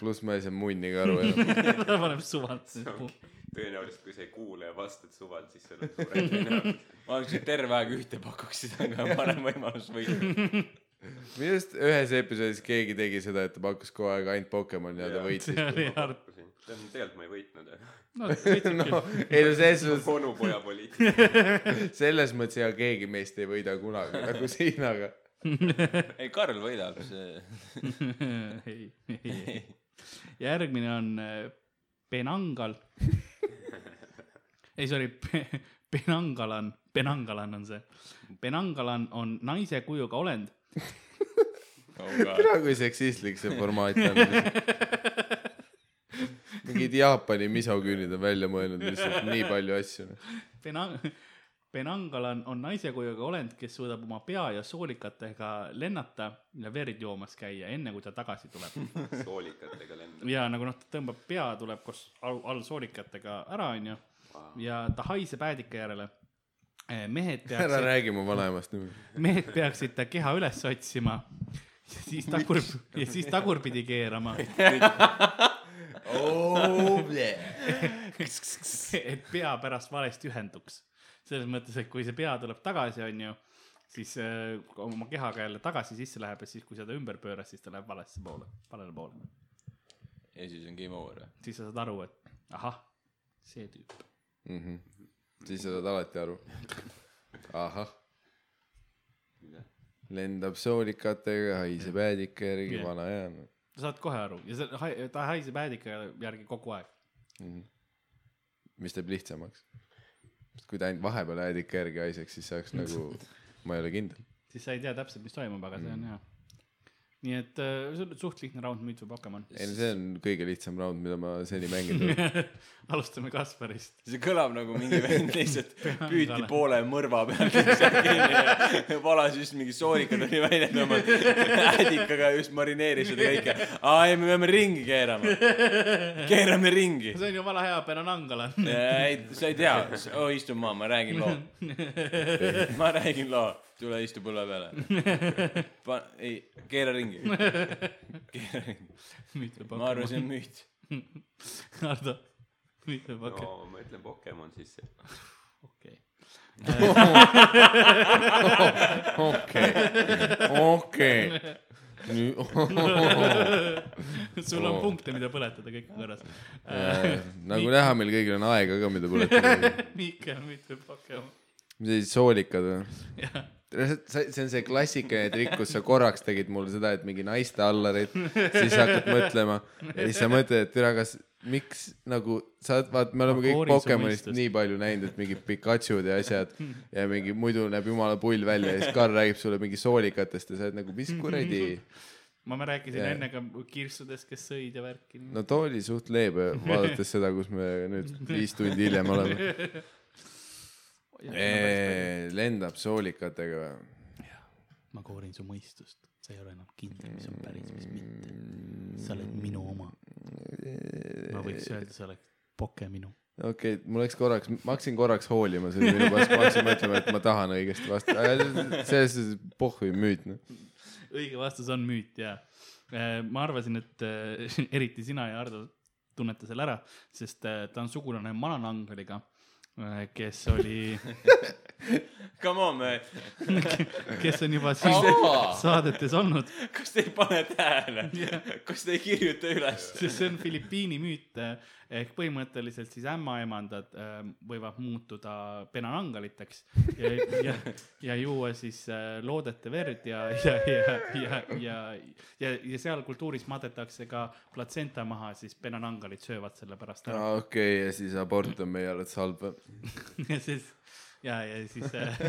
pluss ma ei saa munnigi aru enam . ta paneb suvalise see puu ongi , tõenäoliselt , kui sa ei kuule ja vastad suvalt , siis sul on suurem tõenäosus . ma oleks nüüd terve aeg ühte pakuks , siis on ka parem võimalus võita . minu arust ühes episoodis keegi tegi seda , et ta pakkus kogu aeg ainult Pokemoni ja ta Jaa. võitis . see oli halb . tegelikult ma ei võitnud , no võitsid no küll . ei no selles mõttes , onupoja poliitika . selles mõttes ja keegi meist ei võida kunagi nagu Siinaga . ei , Karl võidab , see . ei , ei . järgmine on äh, Penangal . ei , sorry , Penangalan , Penangalan on see . Penangalan on naise kujuga olend . mina kui seksistlik nagu see formaat on . mingid Jaapani misoküünid on välja mõelnud lihtsalt nii palju asju . Penang- , Penangalan on naise kujuga olend , kes suudab oma pea ja soolikatega lennata ja verd joomas käia , enne kui ta tagasi tuleb . soolikatega lendab . ja nagu noh , ta tõmbab pea , tuleb koos all, all soolikatega ära , onju . ja ta haiseb äädika järele . mehed ära peaksid , räägi mu vanaemast nüüd . mehed peaksid ta keha üles otsima . ja siis tagur , ja siis tagurpidi keerama , Oh, et pea pärast valesti ühenduks . selles mõttes , et kui see pea tuleb tagasi , onju siis äh, kui oma kehaga jälle tagasi sisse läheb ja siis , kui seda ümber pööras , siis ta läheb valesse poole , valele poole . ja siis on game over . siis sa saad aru , et ahah , see tüüp . siis sa saad alati aru . ahah , lendab soolikatega , haiseb äädika järgi , Jah. vana hea on . sa saad kohe aru ja see , ta haiseb äädika järgi kogu aeg . mis teeb lihtsamaks . sest kui ta ainult vahepeal äädika järgi haiseks , siis saaks nagu , ma ei ole kindel . siis sa ei tea täpselt , mis toimub , aga see on hea . nii et äh, see on suht lihtne round , müüt või Pokemon . ei no see on kõige lihtsam round , mida ma seni mänginud olen . alustame Kasparist . see kõlab nagu mingi vend lihtsalt püüti Peangale. poole mõrva peal lihtsalt kinni ja valas just mingi soorika tuli välja tõmmanud äädikaga ja just marineeris seda kõike . aa ei , me peame ringi keerama . keerame ringi . see on ju vana hea Penanangala . ei , sa ei tea , oo istu maha , ma räägin loo . ma räägin loo , tule istu põlve peale . Pa- , ei , keera ringi . keera ringi , müüt või ma arvan , see Pokemon . on müüt . Hardo , müüt või Pokemon , no ma ütlen Pokemon sisse . okei . okei , okei . sul on Oo. punkte , mida põletada , kõik on korras . nagu näha , meil kõigil on aega ka , mida põletada . Miikel , müüt või Pokemon . mis need soolikad või ? jah , see see on see klassikaline trikk , kus sa korraks tegid mulle seda , et mingi naiste allarid , siis hakkad mõtlema ja siis sa mõtled , et türa , kas , miks nagu sa oled , vaat me oleme Ma kõik koorin su Pokemonist mõistust. nii palju näinud , et mingid Pikachud ja asjad ja mingi muidu näeb jumala pull välja ja siis Karl räägib sulle mingi soolikatest ja sa oled nagu , mis kuradi ma , ma rääkisin Jaa. yeah. enne ka kirsudest , kes sõid ja värki . no too oli suht leebe , vaadates seda , kus me nüüd viis tundi hiljem oleme . lendab soolikatega või ? ma koorin su mõistust , sa ei ole enam kindel , mis on päris , mis mitte . sa oled minu oma . ma võiks öelda , sa oled poke minu . okei okay, , mul läks korraks , ma hakkasin korraks hoolima , see oli minu pask , ma hakkasin mõtlema , et ma tahan õigesti Äh, vastata , selles suhtes pohhui müüt noh . õige vastus on müüt ja ma arvasin , et äh, eriti sina ja Hardo tunnete selle ära , sest äh, ta on sugulane Mananangaliga , kes oli , Come on , me , kes on juba siin saadetes olnud , kas te ei pane tähele ? kas te ei kirjuta üles ? sest see on Filipiini müüt äh, ehk põhimõtteliselt siis ämmaemandad äh, võivad muutuda penanangaliteks ja , ja , ja juua siis äh, loodete verd ja , ja , ja , ja , ja , ja , ja seal kultuuris madetakse ka platsenta maha , siis penanangalid söövad selle pärast ära . okei okay, , ja siis abort on meie arvates halb või ? ja siis , ja , ja siis äh,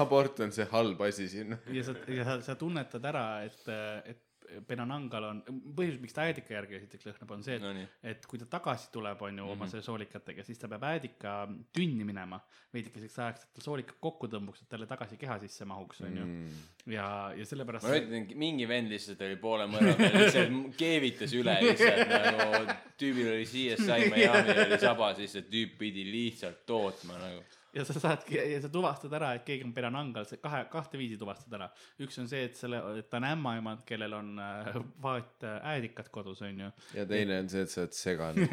abort on see halb asi siin . ja sa , ja sa , sa tunnetad ära , et , et penanangal on , põhjus , miks ta äädika järgi esiteks lõhnab , on see , et Nonii. et kui ta tagasi tuleb , on ju , oma selle soolikatega , siis ta peab äädika tünni minema veidikeseks ajaks , et ta soolikad kokku tõmbuks , et talle tagasi keha sisse mahuks , on ju . ja , ja sellepärast ma ütlen , mingi vend lihtsalt oli poole mõrva peal , lihtsalt keevitas üle lihtsalt nagu , tüübil oli CSI Miami oli sabas , lihtsalt tüüp pidi lihtsalt tootma nagu . ja sa saadki ja sa tuvastad ära , et keegi on peranangal , see kahe , kahte viisi tuvastad ära . üks on see , et selle , et ta on ämmaemand , kellel on äh, vaat äh, äädikad kodus , onju . ja teine on see , et sa oled segane .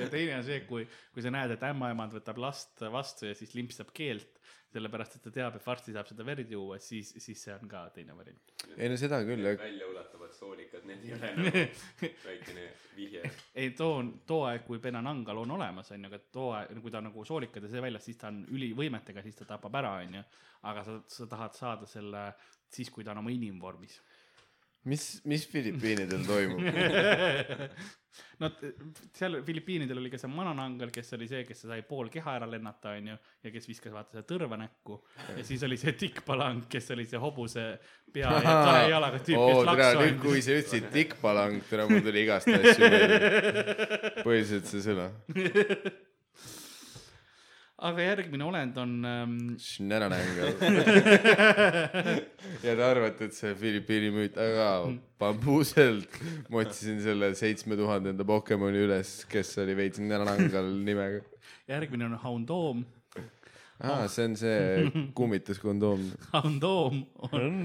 ja teine on see , kui , kui sa näed , et ämmaemand võtab last vastu ja siis limpsab keelt , sellepärast et ta teab , et varsti saab seda verd juua , siis , siis see on ka teine variant . ei no seda küll , jah . väljaulatuvad soolikad , need ei Mm. ole nagu väikene vihje . ei , too on , too aeg , kui penanangal on olemas , onju , aga too aeg , kui ta on nagu soolikad ja see väljas , siis ta on ülivõimetega , siis ta tapab ära , onju . aga sa , sa tahad saada selle siis , kui ta on oma inimvormis . mis , mis Filipiinidel toimub ? no t- seal Filipiinidel oli ka see mananangel , kes oli see , kes sai pool keha ära lennata , onju , ja kes viskas vaata selle tõrva näkku . ja siis oli see tikkpalang , kes oli see hobuse pea ja kahe jalaga tüüp , oo , kes tere , laksu nüüd kui andis . sa ütlesid tikkpalang , tere , mul tuli igast asju meelde . põhiliselt see sõna . aga järgmine olend on ähm, Schnäranängel . ja te arvate , et see Filipiini müüt , aga bambuuselt ma otsisin selle seitsme tuhandenda Pokemoni üles , kes oli veits Schnäranängel nimega . järgmine on haundoom . aa , see on see kummituskondoom . haundoom on ,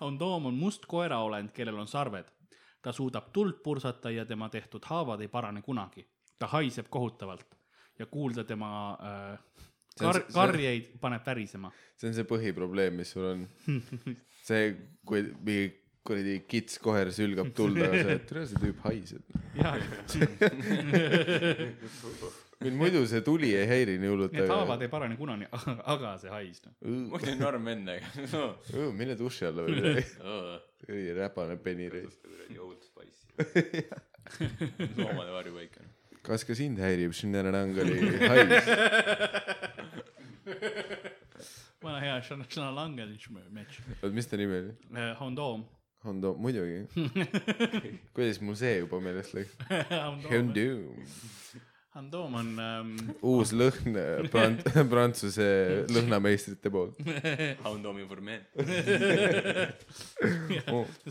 haundoom on must koeraolend , kellel on sarved . ta suudab tuld pursata ja tema tehtud haavad ei parane kunagi . ta haiseb kohutavalt ja kuulda tema äh, See on kar- see- , karjeid paneb värisema . see on see põhiprobleem , mis sul on . see , kui mingi kuradi kits koer sülgab tuld , aga sa oled , tere , see tüüp haiseb . jaa , mind muidu see tuli ei häiri nii hullult , need haavad aga ei parane kunagi , aga see hais noh . Õõ, muidu norm enne , aga õõ, mine duši alla veel , no, kuradi räpane penireis . kuradi Old Spice . loomade varjupaik on . kas ka sind häirib Schneider-Angeli hais ? vana hea sõna , sõna langemismatš . oot , mis ta nimi oli ? haundoom . Hondo , muidugi . kuidas mul see juba meelest läks ? haundoom Hondo , Haundoom on ähm, , uus lõhn prant- , prantsuse lõhnameistrite poolt . Houndomi formeel .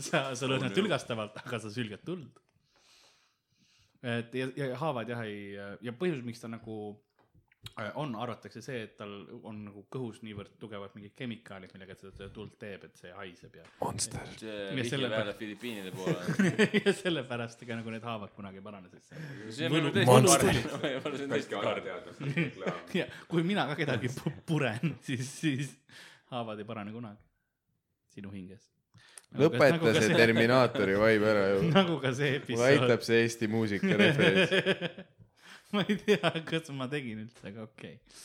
sa , sa lõhnad tülgastavalt , aga sa sülgad tuld . et ja, ja haavad jah ei , ja põhjus , miks ta nagu äh, on , arvatakse see , et tal on nagu kõhus niivõrd tugevad mingid kemikaalid , millega ta seda tuld teeb , et see haiseb ja Monster . see Ja vihje selle peale Filipiinide poole . ja sellepärast ega nagu need haavad kunagi ei parane sisse . see on võib-olla Monster. tõesti karm . võib-olla see on väike tõesti karm . alateadvuslik reklaam . ja kui mina ka kedagi pu- puren , siis , siis haavad ei parane kunagi sinu hinges . lõpeta see . Terminaatori vibe ära ju . nagu ka see mulle episood . aitab see Eesti muusika referents . ma ei tea , kas ma tegin üldse , aga okei okay. .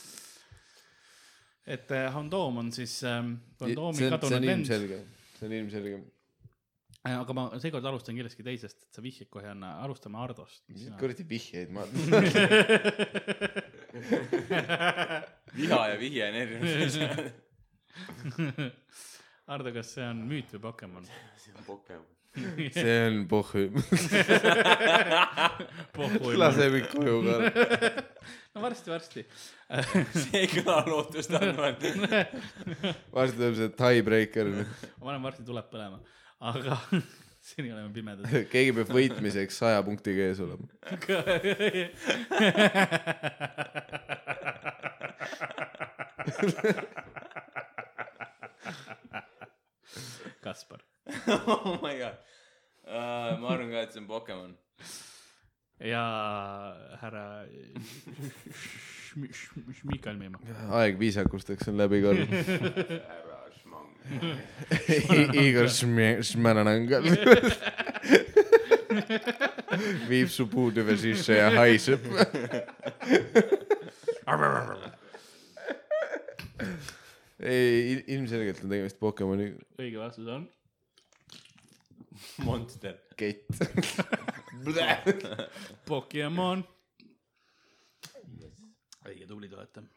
et äh, hondoom on siis ähm, see on , kondoomi see on kadunud vend , ilmselge , see on ilmselge . aga ma seekord alustan kellestki teisest , et sa vihjad kohe , alustame Hardost . mis kuradi vihjeid ma . viha ja vihje on erinev asi . Hardo , kas see on müüt või Pokemon ? see on Pokemon . see on pohhu . no lase mind koju ka . varsti-varsti . see ei kõla lootustandvalt . varsti tuleb see tiebreaker . ma olen varsti tuleb põlema , aga seni oleme pimedad . keegi peab võitmiseks saja punktiga ees olema . Kaspar oh my god uh, . ma arvan ka , et see on Pokemon . ja härra Šmi- Šmi- Šmikal Meema . aeg viisakusteks on läbi ka . ära , šmang . Igor Šme- Šmäranangal viib su puutöö sisse ja haiseb . ei , ilmselgelt on tegemist Pokemoni õige vastus on Monster . kett . Pokemon . õige , tublid olete . mu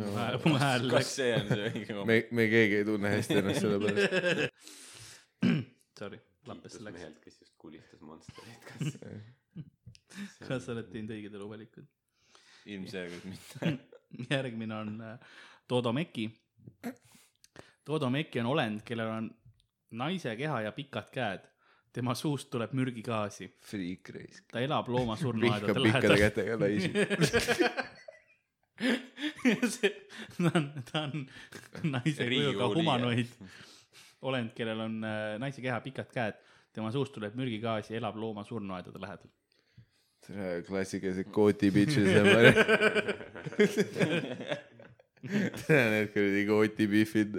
No, hääl , mu hääl läks , kas see E on see õige koht ? me , me keegi ei tunne hästi ennast selle pärast . sorry , lappesse kiitus läks . mehelt , kes just kulistas Monsterit , kas . kas sa oled teinud õiged eluvalikud ? ilmselgelt mitte . järgmine on äh, Todomeki . Todomeki on olend , kellel on naise keha ja pikad käed . tema suust tuleb mürgigaasi . Freak race . ta elab looma surnuaedade vihkab pikkade lähedal . kätega naisi . see , ta on , ta on naise kujuga Riigikogu liige. humanoid olend , kellel on äh, naise keha pikad käed , tema suust tuleb mürgigaasi , elab looma surnuaedade lähedal . tere , klassikalise kooti bitches ja ma olen . tere , need kuradi kooti biffid .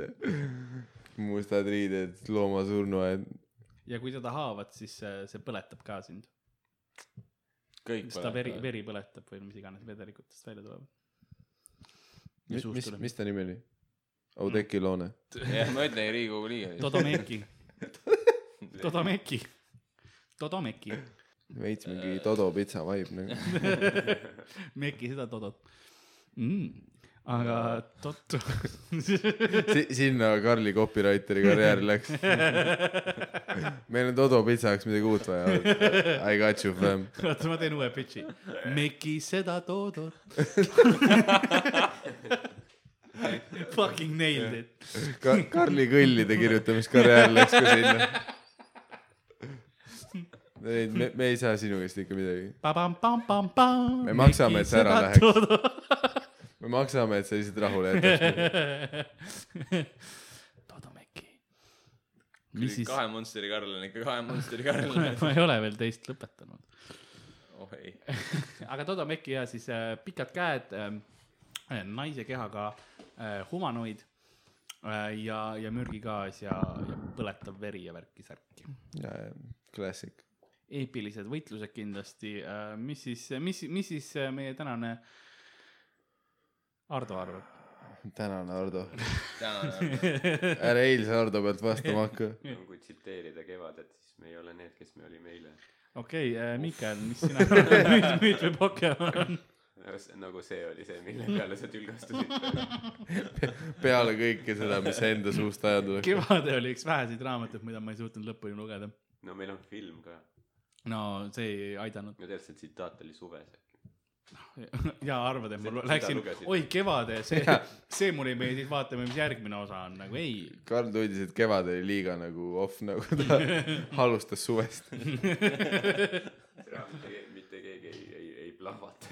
mustad riided , looma surnuaed . ja kui teda haavad , siis äh, see põletab ka sind . kõik seda veri , veri põletab või mis iganes vedelikutest välja tuleb . ja mis , suust mis , tuleb . mis ta nimi oli ? Oudekki Loone . jah , ma ütlen Riigikogu liige . Todomeki . Todomeki . Todomeki . veits mingi Todo pitsa vibe nagu . Meki seda Todot mm. . aga Tot- . si- , sinna Karli copywriteri karjäär läks . meil on Todo pitsa jaoks midagi uut vaja . I got you fam . oota , ma teen uue pitch'i . Meki seda Todot . Fucking nailed it . Ka- , Karli kõllide kirjutamiskarjäär läks ka sinna . ei , me , me ei saa sinu käest ikka midagi . Me maksame, et see ära läheks. me maksame , et sa lihtsalt rahule jätad . Todomeki . mis siis , kahe Monsteri Karl on ikka kahe Monsteri Karl . ma ei ole veel teist lõpetanud . oh ei . aga Todomeki ja siis äh, pikad käed äh, , naise kehaga äh, humanoid äh, ja , ja mürgigaas ja , ja põletav veri ja värki-särki . klassik . eepilised võitlused kindlasti äh, , mis siis , mis , mis siis äh, meie tänane Ardo arvab ? tänan , Hardo . tänan . ära eilse Hardo pealt vastama hakka . kui tsiteerida Kevadet , siis me ei ole need , kes me olime eile . okei okay, , Mikael , mis sina arvad , müüt , müüt või Pokemon ? nagu see oli see , mille peale sa tülgastusid . peale kõike seda , mis sa enda suust aja tuleb . kevade oli üks väheseid raamatuid , mida ma ei suutnud lõpuni lugeda . no meil on film ka . no see ei aidanud no tead , see tsitaat oli suves äkki . ja arvad , et ma Seda läksin lugesid. , oi Kevade , see , see mulle ei meeldi , vaatame , mis järgmine osa on , nagu ei . Karl tundis , et kevad oli liiga nagu off , nagu ta alustas suvest . mitte keegi ei , ei , ei plahvata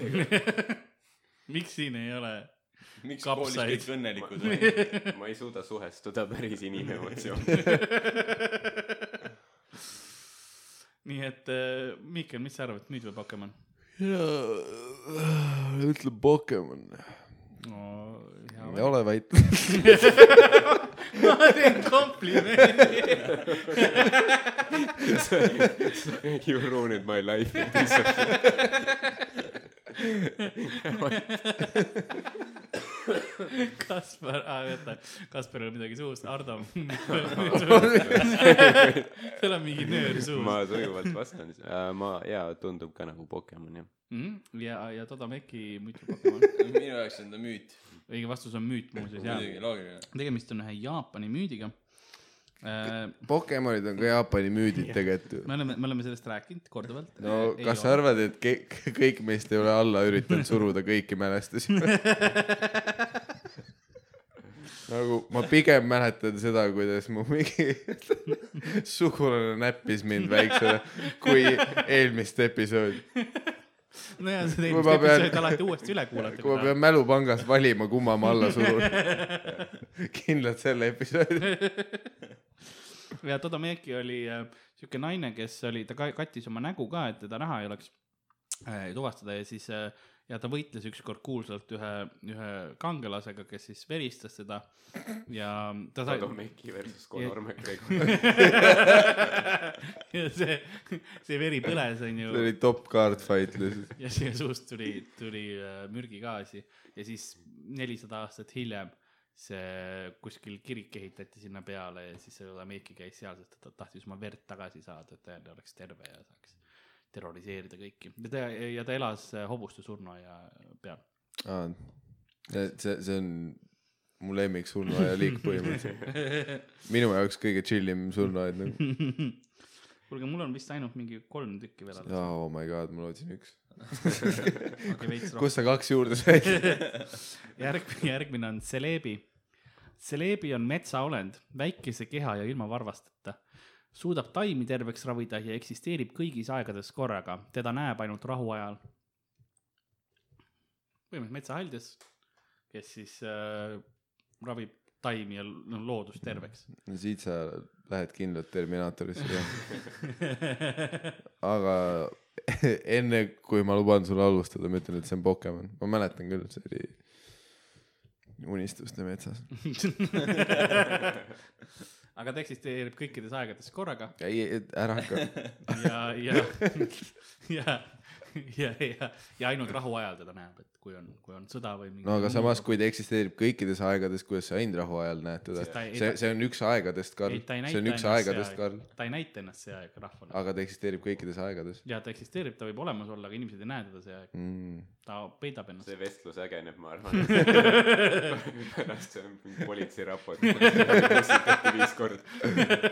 ega miks siin ei ole ? miks Kapsaid. koolis kõik õnnelikud on ? ma, ma ei suuda suhestuda päris inimemotsioonidega . nii et äh, Mihkel , mis sa arvad , nüüd või Pokemon ? ütle Pokemon . no hea ei . ole vait . ma teen komplimendi . You ruined my life . Kaspar , oota , Kasparil on midagi suus , Hardo . tal on mingi nöör suus . ma sujuvalt vastan , ma jaa , tundub ka nagu Pokemon jah . Mhm, ja , ja Todameki müüt või Pokemon . minu jaoks on ta müüt . õige vastus on müüt muuseas , jaa . muidugi , loogiline . tegemist on ühe Jaapani müüdiga . me Pokemonid on ka Jaapani müüdid tegelikult ju . oleme , me oleme sellest rääkinud korduvalt . no kas sa ? arvad , et kõik , kõik meist ei ole alla üritanud suruda kõiki mälestusi ? nagu ma pigem mäletan seda , kuidas mu mingi sugulane näppis mind väiksena , kui eelmist episoodi . nojah , sa Kui teed ma pean- episoodi alati uuesti üle kuulata . kui ma pean mälupangas valima , kumma ma alla surun . kindlalt selle episoodi . ja Todomeki oli äh, siuke naine , kes oli , ta ka- kattis oma nägu ka , et teda näha ei oleks äh, tuvastada ja siis äh, ja ta võitles ükskord kuulsalt ühe , ühe kangelasega , kes siis veristas teda ja ta sai . Todomeki versus Conor McGregor . ja see , see veri põles , onju . see oli top card fight lihtsalt . ja siia suust tuli , tuli äh, mürgigaasi ja siis nelisada aastat hiljem see kuskil kirik ehitati sinna peale ja siis seda meiki käis seal , sest et ta tahtis oma verd tagasi saada , et ta jälle oleks terve ja saaks terroriseerida kõiki ja ta ja ta elas äh, hobuste surnuaia peal . aa , see , see on mu lemmik surnuaia liik põhimõtteliselt . minu jaoks kõige chill im surnuaed nagu . kuulge , mul on vist ainult mingi kolm tükki veel alles . oh my god , ma lootsin üks . okei , veits rohkem . kust sa kaks juurde said ? järgmine , järgmine on Celebi . Celebi on metsaolend , väikese keha ja ilma varvasteta . suudab taimi terveks ravida ja eksisteerib kõigis aegades korraga , teda näeb ainult rahuajal . põhimõtteliselt metsahaldjas , kes siis äh, ravib taimi ja l- no loodust terveks . no siit sa lähed kindlalt Terminaatorisse jah , aga enne kui ma luban sul alustada , ma ütlen , et see on Pokemon , ma mäletan küll , see oli unistuste metsas . aga ta eksisteerib kõikides aegades korraga ei , ära hakka , ja , ja , ja , ja , ja , ja ainult rahuajal teda näeb , et kui on , kui on sõda või mingi no aga samas , kui ta eksisteerib kõikides aegades , kuidas sa ainult rahuajal näed teda Siis ta ei- , see , see on üks aegadest , Karl , ei , ta ei see näita on ennast üks aegadest , see Karl aeg , ta ei näita ennast see aeg rahvale . aga ta eksisteerib kõikides aegades ja ta eksisteerib , ta võib olemas olla , aga inimesed ei näe teda see aeg , mm. . ta peidab ennast see . vestlus ägeneb , ma arvan . pärast see on mingi politseiraport , kustutati viis korda .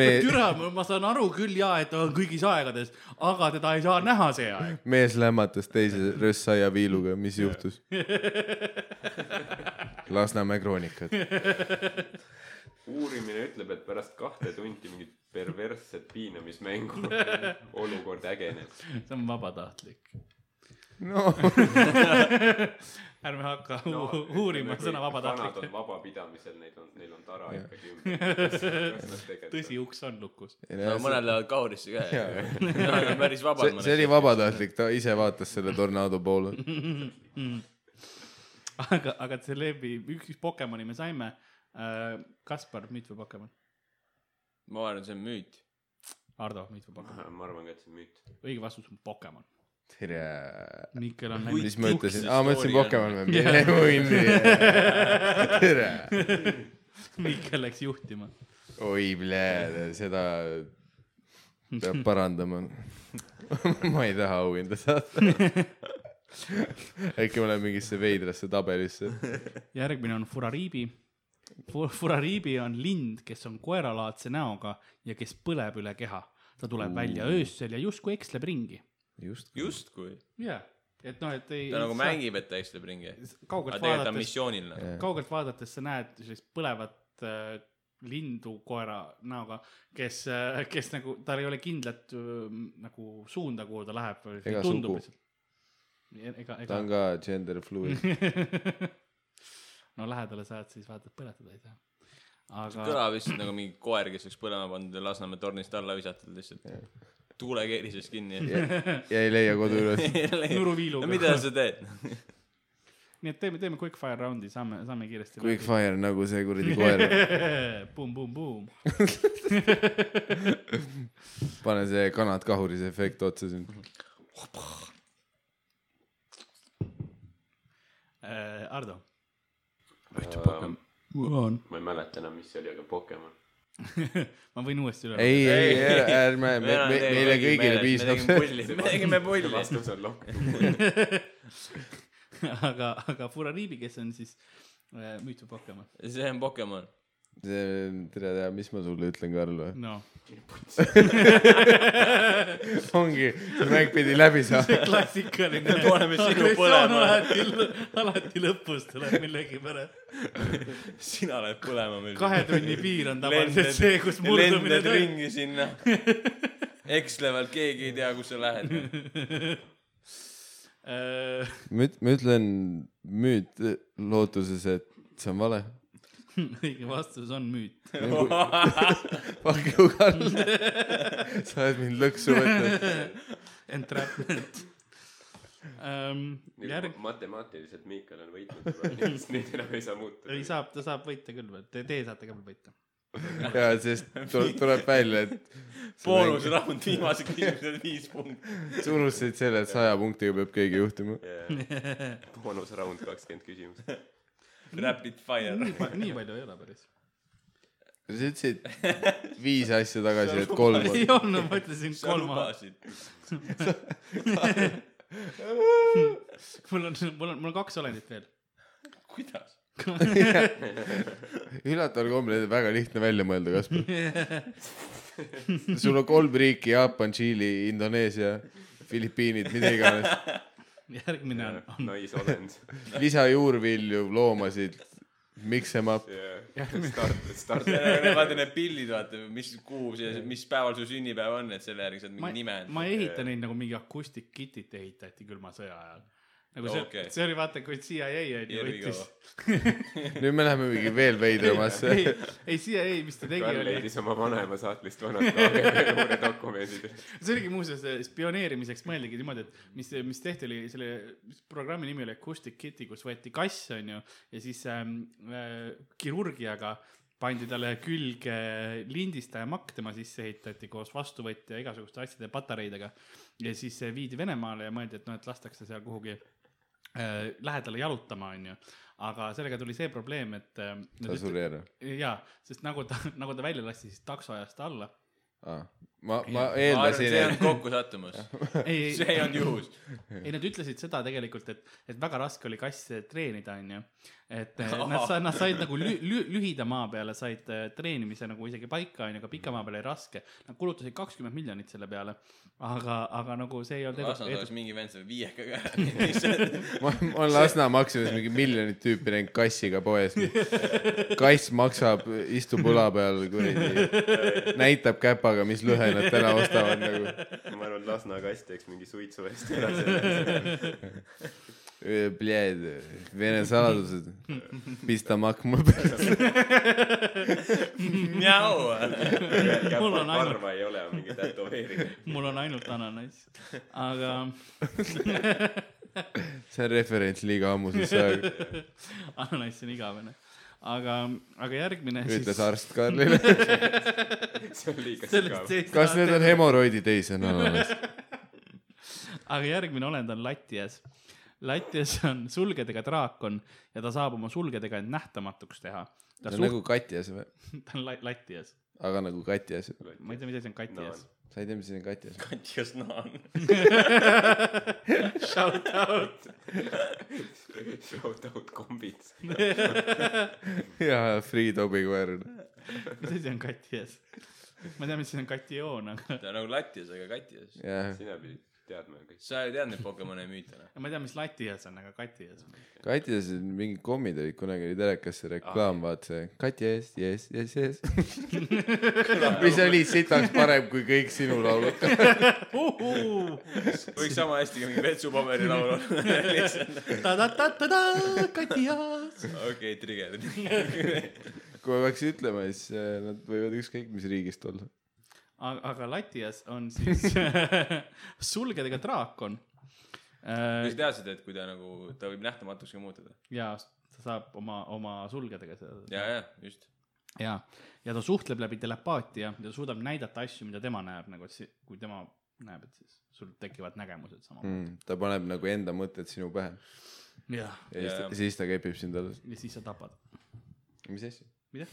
mees , türa , ma saan aru küll jaa , et ta on kõigis aegades , aga teda ei saa näha see aeg . mees lämmatas teise rössaia viiluga , mis juhtus ? Lasnamäe kroonikad , uurimine ütleb , et pärast kahte tundi mingit perversset piinamismängu olukord ägeneb . see on vabatahtlik . no ärme hakka no, uurima sõna kanad on vabatahtlik . vabapidamisel , neil on , neil on tara ikkagi ümber . tõsi ,. uks on lukus . no mõned lähevad kahurisse ka ja , Jaa. ja . Nad on päris vabad see , see oli . vabatahtlik , ta ise vaatas selle tornado poole . aga , aga Celebi , üks Pokemoni me saime . Kaspar , müüt või Pokemon ? ma arvan , see on müüt . Ardo , müüt või Pokemon ? ma arvan ka , et see on müüt . õige vastus on Pokemon . tere . Mikkel on mis läinud . ma ütlesin , Juksi aa ma ütlesin story on. Pokemon või ? mine hunni . tere . Mikkel läks juhtima . oi , seda peab parandama . ma ei taha auhinda saada . äkki ma lähen mingisse veidrasse tabelisse . järgmine on Furariibi . Furariibi on lind , kes on koeralaadse näoga ja kes põleb üle keha . ta tuleb välja öösel ja justkui eksleb ringi . just . justkui . jaa , et noh , et ei . ta nagu . mängib , et ta eksleb ringi . aga kaugelt tegelikult ta on vaadates , missioonil nagu . kaugelt vaadates sa näed sellist põlevat äh, lindu koera näoga , kes äh, , kes nagu , tal ei ole kindlat äh, nagu suunda , kuhu ta läheb . Ega sugu. ega , ta ega on . ka gender fluid . no lähedale saad , siis vaata , et põletada ei saa . aga , kõlab lihtsalt nagu mingi koer , kes oleks põlema pandud ja Lasnamäe tornist alla visatud lihtsalt . tuule keerises kinni . ja ei leia kodu üles . Nuruviiluga. no mida sa teed ? nii et teeme , teeme quick fire round'i , saame , saame kiiresti . Quick fire nagu see kuradi koer . Bum , bum , bum . pane see kanad kahuris efekt otsa siin . Äh, Ardo . ma on . ei mäleta enam , mis see oli , aga Pokemon . ma võin uuesti üle . ei , ei , ärme , me , me , meile kõigile piisab see . see . me tegime pulli . vastus on lokk . aga , aga Furariibi , kes on siis äh, müütu Pokemon . see on Pokemon . tere tea , mis ma sulle ütlen , Karl või ? no , ongi , see mäng pidi läbi saama . see klassikaline . paneme sinu põlema. alati , alati lõpus tuleb millegipärast . sina lähed põlema meil . kahe tunni piir on tavaliselt see , kus murdumine lendad toimub . ringi sinna . ekslevalt keegi ei tea , kus sa lähed . Äh, ma üt- , ma ütlen müüt äh, lootuses , et see on vale . õige vastus on müüt . Fuck you , Karl . sa oled mind lõksu võtnud . Entrapment . Ehm, järg , matemaatiliselt Miikal on võitnud juba , nii et neid enam ei saa muuta . ei saab , ta saab võita küll veel , te , teie saate ka veel võita . ja , sest tuleb , tuleb välja , et boonusraund , viimased küsimused , viis punkti . sa unustasid selle , et saja punktiga peab keegi juhtuma . saab . boonusraund kakskümmend küsimust . Rapid fire . nii palju ei ole päris . sa ütlesid viis asja tagasi , et kolm on ei . olnud , ma ütlesin sa kolm . lubasid . mul on , mul on , mul on kaks olendit veel . kuidas ? üllataval kombel on väga lihtne välja mõelda , Kaspar . sul on kolm riiki , Jaapan , Tšiili , Indoneesia , Filipiinid , mida iganes . järgmine on , on naisolend . lisa juurvilju , loomasid , mix em up . start , start . vaata need pildid , vaata , mis kuu see , mis päeval su sünnipäev on , et selle järgi saad ma mingi nime , ma ei ehita neid nagu mingi akustik kit'it ehitati külma sõja ajal . nagu see okay. Okei. , see oli vaata , kui CIA on ju Here we võttis . nüüd me läheme mingi veel veidramasse ei , ei CIA , mis ta tegi , Karl oli , leidis oma vanaema saatlist vanad KGB luuredokumendid . see oligi muuseas eh, spioneerimiseks mõeldigi niimoodi , et mis , mis tehti , oli selle programmi nimi oli Acoustic Kitty , kus võeti kass , onju , ja siis ähm, äh, kirurgiaga pandi talle külge lindistajamakk , tema sisse ehitati koos vastuvõtja igasuguste asjade ja patareidega ja siis eh, viidi Venemaale ja mõeldi , et noh , et lastakse seal kuhugi äh, lähedale jalutama , onju , aga sellega tuli see probleem , et äh, ta suri ära jaa , sest nagu ta , nagu ta välja lasti , siis takso ajas ta alla . ah, ma ma ma arvan , eeldasin see on et kokkusattumus . ei , see ei , ei olnud juhus . ei nad ütlesid seda tegelikult , et , et väga raske oli kasse treenida , onju . et eh, nad said , nad said nagu lü, lü, lühida maa peale said eh, treenimise nagu isegi paika , onju , aga pika maa peale oli raske . Nad kulutasid kakskümmend miljonit selle peale , aga , aga nagu see ei olnud Lasnas oleks edu , mingi vend selle viiekaga lihtsalt ma ma olen Lasna maksimumis mingi miljonit tüüpi näinud kassiga poes kass maksab istub õla peal kuradi näitab käpaga mis lõhe nad täna ostavad nagu ma arvan , Lasna kast teeks mingi suitsu eest ära selle . Öö, Bled, vene saladused pista makma peale mjau . Mul on ainult- karva ei ole , mingi tätoveering . edu. mul on ainult ananass , aga see on referents liiga ammusesse aega ananass on igavene . aga , aga järgmine ütles arst Karlile see on liiga sellest sügav . seitsme kas need on hemoroidid ei see on ananass aga järgmine olend on Latjas . Latjas on sulgedega draakon ja ta saab oma sulgedega end nähtamatuks teha . ta see suht- on , nagu katjas või ta on la- Latjas , aga nagu katjas ma ei tea , mis asi on katjas no. . sa ei tea mis asi on katjas Katjas naan . Shout out . Shout out kombits . jaa Free Tobi koer mis asi on katjas ? ma tean , mis asi on katioon , aga ta on nagu latjas , aga katjas . jah sina pidid teadma ju kõik . sa ei teadnud neid Pokemoni müüte noh ? ma ei tea , mis latjas on , aga katjas on . Katjas on mingid kommid olid kunagi oli telekas see reklaam ah. , vaata see Katja ees , jess , jess , jess . mis oli sitaks parem kui kõik sinu laulud . võiks sama hästi ka mingi vetsupaberi laul olla . ta-ta-ta-ta-ta , katjas . okei , trigger . kui ma peaks ütlema , siis äh, nad võivad ükskõik mis riigist olla . aga , aga Latjas on siis sulgedega draakon . Äh, kas sa teadsid , et kui ta nagu , ta võib nähtamatuks ka muutuda ? ja ta saab oma , oma sulgedega seda ja , ja just . ja , ja ta suhtleb läbi telepaatia ja ta suudab näidata asju , mida tema näeb nagu , et si- kui tema näeb , et siis sul tekivad nägemused sama mm. . Mm, ta paneb nagu enda mõtted sinu pähe jah , ja siis ta Jaa. , siis ta kepib sind alles . ja siis sa tapad , mis asja ? mida ?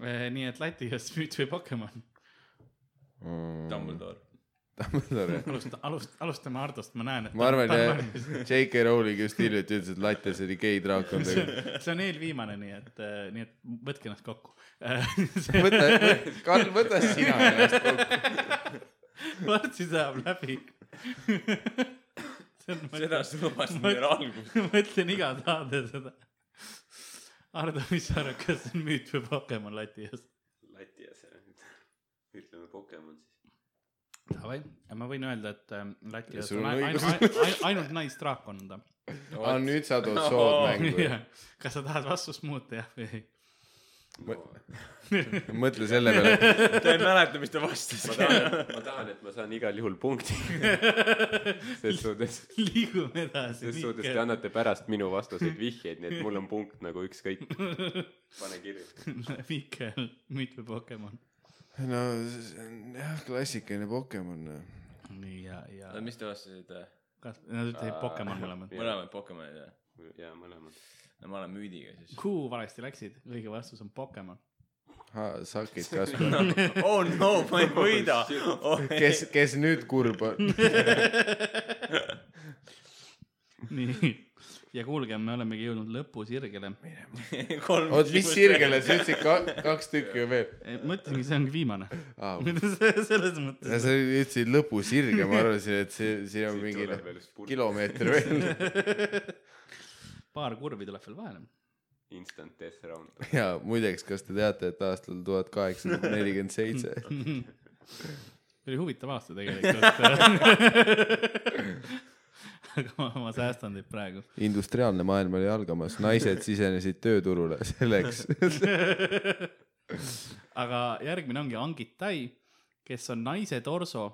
Eh, nii et Läti ja Smüüt või Pokemon , Mm. Dumbledore . Dumbledore . alusta- , alust- , alustame Hardost , ma näen , et ma arvan ta, , jah , J.K. Rowling just hiljuti ütles , et Latjas oli geidraakon . see on eelviimane , nii et , nii et võtke ennast kokku . võta , Karl , võta sina ennast kokku . varsti saab läbi . seda sa lubasid meile alguses . ma mõtlen iga saade seda . Ardo , mis sa arvad , kas see on müüt või Pokemon Lätis ? Läti asja . ütleme Pokemon siis . Davai , ma võin öelda , et ähm, Lätis Sul on on ainult, õigus. ainult, ainult naisdraakon on ta . aga nüüd sa tood sood mängu . kas sa tahad vastust muuta jah või ei ? mõtle selle peale , ta ei mäleta , mis ta vastas . ma tahan , ma tahan , et ma saan igal juhul punkti . ses suhtes , liigume edasi . ses suhtes te annate pärast minu vastuseid vihjeid , nii et mul on punkt nagu ükskõik . pane kirja . Mihkel , müüt või Pokemon ? no see on jah , klassikaline Pokemon . noh. nii ja , ja mis te vastasite ? kas , nad ütlesid Pokemon mõlemad . äh, mõlemad Pokemonid jah ? ja mõlemad . no ma olen müüdiga siis . kuhu valesti läksid , õige vastus on Pokemon . Sakid kasvavad . oh no , ma ei võida . Oh, kes , kes nüüd kurb on ? nii , ja kuulge , me olemegi jõudnud lõpusirgele . oot , mis sirgele , sa ütlesid ka, kaks tükki ju veel . Eh, mõtlesingi , see ongi viimane . Ah, selles mõttes . sa ütlesid lõpusirge , ma arvasin , et see , siin on Siit mingi noh, tuleb veel üks purk. kilomeeter veel . paar kurvi tuleb veel vahele . Instant death round . ja muideks , kas te teate , et aastal tuhat kaheksasada nelikümmend seitse oli huvitav aasta tegelikult . aga ma, ma säästan teid praegu . industriaalne maailm oli algamas , naised sisenesid tööturule selleks . aga järgmine ongi Angit Tai , kes on naise torso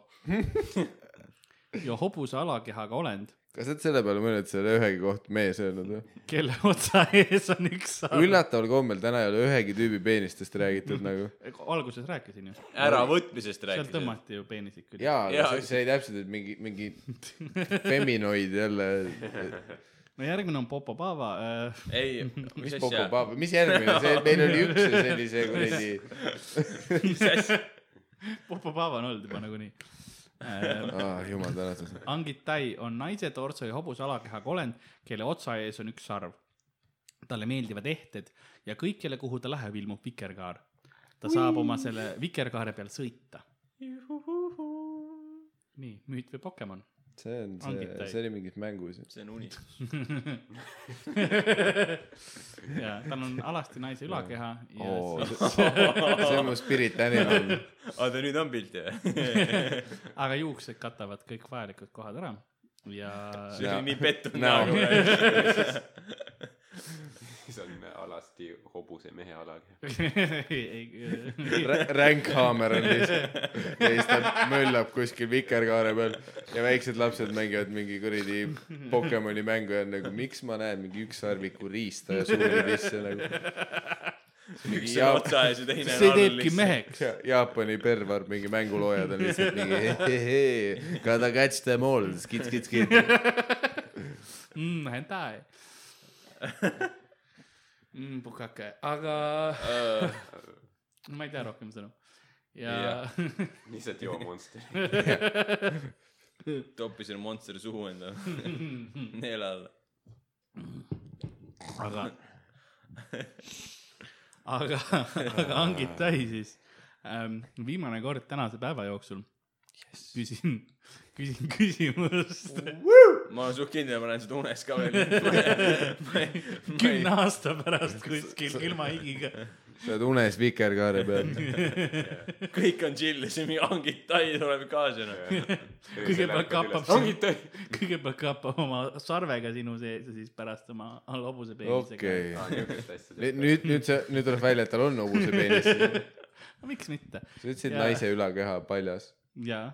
ja hobuse alakehaga olend , kas sa oled selle peale mõelnud , et sa ei ole ühegi koht mees öelnud või ? kelle otsa ees on üks saal . üllataval kombel täna ei ole ühegi tüübi peenistest räägitud nagu . alguses rääkisin ju , äravõtmisest sealt rääkides . tõmmati ju peenisik küll . jaa , aga Jaa. see, see oli täpselt , et mingi , mingi feminoid jälle . no järgmine on Popo Paava äh, , ei , mis asja , mis järgmine , see , meil oli üks ja see oli see kuradi , mis asja , Popo Paava on olnud juba nagunii äh, . ah jumal tänatud . Angit Tai on naise torso ja hobuse alakehaga olend , kelle otsa ees on üks sarv . talle meeldivad ehted ja kõikjale , kuhu ta läheb , ilmub vikerkaar . ta saab oma selle vikerkaare peal sõita . nii , müüt või Pokemon ? see on see Angid , täis. see oli mingis mängus . see on unistus . ja tal on alasti naise ülakeha ja oo , siis , see on mu spirit animal . aa , ta nüüd on pilti või ? aga juuksed katavad kõik vajalikud kohad ära ja see Jaa. oli nii pettunud Näo. näoga praegu . siis on alasti hobuse mehe alaga . ei- Ränkhammer on lihtsalt ja siis ta möllab kuskil vikerkaare peal ja väiksed lapsed mängivad mingi kuradi Pokemoni mängu ja on nagu miks ma näen mingi ükssarviku riista ja suuri sisse nagu . üks on otsa ees ja teine on see all teebki lihtsalt . meheks . Ja- Jaapani pervar , mingi mänguloojad on lihtsalt mingi hehehe , gotta catch them all , skits , skits , skits . mm, . Hentai mm, . Bukake , aga Äh, ma ei tea rohkem sõnu . ja lihtsalt joo Monster . toppisin Monsteri suhu endale neela alla . aga , aga , aga Angit Tai siis ähm, . viimane kord tänase päeva jooksul küsin , küsin küsimust ma olen suht kindel , ma näen seda unes ka veel . kümne aasta pärast kuskil ilma higiga . sa oled unes vikerkaare peal . kõik on chill ja siis mingi angid tai tuleb kaasa noh . kõigepealt kappab ongi sind , kõigepealt kappab oma sarvega sinu sees ja siis pärast oma all hobuse peeglisega okei niisugust asja okay. . nüüd , nüüd see , nüüd tuleb välja , et tal on hobuse peenis . sa no miks mitte ütlesid Jaa. naise ülakeha paljas . jaa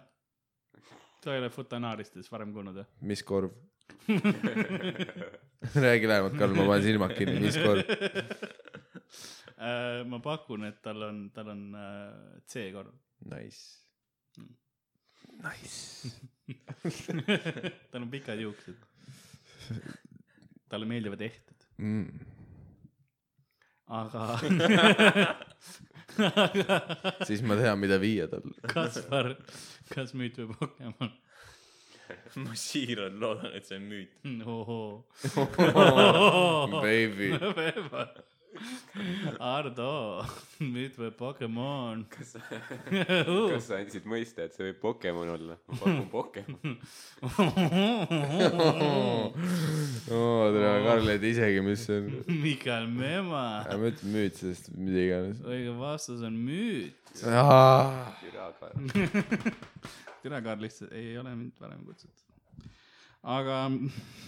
sa ei ole futanaaristes varem kuulnud või mis korv ? räägi lähemalt , Karl , ma panen silmad kinni , mis korv ? Äh, ma pakun et tal on tal on äh, C-korv Nice . tal on pikad juuksed talle meeldivad ehted Mm. aga siis ma tean , mida viia tal . Kaspar kas müüt või Pokemon ma siiralt loodan , et see on müüt . ohoo Baby , Ardo müüt või Pokemon kas , kas sa andsid mõista , et see võib Pokemon olla ? ma pakun Pokemon . oo , Oh. tere , Karl ei tea isegi , mis see on . Mikael Mema aga ma ütlen müüt sellest , mida iganes . Ah, õige vastus on müüt . tere , Karl , lihtsalt ei ole mind varem kutsutud . aga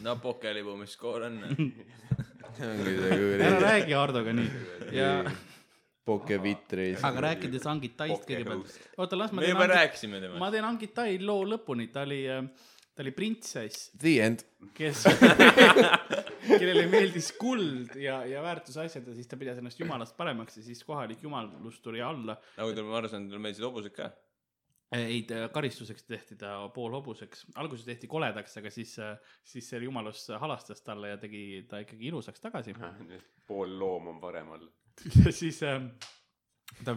no pokelibu , mis skoor on ? noh. ongi see ära kuradi räägi Hardoga nii ja , pokevitris . aga rääkides Angit Taist kõigepealt . oota , las ma me teen juba Angit , rääkisime temast . ma teen Angit Tai loo lõpuni , ta oli , ta oli printsess , The end . kes , kellele meeldis kuld ja , ja väärtusasjad ja siis ta pidas ennast jumalast paremaks ja siis kohalik jumalus tuli alla . nagu te olete aru saanud , tal meeldisid hobused ka . ei , karistuseks tehti ta poolhobuseks , alguses tehti koledaks , aga siis , siis see jumalus halastas talle ja tegi ta ikkagi ilusaks tagasi . Ah, pool loom on parem olla . ja siis ähm, ta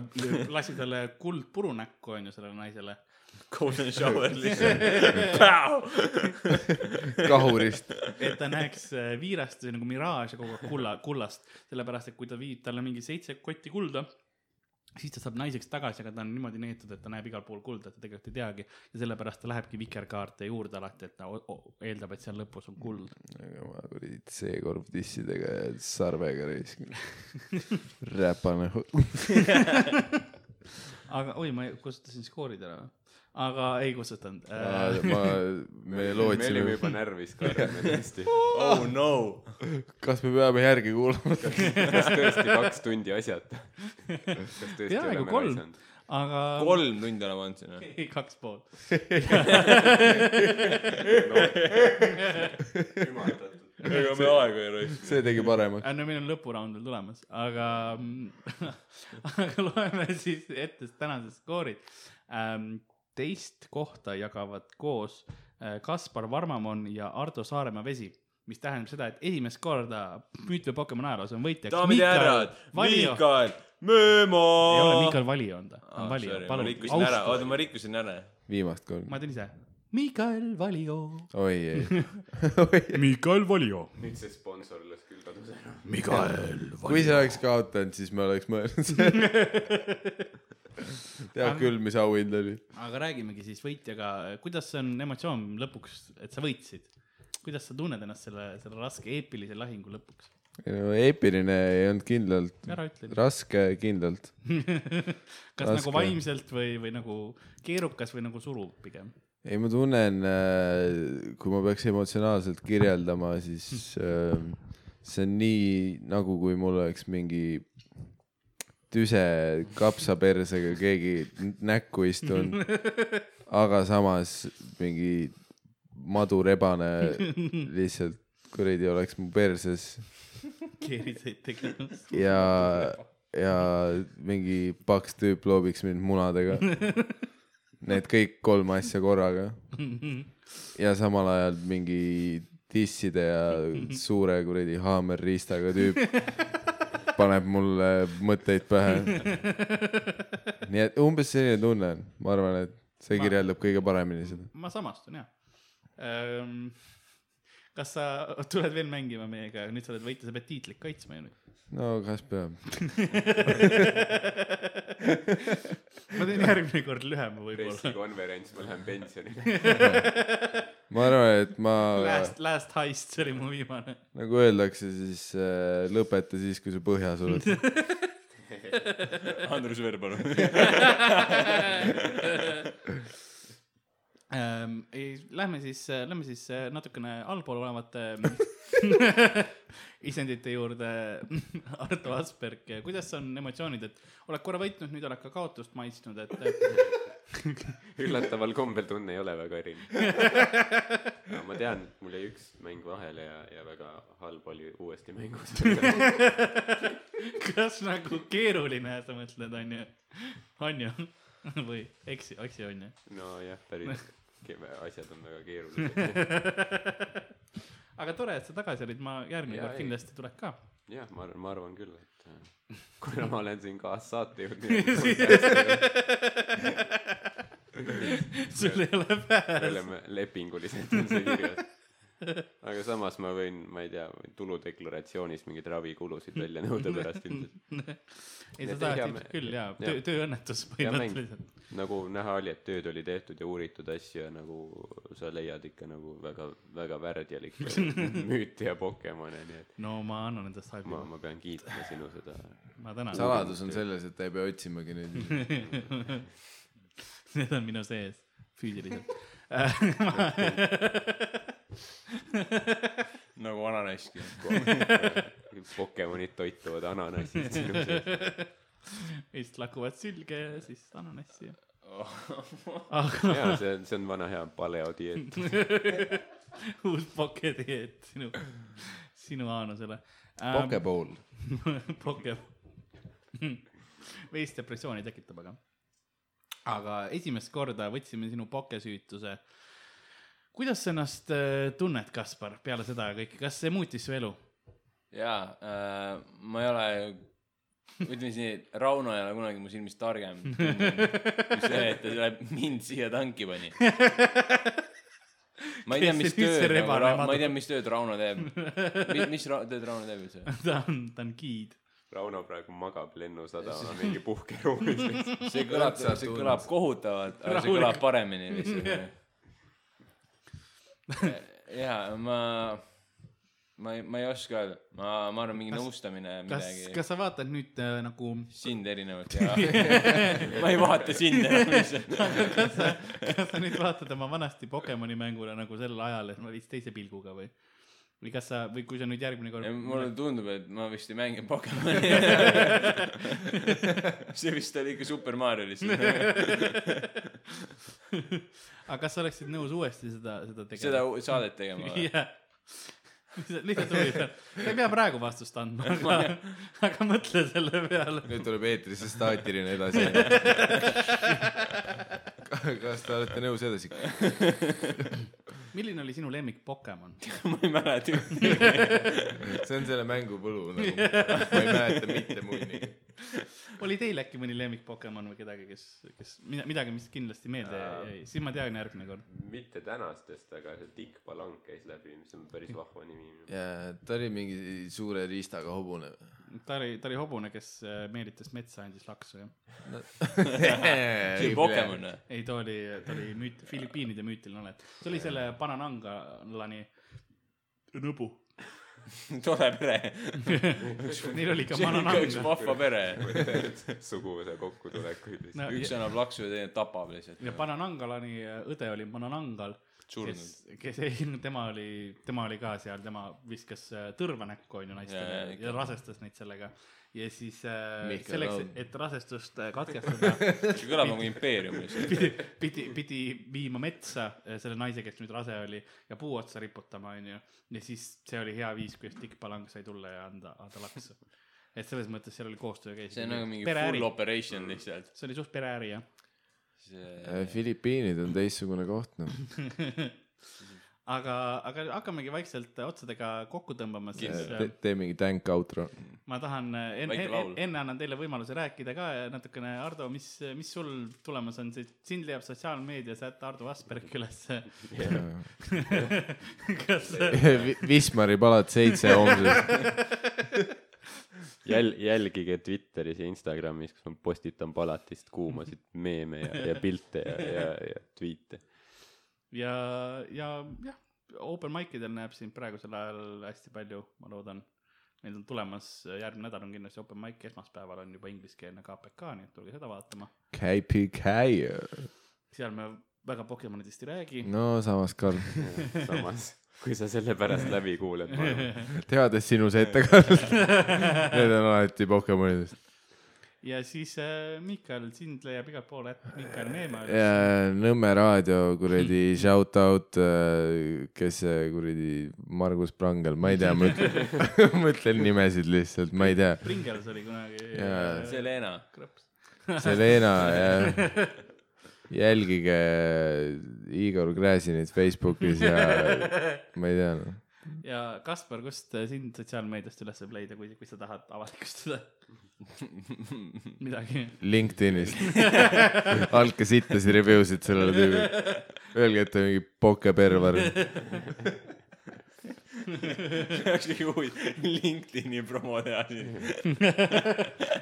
lasi talle kuldpuru näkku , onju , sellele naisele . Golden shower lihtsalt . kahurist . et ta näeks äh, viirasti nagu miraaž ja kogu aeg kulla , kullast . sellepärast , et kui ta viib talle mingi seitse kotti kulda , siis ta saab naiseks tagasi , aga ta on niimoodi neetud , et ta näeb igal pool kulda , et ta tegelikult ei teagi . ja sellepärast ta lähebki vikerkaarte juurde alati , et ta o- o- eeldab , et seal lõpus on kuld . aga ma kuradi C-korv dissidega ja sarvega raisk . räpane . aga oi , ma ei- kustutasin skoorid ära või ? aga ei Äh, kutsutanud Ah, ma , me me olime lootsime , juba närvis ka , me tõesti , oh no . kas me peame järgi kuulama . kas tõesti kaks tundi asjata ? kas tõesti Peaaegu oleme kolm. raisanud ? aga kolm tundi oleme olnud sinna . ei , kaks pool . ega me aega ei raiska . see tegi paremaks . no meil on lõpuraund veel tulemas , aga mm, aga loeme siis ette tänased skoorid ähm, . teist kohta jagavad koos äh, Kaspar Varmamon ja Ardo Saaremaa Vesi , mis tähendab seda , et esimest korda müüt või Pokemon ajaloos on võitjaks . daamid ja härrad , Valio . Miikal Möömo . ei ole Miikal Vali olnud , on Valio , Ah, ma palun rikkusin ära , austa . oota ma rikkusin ära . viimast korda ma . teen ise . Miikal Valio . oi ei Oi, ei. Miikal Valio . nüüd see sponsor läks küll kadus ära . Miikal . kui see oleks kaotanud , siis me oleks mõelnud selle . tead küll , mis auhind oli . aga räägimegi siis võitjaga , kuidas see on emotsioon lõpuks , et sa võitsid ? kuidas sa tunned ennast selle , selle raske eepilise lahingu lõpuks ? no eepiline ei olnud kindlalt , ära ütle . raske kindlalt . kas raske. nagu vaimselt või , või nagu keerukas või nagu suruv pigem ? ei , ma tunnen , kui ma peaks emotsionaalselt kirjeldama , siis äh, see on nii nagu , kui mul oleks mingi tüse kapsapersega keegi n- näkku istunud , aga samas mingi madurebane lihtsalt kuradi oleks mu perses keeriseid tegemas . ja , ja mingi paks tüüp loobiks mind munadega . Need kõik kolm asja korraga . ja samal ajal mingi tisside ja suure kuradi haamerriistaga tüüp paneb mulle mõtteid pähe . nii et umbes selline tunne on , ma arvan , et see kirjeldab kõige paremini seda . ma samastun jah . kas sa tuled veel mängima meiega , nüüd sa oled võitja , sa pead tiitlit kaitsma ju nüüd . no kas peab ? ma teen järgmine kord lühema võib-olla . pressikonverents , ma lähen pensionile . ma arvan , et ma , Last , last heist , see oli mu viimane . nagu öeldakse , siis äh, lõpeta siis , kui sa põhjas oled . Andrus Veer , palun . ähm, . Lähme siis , lähme siis äh, natukene allpool olevate ehm, isendite juurde . Arto Asperg , kuidas on emotsioonid , et oled korra võitnud , nüüd oled ka kaotust maitsnud , et üllataval kombel tunne ei ole väga erinev . aga ma tean , et mul jäi üks mäng vahele ja , ja väga halb oli uuesti mängus . kas nagu keeruline sa mõtled , onju , onju või eksi , eksi onju . nojah , päris ke- asjad on väga keerulised . aga tore , et sa tagasi olid , ma järgmine Jaa, kord ei. kindlasti tuled ka . jah , ma arvan , ma arvan küll , et äh, kuna ma olen siin kaassaatejuht , nii sul ei ole et me pääs . oleme lepinguliselt on see kirjas . aga samas ma võin , ma ei tea , tuludeklaratsioonis mingeid ravikulusid välja nõuda pärast ilmselt . ei , sa Nii et saad hea ilmselt me- küll jaa , jah. töö , tööõnnetus Hea mäng. põhimõtteliselt . nagu näha oli , et tööd oli tehtud ja uuritud asju ja nagu sa leiad ikka nagu väga , väga värdjalikke müüte ja Pokemone , nii et no ma annan endast halbi ma , ma pean kiitma sinu seda . ma tänan . saladus on selles , et ta ei pea otsimagi neid . Need on minu sees , füüsiliselt . nagu ananasski . Pokemonid toituvad ananassist sinu sees . vist lakuvad sülge ja siis ananassi . aga jaa , see on , see on vana hea paleodieet . uus pokedieet sinu , sinu Aanusele . Pokeball . Poke . veits depressiooni tekitab , aga , aga esimest korda võtsime sinu pokesüütuse . kuidas sa ennast äh, tunned , Kaspar , peale seda kõike , kas see muutis su elu ? jaa äh, , ma ei ole , ütleme siis nii , et Rauno ei ole kunagi mu silmis targem . mis see , et ta selle mind siia tanki pani . ma ei tea , Kes mis see nüüd see tööd nagu rebane Ra- , madu- ma ei tea , mis tööd Rauno teeb . mis , mis ra- tööd Rauno teeb üldse ? ta on , ta on giid . Rauno praegu magab lennusadama mingi puhkeruumis . see kõlab , see kõlab kohutavalt , aga see kõlab paremini lihtsalt . ja ma , Eh, ma ei , ma ei oska öelda , ma , ma arvan , mingi Kas- nõustamine , kas , midagi kas sa vaatad nüüd äh, nagu sind erinevalt ja ma ei vaata sind enam lihtsalt . kas sa , kas sa nüüd vaatad oma vanasti Pokemoni mängule nagu sel ajal , et ma vist teise pilguga või ? või kas sa , või kui sa nüüd järgmine kord mulle tundub , et ma vist ei mängi Pokemoni . see vist oli ikka Super Mario lihtsalt . aga kas sa oleksid nõus uuesti seda , seda tegema ? seda u- saadet tegema või ? jah . lihtsalt lihtsalt huvi peal , sa ei pea praegu vastust andma , aga , aga mõtle selle peale . nüüd tuleb eetrisse staatiline edasi . kas te olete nõus edasi ? milline oli sinu lemmik Pokemon ? ma ei mäleta . see on selle mängu võlu nagu , ma ei mäleta mitte muuni . oli teil äkki mõni lemmik Pokemon või kedagi , kes , kes mida- midagi , mis kindlasti meelde jäi , siis ma tean järgmine kord . mitte tänastest , aga see Dick Palank käis läbi , mis on päris vahva nimi . ja ta oli mingi suure riistaga hobune . ta oli , ta oli hobune , kes äh, meelitas metsa , andis laksu jah . see oli Pokemon . või ? ei , ta oli , ta oli müüt- , Filipiinide müütiline olend . see oli selle Bananangalani nõbu . tore pere . Neil oli ka see on ikka üks Banananga vahva pere . suguvõsa kokkutulekuid vist no, . üks ja, annab laksu ja teine tapab lihtsalt . ja Bananangalani äh, õde oli Bananangal , kes surnud ., kes ei , tema oli , tema oli ka seal , tema viskas äh, tõrva näkku onju naistele Jaa, ja, jaa, ja, ikka. ja rasestas neid sellega . ja siis äh, Mihkel selleks Raud. , et rasestust äh, katkestada , see kõlab nagu impeerium lihtsalt . pidi , pidi , pidi viima metsa äh, selle naise , kes nüüd rase oli ja puu otsa riputama , onju . ja siis see oli hea viis , kuidas Dick Palang sai tulla ja anda , anda laksu . et selles mõttes seal oli koostöö käis . see on nagu mingi full . operation lihtsalt . see oli suht pereäri jah . Äh. Filipiinid on teistsugune koht , noh . aga , aga hakkamegi vaikselt otsadega kokku tõmbama , siis äh, tee mingi tänk outro . ma tahan äh, en, , Väike en, laul. enne annan teile võimaluse rääkida ka ja natukene , Ardo , mis , mis sul tulemas on , sind leiab sotsiaalmeedias , et Ardo Asperg ülesse . kas , Wismari palat seitse homses . jäl- , jälgige Twitteris ja Instagramis , kus ma postitan palatist kuumasid meeme ja , ja pilte ja , ja , ja tweet'e . ja , ja jah , open mic idel näeb sind praegusel ajal hästi palju , ma loodan . Neil on tulemas , järgmine nädal on kindlasti open mic , esmaspäeval on juba ingliskeelne KPK , nii et tulge seda vaatama . KPK . seal me väga Pokemonidest ei räägi . no samas , Karl . samas , kui sa selle pärast läbi kuuled , ma arvan . teades sinu seetekandlust . Need on alati Pokemonidest . ja siis äh, Miikal , sind leiab igalt poolt , et Miikal Neemal . Ja Nõmme raadio kuradi shout out , kes see kuradi Margus Prangel , ma ei tea , ma ütlen , ma ütlen nimesid lihtsalt , ma ei tea . Pringels oli kunagi Jaa. äh, Selena . krõps . Selena ja jälgige äh, Igor Gräzinit Facebookis ja ma ei tea noh, no. . ja Kaspar , kust äh, sind sotsiaalmeediast üles saab leida , kui , kui sa tahad avalikustada midagi ? LinkedInist . andke sittasi review sid sellele tüübile . Öelge , et ta on mingi pokeperver . oleks kõige huvitav LinkedIni promo teha siin .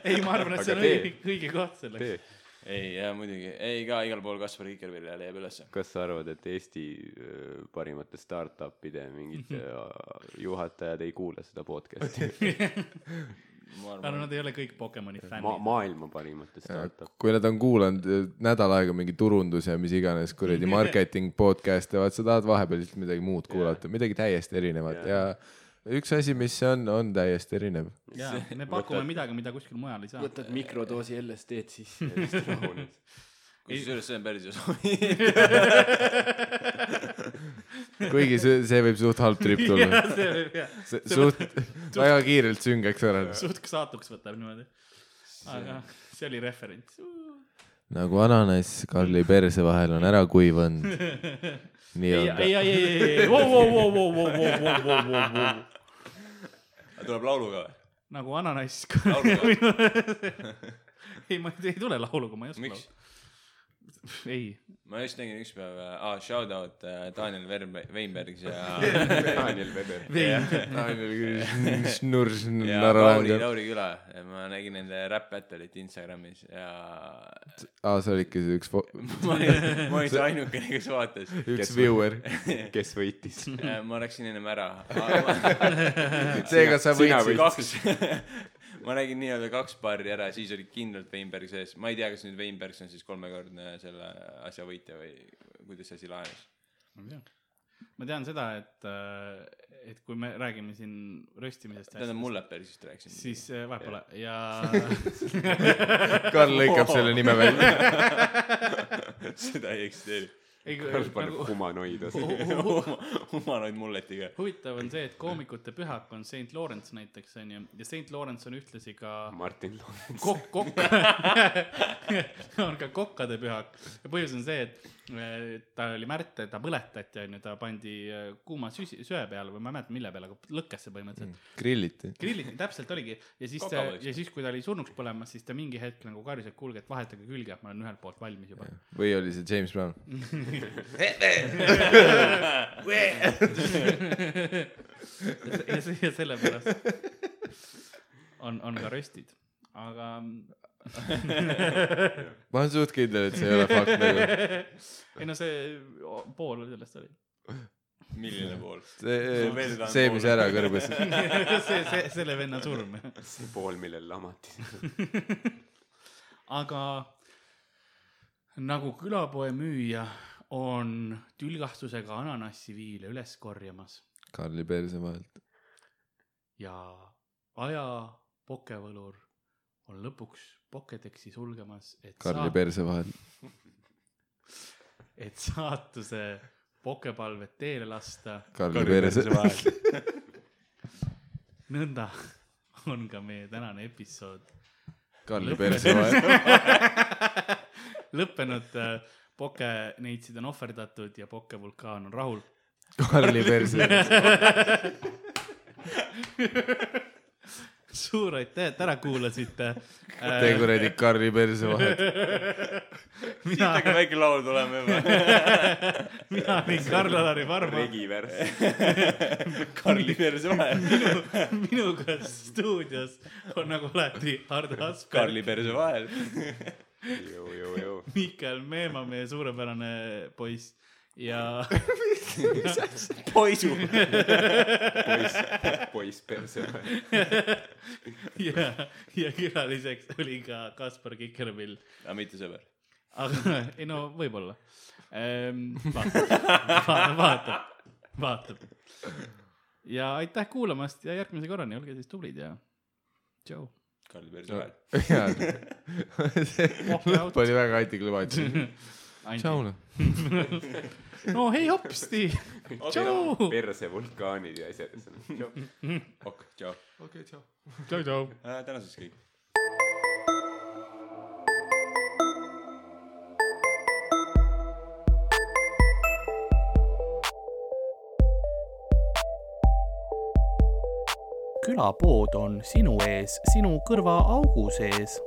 ei , ma arvan , et see on Aga tee. õige , õige koht selleks . ei , jaa muidugi , ei ka igal pool Kaspar Kikervilla leiab ülesse . kas sa arvad , et Eesti öö, parimate startup'ide mingid öö, juhatajad ei kuule seda podcast'i ? ma aga arvan , nad ei ole kõik Pokemoni ma- , fännid . maailma parimate startup . kui nad on kuulanud eh, nädal aega mingi turundus ja mis iganes kuradi Mm. marketing podcast'e , vaat sa tahad vahepeal lihtsalt midagi muud kuulata , midagi täiesti erinevat ja üks asi , mis see on , on täiesti erinev . jaa , me pakume midagi , mida kuskil mujal ei saa . võtad mikrodoosi LSD-d sisse ja siis rahuned . kusjuures see on päris hea soov . kuigi see , see võib suht halb trip tulla . see võib jah , suht , väga kiirelt süngeks ära . suht saatuks võtab niimoodi . aga see oli referents . nagu ananass Karli perse vahel on ära kuivanud . nii ei , on ei , ta . ei , ei , ei , ei , vau , vau , vau , vau , vau , vau , vau , vau , vau , vau . tuleb lauluga või ? nagu ananass . Lauluga. ei , ma ei ei tule lauluga , ma ei oska miks laulda ., ei , ma just nägin ükspäev , aa , ah, shout out äh, Daniel Verbe- , Veinbergs ja , Daniel vedeb . ja Lauri , Lauri Küla . ma nägin nende rap battle'it Instagramis ja aa , see oli ikka see üks , ma olin , ma olin see ainukene , kes vaatas . üks viewer . kes võitis ? ma läksin ennem ära . Ah, seega sa võitsid . kaks , ma nägin nii-öelda kaks paari ära , siis oli kindlalt Veinberg sees . ma ei tea , kas nüüd Veinberg on siis kolmekordne selle asja võitja või kuidas see asi lahenes . ma ei tea . ma tean seda , et , et kui me räägime siin röstimisest , tähendab , mulle päriselt rääkisin . siis äh, vahet pole ja Karl lõikab selle nime välja . seda ei eksisteeri . ei, Karl paneb nagu, humanoidas . Oh. humanoid mulletiga . huvitav on see , et koomikute pühak on St Lawrence näiteks onju ja St Lawrence on ühtlasi ka Martin Lawrence . kokk , kokk on ka kokkade pühak ja põhjus on see , et äh, ta oli märte , ta põletati onju , ta pandi äh, kuuma süsi , söe peale või ma ei mäleta , mille peale , aga lõkkesse põhimõtteliselt . Mm. grilliti . grilliti , täpselt oligi ja siis ta Kokavõiks. ja siis , kui ta oli surnuks põlemas , siis ta mingi hetk nagu karjus , et kuulge , et vahetage külge , et ma olen ühelt poolt valmis juba . või oli see James Brown ? ja, se- ja, se- ja sellepärast on , on ka röstid , aga ma olen suht kindel , et see ei ole fakt nagu . ei no see o- pool sellest oli . milline pool ? see , see , mis ära kõrbes . see , see , selle venna surm . see pool , millel lamati . aga nagu külapoe müüja on tülgastusega ananassiviile üles korjamas Karli perse vahelt . ja aja pokevõlur on lõpuks Pokedeksi sulgemas , et Karli perse vahelt . et saatuse pokepalved teele lasta . Karli perse . nõnda on ka meie tänane episood Karli perse vahelt . lõppenud . pokeneitsid on ohverdatud ja pokevulkaan on rahul . Karli perse . suur aitäh , et ära kuulasite . Te kuradi Karli perse vahelt . siit hakkab väike laul tulema juba . mina olin Karl-Alari Varma , regivärss . Karli perse vahel . minuga stuudios on nagu alati Hardo Asper , Karli perse vahel . jõu , jõu , jõu . Miikael Meemaa , meie suurepärane poiss ja poisu . poiss , poiss perse . ja , ja külaliseks oli ka Kaspar Kikerpill , aga mitte sõber . aga ei no võib-olla ehm, . vaatab , vaatab , vaatab . ja aitäh kuulamast ja järgmise korrani , olge siis tublid ja tšau . Karli perse vahel . lõpp oli väga antiklimaatiline . tšau . noh . no hei hopsti , tšau , perse , vulkaanid ja asjad . ok , tšau . okei , tšau . tšau , tšau . tänaseks kõik . külapood on sinu ees , sinu kõrva augu sees